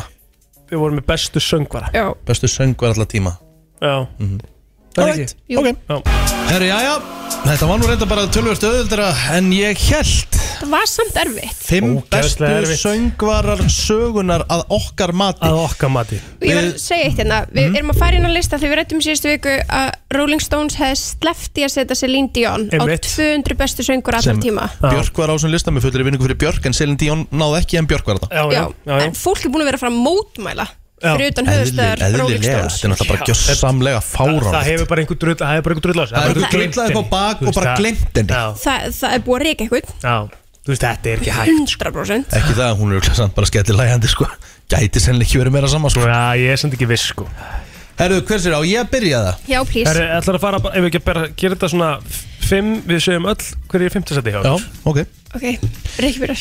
S1: Við vorum með bestu söngvara
S10: Já
S4: Bestu söngvar allra tíma
S1: Já
S4: Það er ekki
S10: Jú.
S1: okay.
S4: Herru, jæja, þetta var nú reynda bara tölvöld auðvöldra en ég held
S10: Það var samt erfitt.
S4: Fimm bestu
S1: Ógeðslega erfitt.
S4: söngvarar sögunar að okkar mati
S1: Að okkar mati
S10: Og ég var að segja eitt hérna, við erum að fara inn á lista þegar við rættum síðustu viku að Rolling Stones hefði slefti að setja Celine Dion
S4: Einmitt.
S10: á 200 bestu söngur allra tíma.
S4: Björk var á þessum lista með fullri vinningu fyrir Björk en Selin Díón náði ekki en Björk var þetta
S10: Já, en fólk er búin að vera að fara að mótmæla fyrir utan höfustöðar
S4: Eðli-
S10: Rolling
S4: eðlilega,
S10: Stones.
S4: þetta er náttúrulega bara gjössamlega fáránlegt.
S1: Það hefur bara einhver drull Það hefur bara einhver drull á sig
S4: Það hefur drullað upp á bak og bara gleymt henni.
S10: Þa, það er búið að reyka eitthvað,
S1: Já, þú veist þetta er ekki hægt
S10: 100%.
S4: Ekki það, hún er samt bara skellilægandi sko Gæti sennilega ekki verið meira saman sko
S1: Já, ég er samt ekki viss sko
S4: Herru, hvers er á ég að byrja það?
S10: Já, please.
S1: Það er ætlar að fara bara- Ef við ekki bara gera þetta svona Fimm, við segjum öll Hverju er fimmtasæti hjá okkur?
S4: Já, ok
S10: Ok, reykja fyrir.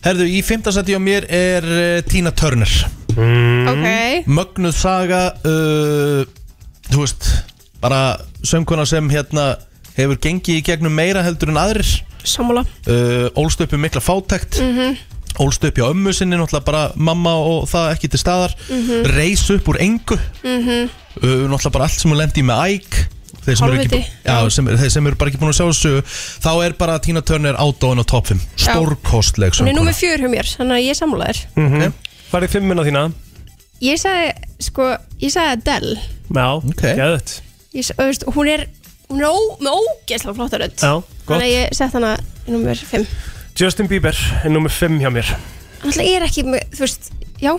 S4: Herru, í fimmtasæti á mér er uh, Tina Turner
S10: Ok.
S4: Mögnuð saga uh, Þú veist Bara söngkona sem hérna Hefur gengið í gegnum meira heldur en aðrir
S10: Sammála
S4: uh, Ólst upp í mikla fátækt
S10: Mhm.
S4: Ólst upp hjá ömmu sinni Náttúrulega bara mamma og það ekki til staðar
S10: Mhm.
S4: Reis upp úr engu
S10: Mhm.
S4: uh, náttúrulega bara allt sem hún lendi í með æg þeir sem, eru ekki,
S10: Hálfviti.
S4: já, sem, þeir sem eru bara ekki búin að sjá þessu þá er bara Tina Turner ádóðan á top 5
S10: Já.
S4: stórkostleg
S10: Hún er
S4: söngkona
S10: númið fjör hjá mér, þannig að ég er sammála þér.
S1: Mhm. Farið fimmuna þína
S10: Ég sagði, sko, ég sagði Adele
S1: Já, okay. geðut
S10: ég, sa- þú veist, Hún er, hún er ó, með ógeðslega flottar öll
S1: Já,
S10: Þannig að
S1: gott
S10: ég sett hana í nummer 5
S1: Justin Bieber er nummer 5 hjá mér
S10: Þannig að ég er ekki, með, þú veist, já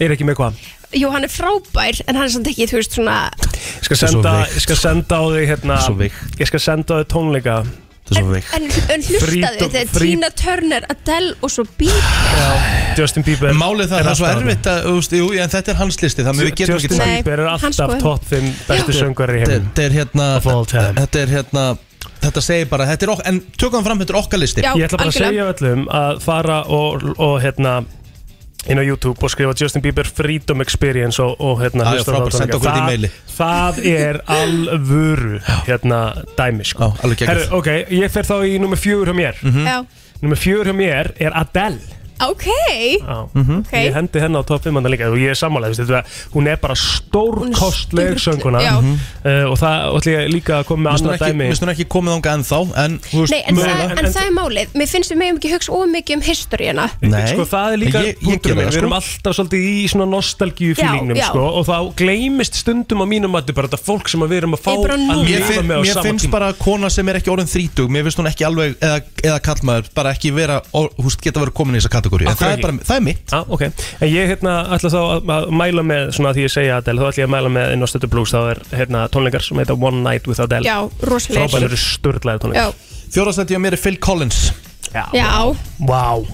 S1: Er ekki með hvað?
S10: Jú, hann er frábær, en hann er samt ekki, þú veist, svona
S1: Ég skal
S4: Þetta er svo
S1: senda,
S4: veikt, sko.
S1: ég skal senda á þig hérna
S4: Svo
S1: Ég skal senda á þig tónleika
S4: Það er svo veikt
S10: En, en hlustaði,
S1: Freedom-
S10: þetta er
S1: free-
S10: Tina Turner, Adele og svo Bieber
S1: Justin Bieber
S4: Málið það,
S1: er
S4: það er svo
S1: alltaf
S4: erfitt að, úst, jú, en þetta er hans listi þannig við getum ekki
S1: Justin Bieber er
S10: Nei, hans
S1: alltaf
S10: sko.
S1: topp 5 bestu
S4: Já.
S1: söngar í
S4: Þetta-
S1: heim
S4: þetta er hérna þetta er hérna þetta segir bara, þetta er okk en tökum hann fram, þetta er okkar listi
S1: Ég ætla bara að segja öllum að fara og, og hérna inn á YouTube og skrifa Justin Bieber Freedom Experience og, og hérna
S4: Já, já,
S1: hlusta á
S4: frábært,
S1: þá
S4: senda okkur þetta
S1: tónleika.
S4: í
S1: Það-
S4: maili.
S1: Það er alvöru hérna dæmi sko
S4: alveg geggjað. Mhm.
S1: Herru, ok, ég fer þá í nummer fjögur hjá mér mm
S10: Já,
S1: Nummer fjögur hjá mér er Adele
S10: ok
S1: Já,
S4: Mhm.
S10: Ok.
S1: Hm? ég hendi henni á topp 5 líka og ég er sammálaðið, þú veist, þetta- hún er bara stórkostleg sönguna
S10: já. Mhm.
S1: og það ætla ég líka að koma með
S4: Mistum
S1: annað
S4: ekki,
S1: dæmi
S4: mistum ekki komið ánga ennþá en, þú veist,
S1: Hm?
S10: Nei, en, það,
S4: mögulega.
S10: en, það er málið Mér finnst við megum ekki hugsa ómikið um historina
S4: Nei.
S1: Sko það er líka
S4: Ég- ég
S1: punktur
S4: gera
S1: minn,
S4: það,
S1: við erum
S4: sko.
S1: alltaf svolítið í svona nostalgíu fílingnum
S10: Já, já.
S1: sko og þá gleymist stundum á mínum mati bara þetta fólk sem að við erum að fá
S10: Er bara
S1: að
S10: núna.
S4: Mér,
S1: lifa
S4: finn,
S1: með á
S4: mér
S1: sama
S4: finnst
S1: tíma
S4: bara kona sem er ekki orðin þrítug Mér finnst hún ekki alveg, eða, eða kallmaður Bara ekki vera, ó- þú veist, geta verið komin í þessa kategóri En
S1: Af hverju
S4: það er,
S1: ekki?
S4: bara, það er mitt
S1: Já, Ah, ok, en ég hérna ætla þá að að mæla með svona því ég segja Adele, þá ætla ég að mæla með inn á Stötu Blues þá er hérna tónleikar sem heita One Night with Adele
S10: Já, rosalegir.
S1: Frábæður sturglaði
S10: Já,
S1: tónleikar
S4: Fjórastætti á mér er Phil Collins
S1: Já,
S10: já,
S1: Vá,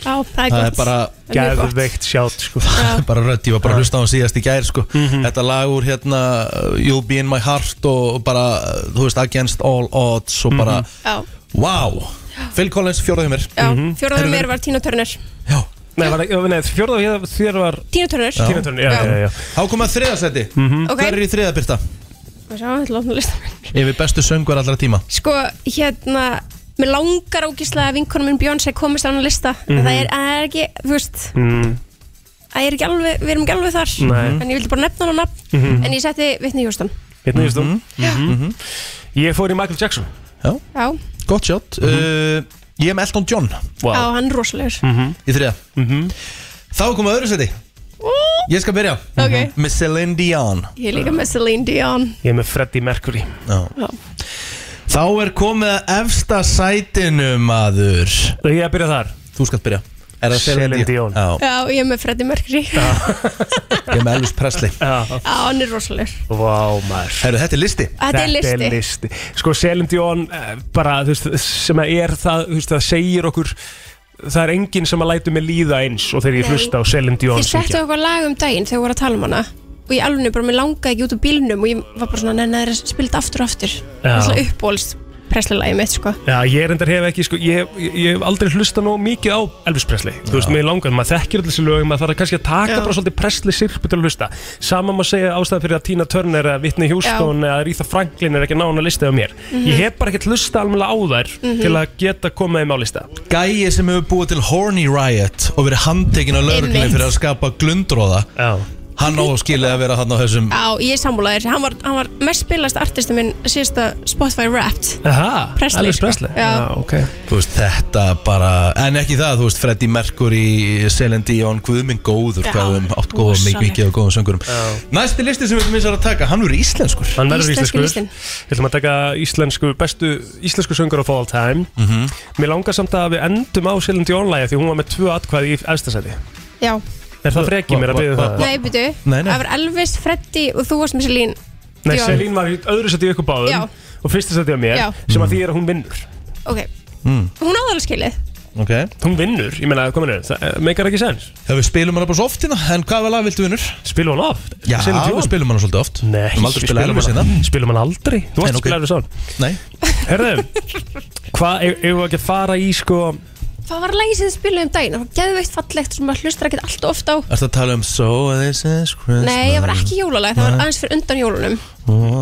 S10: já það er gott
S4: Það er bara
S10: Það er mjög gott.
S1: geðveikt sjátt sko
S4: Það er bara rödd, ég var bara að hlusta á hann síðast í gær sko.
S1: Mhm.
S4: Þetta lag úr hérna uh, You'll be in my heart og bara, uh, þú veist, against all odds Og bara,
S1: Mhm.
S10: Já,
S4: wow Phil Collins, fjóraðið mér Mhm.
S10: já,
S1: Mhm.
S10: fjóraðar
S4: Herðu,
S10: mér var Tina Turner
S1: Nei, var, það- nei fjórða hér- þér var
S10: Tina Turner
S1: Tina Turner, já, já, já, já.
S4: Þá komað þriðasætti
S10: Ok.
S4: Hver er í þriðabyrta?
S10: Sjá, þetta er lofnulist
S4: Yfir bestu söngur allra tíma
S10: Sko, hérna mér langar ógíslega að vinkonum minn Björn segi komist á hann lista mm
S1: Mhm.
S10: það, er, það er ekki, þú veist
S1: mm.
S10: það er ekki alveg, við erum ekki alveg þar
S1: Nei.
S10: en ég vildi bara nefna hann á nafn
S1: Mhm.
S10: en ég setti Vitni Hjóstan
S1: Hérna, mm -hmm. mm -hmm. Ég fór í Michael Jackson
S10: já,
S4: Gott sjátt uh, Ég hef með Elton John
S10: á hann er rosalegur
S1: Mhm.
S4: Í þriða Þá komum við að öðru seti Ég skal byrja Mhm.
S10: Ok.
S4: Með Celine Dion
S10: ég er líka með Celine Dion
S1: Ég er með Freddie Mercury
S10: Já.
S4: Þá er komið að efsta sætinu maður
S1: Ég er að byrja þar
S4: Þú skalt byrja Er það Celine
S1: Celine
S4: Dion? Já,
S10: já, ég er með Freddie Mercury já,
S4: ég er með Elvis Presley
S1: Já
S10: hann er rosalegur
S1: Vá maður
S4: Herru, þetta er listi
S10: Þetta er listi.
S1: Sko Celine Dion eh, bara þú veist sem að er það þú veist það segir okkur það er enginn sem að lætu mig líða eins og þegar ég
S10: Nei.
S1: hlusta á Celine Dion
S10: Þið settu eitthvað lag um daginn þegar við vorum að tala um hana og ég alveg bara, mér langaði ekki út úr bílnum og ég var bara svona, neina, það er spilt aftur og aftur Það er svona uppbólst presslilagi mitt, sko
S1: Já, ég reyndar hef ekki, sko, ég, ég, ég hef aldrei hlusta nóg mikið á Elvis Presley Þú veist, mér langar, maður þekkir allir þessi lögum, maður þarf kannski að taka
S10: Já.
S1: bara svolítið Presley sirpu til að hlusta Sama maður segja ástæðan fyrir að Tina Turner eða Whitney Houston eða Aretha Franklin er ekki nána listið á mér
S4: Mhm.
S1: Ég hef bara ekkert hlusta alveg á þær
S4: Mhm.
S1: til að geta komið þeim á lista
S4: Gæi sem hefur búið til Horny Riot og verið handtekinn á lögreglunni
S10: Einmitt.
S4: fyrir að skapa glundróða
S1: Já.
S4: Hann á að skilja að vera hann á þessum
S10: Á, ég er sammálaðir, hann var, hann var mest spilast artisti minn síðasta Spotify Wrapped
S1: Aha,
S10: Presley, Elvis sko. Presley. Já. Já,
S1: ok
S4: Þú veist, þetta bara, en ekki það, þú veist, Freddie Mercury, Celine Dion, Guðminn Góður,
S10: Já,
S4: hvað við höfum átt góða
S10: rosaleg.
S4: mikið, mikið og góðum söngurum. Næsti listi sem við minnst að taka, hann verður íslenskur.
S1: Hann verður
S10: Íslenski
S1: íslenskur
S10: listinn.
S1: Við ætlum að taka íslensku, bestu íslensku söngur of all time Mér langar samt að við endum á Celine Dion lægi því hún var með tvö atkvæði í efstasæti
S10: Já,
S1: Er það frekið mér að byggja það?
S10: nei, byrju,
S1: Nei, nei.
S10: það var Elvis, Freddy og þú varst með Celine
S1: Nei,
S10: Dion.
S1: Selín var í öðru seti í ykkur báðum
S10: Já.
S1: og fyrsta seti á mér
S10: Já.
S1: sem að því er að hún vinnur
S10: Ok,
S1: mm.
S10: hún áðalega skilið
S4: okay.
S1: Hún vinnur, ég meina, kominu, það eh, meikar ekki sens
S4: Já, við spilum hana bara svo oft hérna, en hvað var lag viltu vinnur?
S1: Spilum hana oft?
S4: Já,
S1: Celine Dion?
S4: við spilum hana svolítið oft.
S1: Nei,
S4: við aldrei spilum hana
S1: hana
S4: sinna.
S1: Spilum hana aldrei Þú varst
S4: En,
S1: að spila Elvis án
S4: Nei
S1: Herðu, hvað, ef ef við ekki að fara í sko
S10: Það var lagi sem þið spiluðum daginn, það var geðveikt fallegt sem maður hlustar ekkert allt ofta á
S4: Ertu að tala um So This Is Christmas?
S10: Nei, það var ekki jólalag, það var
S4: Nei.
S10: aðeins fyrir undan jólunum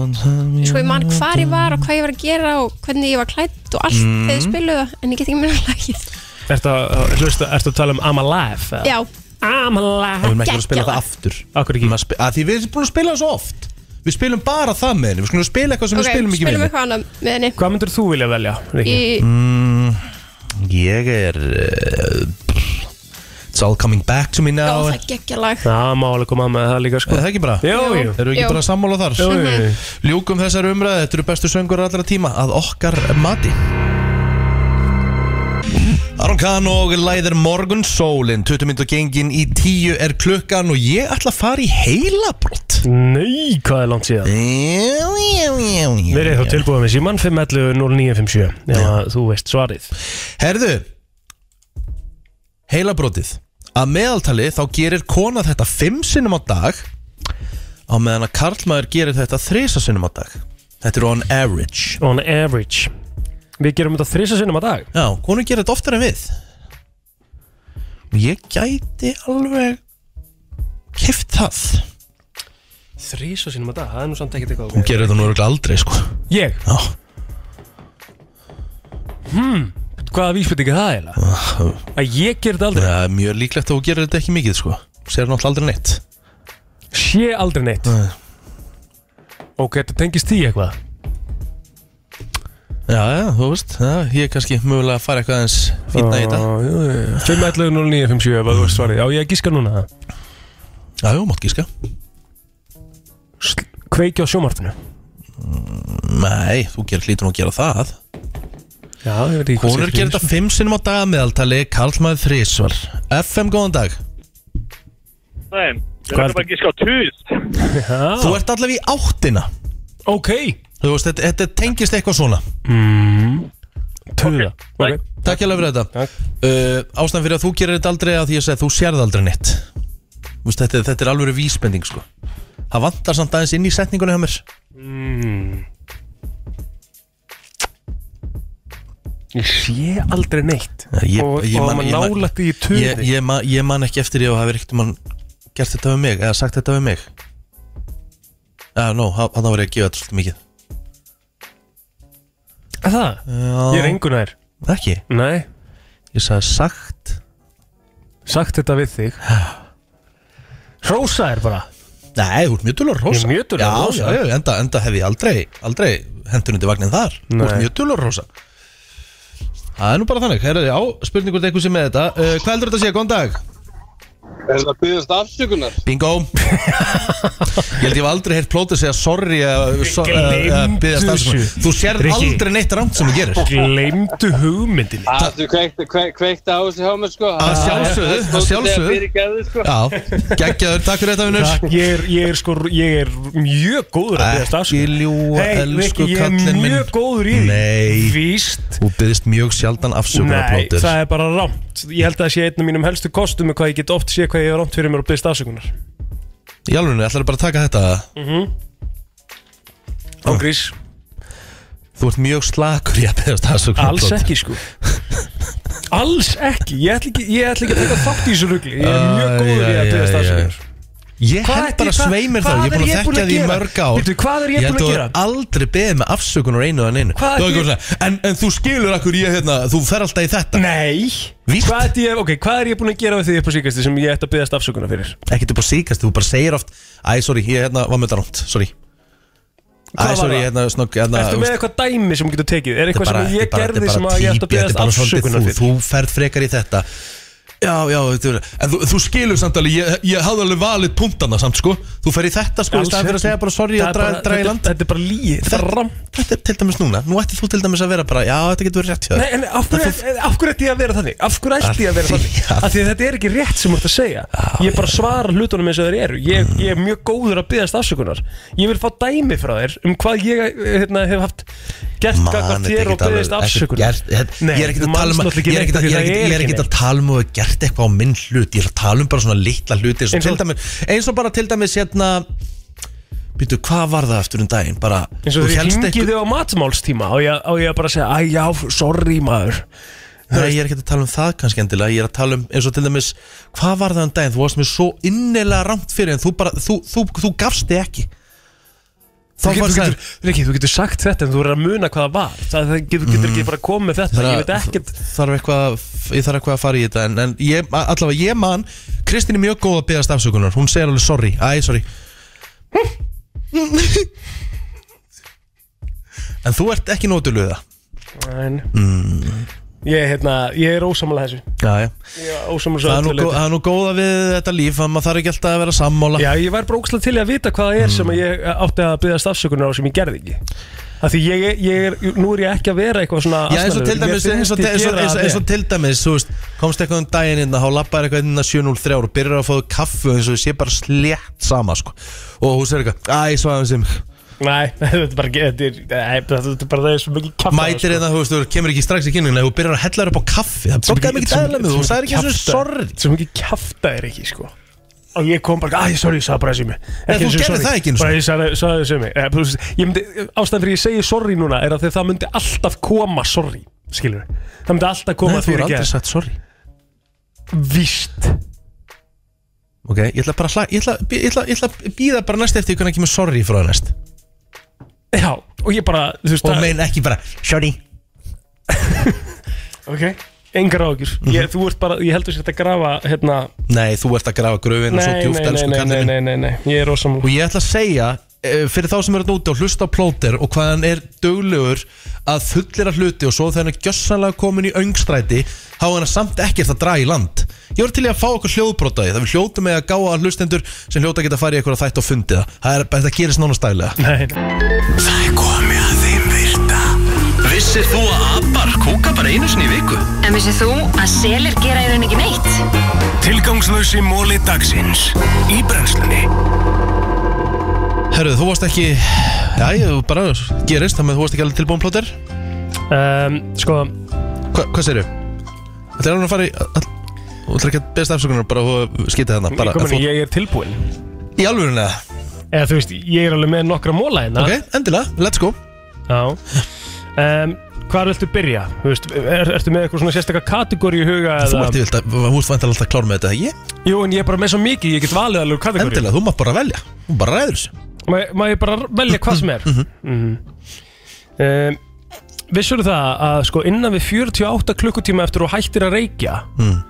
S4: ekki.
S10: sko ég man hvar ég var og hvað ég var að gera og hvernig ég var klætt og allt
S4: Mhm.
S1: Mm.
S10: þegar þið spiluðu það, en ég get ekki minna lagið
S1: Ertu að, hlusta, ertu að tala um I'm Alive? eða?
S10: Já,
S1: I'm
S4: Það viljum ekki
S10: alive
S4: að spila það aftur Akkur ekki spi, að Því við erum búin að spila það svo oft Við spilum bara það með henni Við skulum spila eitthvað sem
S10: Ok,
S4: við spilum ekki með
S10: spilum
S4: henni
S10: eitthvað annað með henni
S1: Hvað myndur þú vilja velja?
S10: Rikki? Í-
S4: mm, Ég er uh, It's all coming back to me
S10: Já,
S4: now
S10: það er geggjalag
S1: Já, má alveg koma með það líka sko
S4: Er það ekki bara?
S1: Jú, jú
S4: Erum við
S10: Jú.
S4: ekki bara að sammála þar?
S1: Jú, jú, jú.
S4: Ljúkum þessar umræði, þetta eru bestu söngur allra tíma að okkar mati Aron Kahn og læðir morgun sólin 20 mynd og gengin í 10 er klukkan og ég ætla að fara í heilabrott
S1: Nei, hvað er langt síðan?
S4: Já, já, já, já
S1: Verið þá tilbúið með síman 511 0957 Já, þú veist svarið
S4: Herðu Heilabrótið Að meðaltali þá gerir kona þetta 5 sinnum á dag á meðan að karlmaður gerir þetta 3 sinnum á dag Þetta er on average
S1: On average Við gerum þetta þrisa sinnum á dag
S4: Já, konur gerir þetta oftar en við Og ég gæti alveg Kift það
S1: Þrisa sinnum á dag, það er nú samt ekkert eitthvað
S4: Hún gerir þetta nú örugglega aldrei sko
S1: Ég?
S4: Já
S1: Hmm, hvaða vísbyrtingi það er það?
S4: Ah.
S1: Að ég gerir þetta aldrei?
S4: Það er mjög líklegt að hún gerir þetta ekki mikið sko Sér náttúrulega aldrei neitt
S1: Sé aldrei neitt
S4: Nei.
S1: Ok, þetta tengist því eitthvað
S4: Já, já, þú veist, já, ég er kannski mögulega að fara eitthvað aðeins fínna í
S1: Ah,
S4: þetta
S1: 511 0957 ef þú veist svarið Já, ég gíska núna það
S4: Já, jú, mátt gíska
S1: Kveiki á sjómartinu
S4: Nei, þú gerir hlýtur nú að gera það
S1: Já, ég veit ekki hvað
S4: Konur
S1: segir
S4: gerir
S1: fyrir.
S4: þetta fimm sinnum á dag að meðaltali Karlmaður þrísvar FM, góðan dag
S13: Nei,
S4: Hvað
S13: ég
S4: heldur-
S13: er bara að gíska á tuð.
S1: Já.
S4: Þú ert allavega í áttina
S1: Ok
S4: Þú veist, þetta, þetta tengist eitthvað svona
S1: mm. Töða okay.
S4: Takk hérlega fyrir þetta uh, Ástæðan fyrir að þú gerir þetta aldrei að því að segja þú sérð aldrei neitt Þú veist, þetta, þetta er alveg vísbending sko Það vantar samt aðeins inn í setningunni hjá mér
S1: mm. Ég sé aldrei neitt
S4: ég,
S1: Og-
S4: ég
S1: og
S4: man-
S1: maður
S4: ég man-
S1: nálægt því í tuðni.
S4: ég, ég, man- ég man ekki eftir ég og hafi reykt um gert þetta við mig eða sagt þetta við mig Ah, Já, nó, hann var ég að gefa þetta svolítið mikið
S1: Er Það?
S4: Já.
S1: Ég er engunær
S4: Ekki?
S1: Nei
S4: Ég sagði sagt
S1: Sagt þetta við þig Hrósa er bara
S4: Nei, þú ert mjög dölur
S1: Ég
S4: rosa
S1: er mjög dulur að hrósa.
S4: Já, já, já, enda, enda hef ég aldrei, aldrei hendur undir vagnin þar Þú ert
S1: Nei.
S4: mjög dölur rosa Það er nú bara þannig, herra, já, spurningur til eitthvað sem með þetta uh, Hvað heldur þetta að sé, góðan dag?
S14: Er það byggðast afsökunar?
S4: Bingo Ég held ég hef aldrei heyrt plótið segja sorry eh, eða so- eða- eða
S1: Gleymdu
S4: biðjast afsökunar.
S1: þessu.
S4: Þú sérð
S1: Rikki.
S4: aldrei neitt rámt sem þú gerir
S1: Gleimdu hugmyndinni
S14: Þú kveikti, kveik, kveikti á þessu hjá mér sko
S4: Að sjálfsögðu, að sjálfsögðu.
S14: Fyrirgefðu sko
S4: Já, geggjaður, takk fyrir þetta
S1: Takk,
S4: vinnur
S1: ég er, ég er sko, ég er mjög góður að byrja stafs
S4: Ekki ljúa,
S1: Hey,
S4: elsku
S1: Rikki, ég er
S4: kallinn minn
S1: mjög góður í því.
S4: Nei
S1: Víst
S4: Þú byggðist mjög sjaldan afsökunar
S1: Nei,
S4: plótið
S1: það er bara rámt Ég held að það sé einn af mínum helstu kostum með hvað ég get oft sé hvað ég er rámt fyrir mér og byrja stafsökunar
S4: Í alveg, ætlarðu bara að taka þetta?
S1: mm Og grís
S4: Þú ert mjög slakur í að beðast afsökunar
S1: Alls ekki, sko Alls ekki, ég ætla ekki, ég ætla ekki að taka þátt í þessu rugli Ég er mjög góður í að byrja stafsökunar
S4: Ég
S1: Hvað
S4: held
S1: ætti-
S4: bara
S1: hvað-
S4: sveimir þá, ég
S1: hvað
S4: er búin að
S1: er ég búin
S4: þekka
S1: að
S4: því í
S1: gera?
S4: mörg ár
S1: Bíddu, hvað er ég
S4: held
S1: búin að
S4: þú
S1: gera?
S4: hefur aldrei beðið með afsökunar einu en einu
S1: Hvað
S4: Þú
S1: ætti-
S4: hefur svona, en, en þú skilur akkur ég hérna, þú fer alltaf í þetta
S1: Nei
S4: Víst?
S1: Hvað, ætti ég, okay, hvað er ég búin að gera við því upp á síkast sem ég ætti að byrja stafsökunar fyrir?
S4: Ekkert upp á síkast, þú bara segir oft Æ, sorry, ég hérna var með þetta rámt, sorry
S1: Hvað
S4: Æ,
S1: var
S4: sorry,
S1: það?
S4: hérna, snögg hérna,
S1: Ertu
S4: þú
S1: með
S4: veist,
S1: eitthvað dæmi sem þú getur tekið? Er
S4: þetta
S1: eitthvað
S4: er bara-
S1: sem ég
S4: þetta er bara-
S1: gerði
S4: þetta er
S1: sem
S4: bara
S1: að ég ætti að
S4: típi, þetta er
S1: beðast
S4: bara svolítið
S1: afsökunar
S4: þú,
S1: fyrir?
S4: Þú ferð frekar í þetta Já, já, þetta er, en þú, þú skilur samt alveg, ég, ég hafði alveg valið punktana samt sko Þú fer í þetta sko, í
S1: Alls
S4: staðan fyrir að
S1: ekki.
S4: segja bara sorry
S1: Það
S4: og
S1: er
S4: draga
S1: bara-
S4: dra í
S1: þetta-
S4: land
S1: Þetta er bara líi, þetta er ram
S4: Þetta er til dæmis núna, nú ætti þú til dæmis að vera bara Já, þetta getur verið rétt hjá
S1: Nei, en af hverju af hverju ætti ég að vera þannig? Af hverju ætti ég að vera
S4: Af því
S1: þannig? Af því að þetta er ekki rétt sem þú ert að segja Ég bara svara hlutunum eins og þeir eru Ég, ég er mjög góður að byggast afsökunar Ég vil fá dæmi frá þér um hvað ég hérna, hef haft gert gagvart þér og byggast afsökunar
S4: Nei, Ég er ekkert að tala um
S1: manst
S4: að- ég
S1: náttúrulega
S4: er ekkert að-
S1: neitt
S4: ég er
S1: af því
S4: ekkert-
S1: það
S4: ég er ekkert að tala um að hafa gert eitthvað á minn hlut Ég er að tala um bara svona litla hluti eins og
S1: Eins og-
S4: til dæmis, eins og bara til dæmis hérna Býtu, hvað var það eftir um daginn? Bara,
S1: eins og
S4: þú hélst
S1: þegar ég
S4: eitthvað-
S1: ringi þig á matmálstíma og ég, og ég bara að segja, æ já, sorry maður
S4: Nei, ég er ekkert að tala um það kannski endilega Ég er að tala um eins og til dæmis Hvað var það um daginn? Þú varst mér svo innilega rámt fyrir En þú bara, þú, þú, þú gafst þig ekki Þá
S1: Þú getur,
S4: fannst
S1: þú,
S4: það-
S1: getur, Riki, þú getur sagt þetta en þú verður að muna hvað það var það, það getur, getur
S4: Mm.
S1: ekki bara komið með þetta ég veit ekkert
S4: Þarf eitthvað, að- ég þarf eitthvað að fara í þetta En, en ég, allavega ég man Kristín er mjög góð að beðast afsökunar Hún segir alveg sorry, æ, sorry En þú ert ekki nótuluð það
S1: en,
S4: mm.
S1: ég, er, hérna, ég er ósamlega þessu
S4: Já, já
S1: ég er ósamlega
S4: Það er,
S1: þessu
S4: nú, gó- Ah.
S1: öllu leyti.
S4: það er nú góða við þetta líf að maður þarf ekki alltaf að vera sammála
S1: Já, ég væri bara ógslag til í að vita hvað það er sem að ég átti að byggja stafsökunar á sem ég gerði ekki Það því ég, ég er, nú er ég ekki að vera eitthvað svona
S4: Já, eins og til
S1: asnalegur. Mér
S4: dæmis, eins og,
S1: finnst ég
S4: eins og,
S1: gera
S4: eins og,
S1: það
S4: eins og til dæmis, þú veist, komst eitthvað um daginn inn þá lappar eitthvað inn að 703 og byrjar að fá þér kaffu eins og þú sé bara slétt sama, sko. Og hún segir eitthvað, æ, svo aðeins sem,
S1: Nei, þetta er bara, þetta er, nei, þetta er bara það er svo mikið sko. kaffa
S4: mætir hérna einn að, þú veist, þú kemur ekki strax í kynningu, en þú byrjar að hella þér upp á kaffi, það bokkaði mikið dæðlega með, þú sagði ekki eins og sorry.
S1: Svo mikið kjafta er ekki, sko Og ég kom bara, æ, sorry, ég sagði bara þessu mig
S4: Nei, þú gerðir það ekki einu sinni.
S1: Bara ég sagði sagði þessu mig Eh, þú veist, Ég myndi, ástæðan fyrir ég segi sorry núna er að þegar það myndi alltaf koma sorry Skilur Það myndi alltaf koma
S4: Nei, þú er
S1: fyrirgefðu.
S4: aldrei sagt sorry.
S1: Víst
S4: Ok, ég ætla bara að hla- ég ætla- ég ætla- ég ætla að býða bara næst eftir hvernig kemur sorry frá þér næst.
S1: Já, og ég bara, þú veist
S4: Og
S1: það-
S4: mein ekki bara, sorry.
S1: Ok Engar ágjur
S4: Mhm.
S1: mm Þú ert bara, ég heldur sér að grafa hérna
S4: Nei, þú ert að grafa gröfin og Hérna svo
S1: Nei,
S4: djúft,
S1: nei,
S4: elsku
S1: nei,
S4: kallinn
S1: nei,
S4: minn.
S1: nei, nei, nei, ég er ósamlega
S4: Og ég ætla að segja eh, fyrir þá sem eru þarna úti og hlusta á plóter og hvað hann er döglegur að fullera hluti og svo þegar hann er gjössanlega komin í öngstræti þá er hann samt ekkert að draga í land ég voru til í að fá okkur hljóðbrotaði það við hljóta með að gáa að hlustendur sem hljóta geta að fara í eitthvað þætt og fundi það það er, þetta gerist nánast daglega
S2: Það er komið að þeim virta Vissir þú að abar kúka bara einu sinni í viku?
S11: En vissið þú að selir gera í raun ekki neitt?
S2: Tilgangslösi móli dagsins Í brennslunni
S4: Herru, þú varst ekki já, ég, bara gerist, þannig að þú varst ekki alveg tilbúin plóter
S1: um, Sko
S4: Hva, Hvað segirðu? Þetta er alveg að fara í all- Þú ætlar ekki að beðast afsökunar bara að skita þarna bara,
S1: Ég
S4: að
S1: komin,
S4: þú-
S1: ég er tilbúinn
S4: Í alvörunni eða?
S1: Eða þú veist, ég er alveg með nokkra móla hérna
S4: Ok, endilega, let's go
S1: Já um, Hvar viltu byrja? Þú veist, er, ertu með eitthvað svona sérstakka kategóri í huga
S4: Þú
S1: eða
S4: ert yfirleitt að- þú ert vantilega alltaf klár með þetta, ekki?
S1: Jú, en ég er bara með svo mikið, ég get valið alveg kategóri
S4: Endilega, þú mátt bara velja Þú bara ræður þessu Mhm.
S1: Má, má ég bara velja hvað sem er? Mm -hmm. um, vissur Mhm. það að sko innan við 48 klukkutíma eftir og hættir að reykja
S4: Mm.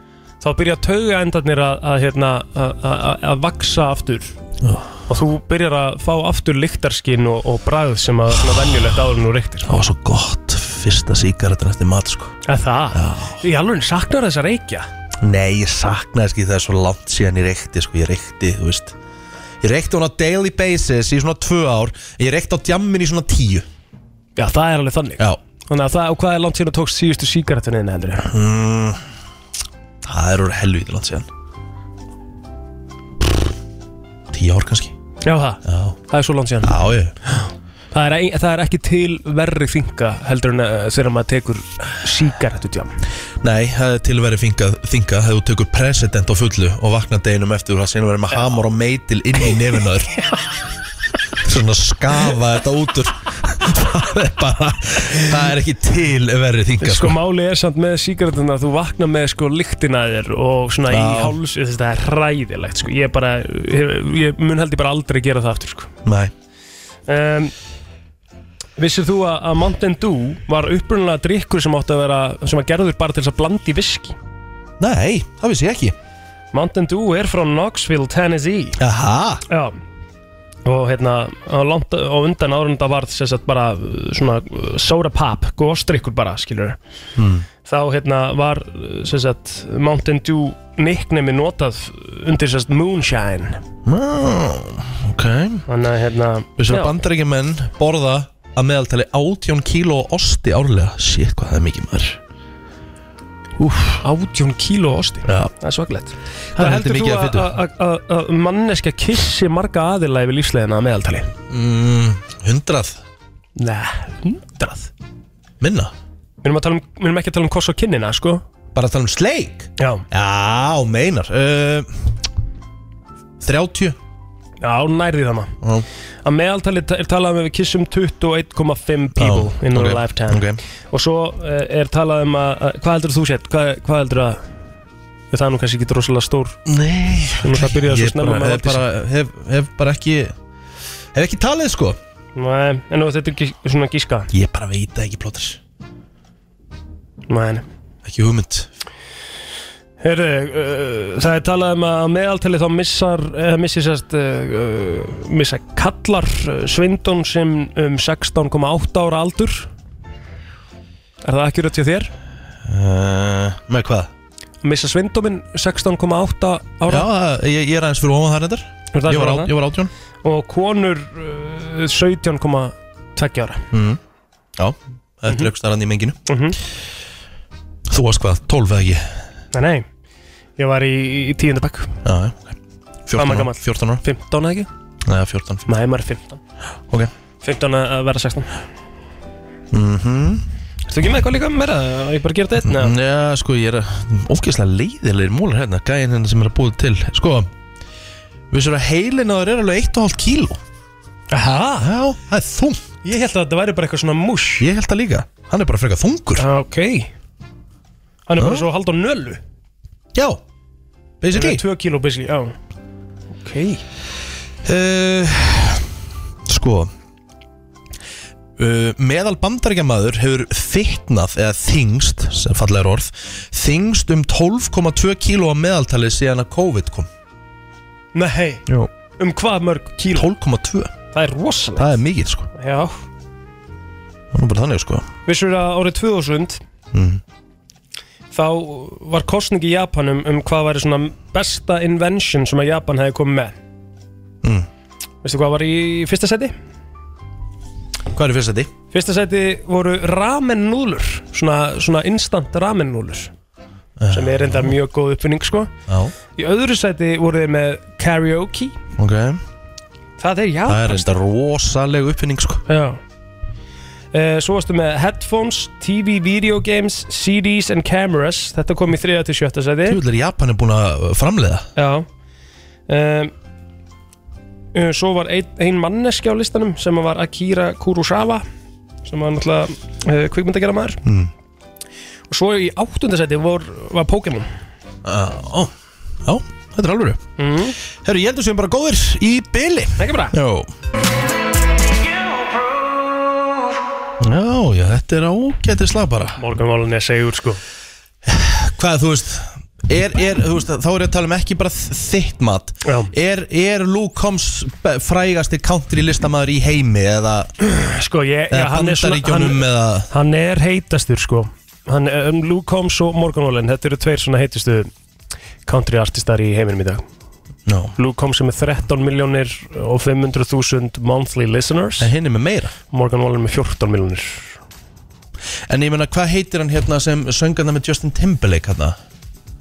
S1: þá byrja taugaendarnir að, að, hérna, að- að að vaksa aftur
S4: Oh.
S1: og þú byrjar að fá aftur lyktarskinn og, og bragð sem að svona venjulegt áður en þú reyktir
S4: Það var svo gott Fyrsta sígaretin eftir mat sko
S1: Eða það? Ég alveg saknar þess að reykja
S4: Nei, ég saknaði ekki það er svo langt síðan ég reykti sko, ég reykti, þú veist Ég reykti hún á daily basis í svona tvö ár Ég reykti á djammin í svona tíu
S1: Já, það er alveg þannig
S4: Já
S1: Þannig að það, og hvað er langt síðan að tókst síðustu sígarettinni þinni heldur ég?
S4: mm, Það er úr helvítið langt síðan Tíu ár kannski
S1: Já, það?
S4: Já
S1: Það er svo langt síðan
S4: Já, ég
S1: Það er, ein- það er ekki til verri þinga heldur en uh, þegar maður tekur sígarettu djam
S4: Nei, það er til að vera þinga, þinga þegar þú tekur president á fullu og vakna deginum eftir og það sinna verið með hamar og meitil inn í nefinar svona skafa þetta út úr það er bara það er ekki til verið þinga
S1: Sko máli er samt með sígarettuna að þú vakna með sko lyktina af þér og svona í
S4: Já.
S1: háls þetta er hræðilegt sko ég bara, ég, ég mun held ég bara aldrei gera það aftur sko
S4: Nei
S1: um, Vissir þú að, að Mountain Dew var upprunalega drikkur sem átti að vera sem að gerður bara til þess að blanda í viski
S4: Nei, það vissi ég ekki
S1: Mountain Dew er frá Knoxville, Tennessee
S4: Aha
S1: Já Og hérna, á, langt, á undan árunda varð sem sagt bara uh, svona uh, soda pop, góðstrykkur bara, skilur
S11: Hmm.
S1: Þá hérna var uh, sem sagt Mountain Dew nicknemi notað undir sem sagt moonshine
S4: mm, Ok
S1: Þannig að hérna
S4: Þessu
S1: já.
S4: að bandaríkjumenn borða að meðaltali 18 kíló osti árlega Sér hvað það er mikið maður
S1: Úf, 18 kíló osti
S4: Já.
S1: Það er svaklegt
S4: Það
S1: Hvað
S4: er heldur
S1: heldur þú
S4: mikið af
S1: að-
S4: fitu.
S1: að- að- að manneska kissi marga aðila yfir lífsleðina að meðaltali?
S4: mm, 100
S1: Nei, 100
S4: Minna?
S1: Við erum, að tala um, við erum ekki að tala um koss og kinnina, sko
S4: Bara að tala um sleik?
S1: Já
S4: Já, meinar uh, 30
S1: Já, nærði þannig
S4: Já.
S1: Að meðaltali ta- er talað um að við kissum 21,5 people
S4: Já,
S1: in our
S4: ok,
S1: lifetime
S4: ok.
S1: Og svo eh, er talað um að, að Hvað heldur þú sétt? Hvað, hvað heldur að Það er nú kannski ekki rosalega stór
S4: Nei
S1: Þú erum það byrjað svo
S4: Ég
S1: snemma
S4: bara, hef, bara, hef, hef bara ekki Hef ekki talið sko
S1: Nei, en nú þetta er ekki svona gíska
S4: Ég bara veit það ekki plóters
S1: Nei
S4: Ekki hugmynd
S1: Herru, uh, það er talað um að að meðaltali þá missar, eh, eða missi sérst, uh, uh, missa kallar uh, Svindón sem um 16,8 ára aldur. Er það ekki rött hjá þér?
S4: uh, Með hvað?
S1: Missa Svindóminn 16,8 ára.
S4: Já, ég, ég er aðeins fyrir ofan það reyndar
S1: Er það
S4: Ég var,
S1: fyrir
S4: á,
S1: ofan?
S4: ég var átjón
S1: Og konur uh, 17,2 ára.
S4: mm. Já, það er drögst þar hann í menginu
S1: Mhm.
S4: Þú varst hvað, 12 eða ekki?
S1: Nei, nei, ég var í, í tíundabæk.
S4: Já, já, ok 14 ára, 14 ára
S1: 15 eða ekki?
S4: Nei, 14
S1: Nei, maður er 15.
S4: Ok
S1: 15 að vera 16.
S4: mm
S1: Ertu ekki með eitthvað líka um meira? Ég bara gera þetta
S4: einn Já, sko, ég er ógeðslega leiðilegir múlar hérna Gæin hérna sem er að búið til Sko, við sér að heilin á þér er alveg 1,5 kíló
S1: Aha.
S4: Já, það er þung
S1: Ég held að þetta væri bara eitthvað svona mús
S4: Ég held það líka, hann er bara frekar þungur
S1: Ok Hann er bara svo hald á nölu
S4: Já, basically
S1: 2 kíló basically, já Ok
S4: uh, Sko uh, Meðal bandarækjamaður hefur þytnað eða þingst, sem fallega er orð þingst um 12,2 kíló að meðaltali síðan að COVID kom
S1: Nei,
S4: Jó.
S1: um hvað mörg kíló?
S4: 12,2
S1: Það er rosalegt
S4: Það er mikið sko,
S1: Já
S4: það er nú bara þannig sko
S1: Vissur að árið 2000
S4: Mhm.
S1: Þá var kostning í Japan um, um hvað væri svona besta invention sem að Japan hefði komið með
S4: Mm.
S1: Veistu hvað var í fyrsta seti?
S4: Hvað er í fyrsta seti?
S1: Fyrsta seti voru ramen núlur Svona, svona instant ramen núlur Sem er enda mjög góð uppfinning sko
S4: Já,
S1: Í öðru sæti voru þið með karaoke
S4: ok
S1: Það er já
S4: Það er þetta rosaleg uppfinning sko
S1: Já Eh, Svo varstu með headphones, TV, video games, CDs and cameras Þetta kom í þriða til sjötta sæti
S4: Tjóðlega Japan er búin að uh, framleiða
S1: Já um, Svo var ein, ein manneski á listanum sem var Akira Kurosawa sem var náttúrulega uh, kvikmyndagera maður
S4: Mm.
S1: og svo í áttundasæti var, var Pokémon
S4: Ó, já, þetta er alvöru
S1: mm.
S4: Herru, ég heldur sem bara góðir í byli
S1: Ekki bara
S4: Jó Já, já, þetta er ágætið slag bara
S1: Morgan Wallen er segur sko
S4: Hvað, þú veist Er, er, þú veist, þá er ég að tala um ekki bara þitt mat Já. Er, er Luke Combs be- frægasti country listamaður í heimi eða
S1: Sko, ég,
S4: Eða
S1: já, hann er svona
S4: Bandaríkjunum eða
S1: hann er heitastur sko hann, um, Luke Combs og Morgan Wallen þetta eru tveir svona heitustu country artistar í heiminum í dag
S4: no.
S1: Luke Combs er með 13 miljónir og 500.000 monthly listeners
S4: En hinn er með meira
S1: Morgan Wallen með 14 miljónir
S4: En ég meina, hvað heitir hann hérna sem söngan það með Justin Timberlake hérna?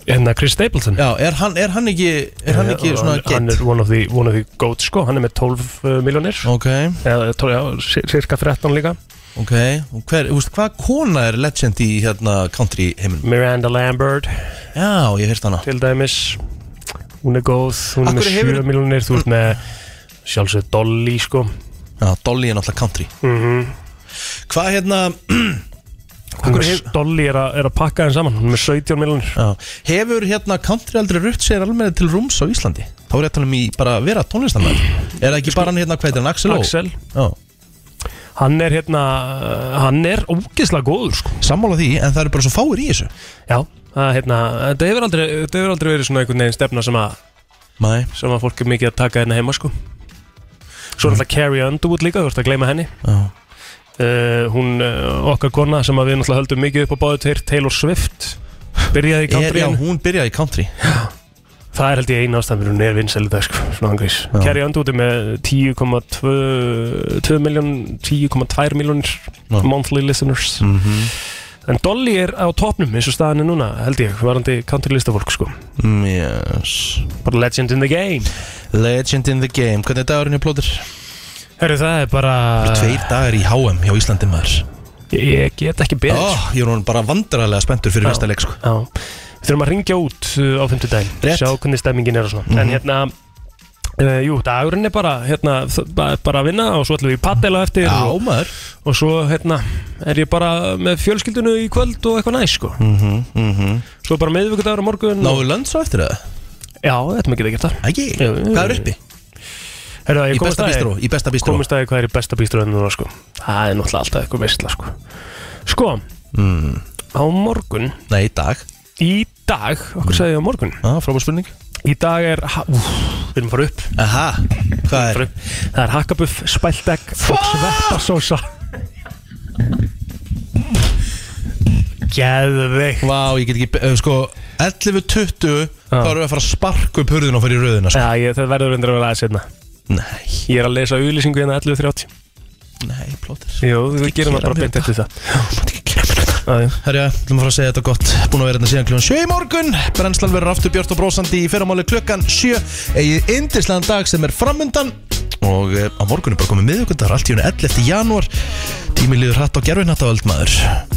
S1: Hérna Chris Stapleton
S4: Já, er hann, er hann ekki, er hann ekki svona
S1: Eh, hann, hann
S4: gett?
S1: er one of the, one of the goats sko hann er með 12 uh, miljónir
S4: okay.
S1: eða tól- já, cir- cirka 13 líka
S4: Ok, og hver, þú veist, hvað kona er legend í hérna country heiminum?
S1: Miranda Lambert
S4: Já, ég hef hana
S1: Til dæmis Hún er góð, hún er
S4: Af
S1: með
S4: hverju
S1: 7
S4: hefur-
S1: hefur... miljonir Þú ert með sjálfsög Dolly sko
S4: Já, Dolly er náttúrulega country
S1: mm -hmm.
S4: Hvað hérna
S1: Hún
S4: hverju
S1: er
S4: hefur-
S1: Dolly er, a, er að pakka henn saman Hún er með 17 miljonir
S4: Já. Hefur hérna country aldrei rutt sér alveg til rúms á Íslandi? Þá er ég að tala um í bara að vera tónlistamæður Er það ekki bara hann hérna, hvað heitir hann, Axel Ó?
S1: Axel.
S4: Já
S1: Hann er hérna, hann er ógeðslega góður sko
S4: Sammála því, en það eru bara svo fáir í þessu
S1: Já, það er hérna, þetta hefur aldrei, þetta hefur aldrei verið svona einhvern veginn stefna sem að
S4: Nei.
S1: Sem að fólk er mikið að taka hérna heima sko Svo er alltaf Carrie Underwood líka, þú ert að gleyma henni
S4: Já.
S1: Uh, hún, uh, okkar kona sem að við náttúrulega höldum mikið upp á báðu tveir Taylor Swift byrjaði í
S4: er,
S1: country
S4: Já, hún byrjaði í country
S1: Það er held ég eina ástæðan fyrir hún er vinsæl í dag sko, svona angrís. Kerry Underwood er með 10,2 miljón, 10,2 miljónir
S4: Já. Mm.
S1: monthly listeners. En Dolly er á topnum eins og staðan er núna, held ég, varandi country listafólk sko.
S4: mm, Yes
S1: Bara legend in the game
S4: Legend in the game, hvernig er dagurinn í plóður?
S1: Herru það er bara
S4: Bara tveir dagar í HM hjá Íslandi maður
S1: Ég get ekki betur.
S4: oh, Ég er hún bara vandræðilega spenntur fyrir næsta leik sko.
S1: Já, við þurfum að ringja út uh, á fimmtudaginn,
S4: Rétt.
S1: sjá hvernig stemmingin er og svona.
S4: Mhm.
S1: En hérna, uh, jú, dagurinn er bara, hérna, þ- ba- bara að vinna og svo ætlum við í paddela eftir.
S4: Já,
S1: og,
S4: maður.
S1: Og svo, hérna, er ég bara með fjölskyldinu í kvöld og eitthvað næ, sko.
S4: Mhm, mhm.
S1: Svo bara miðvikudagur og morgun.
S4: Náðu
S1: og-
S4: lönd svo eftir það?
S1: Já, þetta maður geta gert það.
S4: Ekki? Hvað er uppi?
S1: Herra, ég
S4: Í
S1: komist
S4: besta
S1: að því-
S4: bístró, í besta bístró.
S1: Komist að því hvað er í besta bístró núna, sko. Það er náttúrulega alltaf eitthvað veistla, sko. Sko,
S4: Mm.
S1: á morgun
S4: Nei, í dag
S1: Í dag,
S4: Mhm.
S1: okkur sagði ég á morgun
S4: Já, frábær spurning
S1: Í dag er, ha- úff, við erum að fara upp
S4: Aha, hvað er?
S1: Það er hakkabuff, spæltegg og sveppasósa Geðveikt
S4: Vá, ég get ekki, eh, sko 11.20 þá erum við að fara að sparka upp hurðin og fara í röðina sko.
S1: Já, ég, það verður reyndar að vera aðeins hérna
S4: Nei
S1: Ég er að lesa auðlýsingu hérna 11.30
S4: Nei, plótir
S1: Jú, við gerum það bara beint eftir það
S4: Herja, ætlum að fara að segja þetta gott Búin að vera hérna síðan kljóðan 7 í morgun Brennslan verður aftur björt og brósandi í fyrramáli klukkan 7 Egið indislegan dag sem er framundan Og eh, á morgun er bara komið miðugundar Allt í hún 11. janúar Tími líður hratt á gerfinhattavöld maður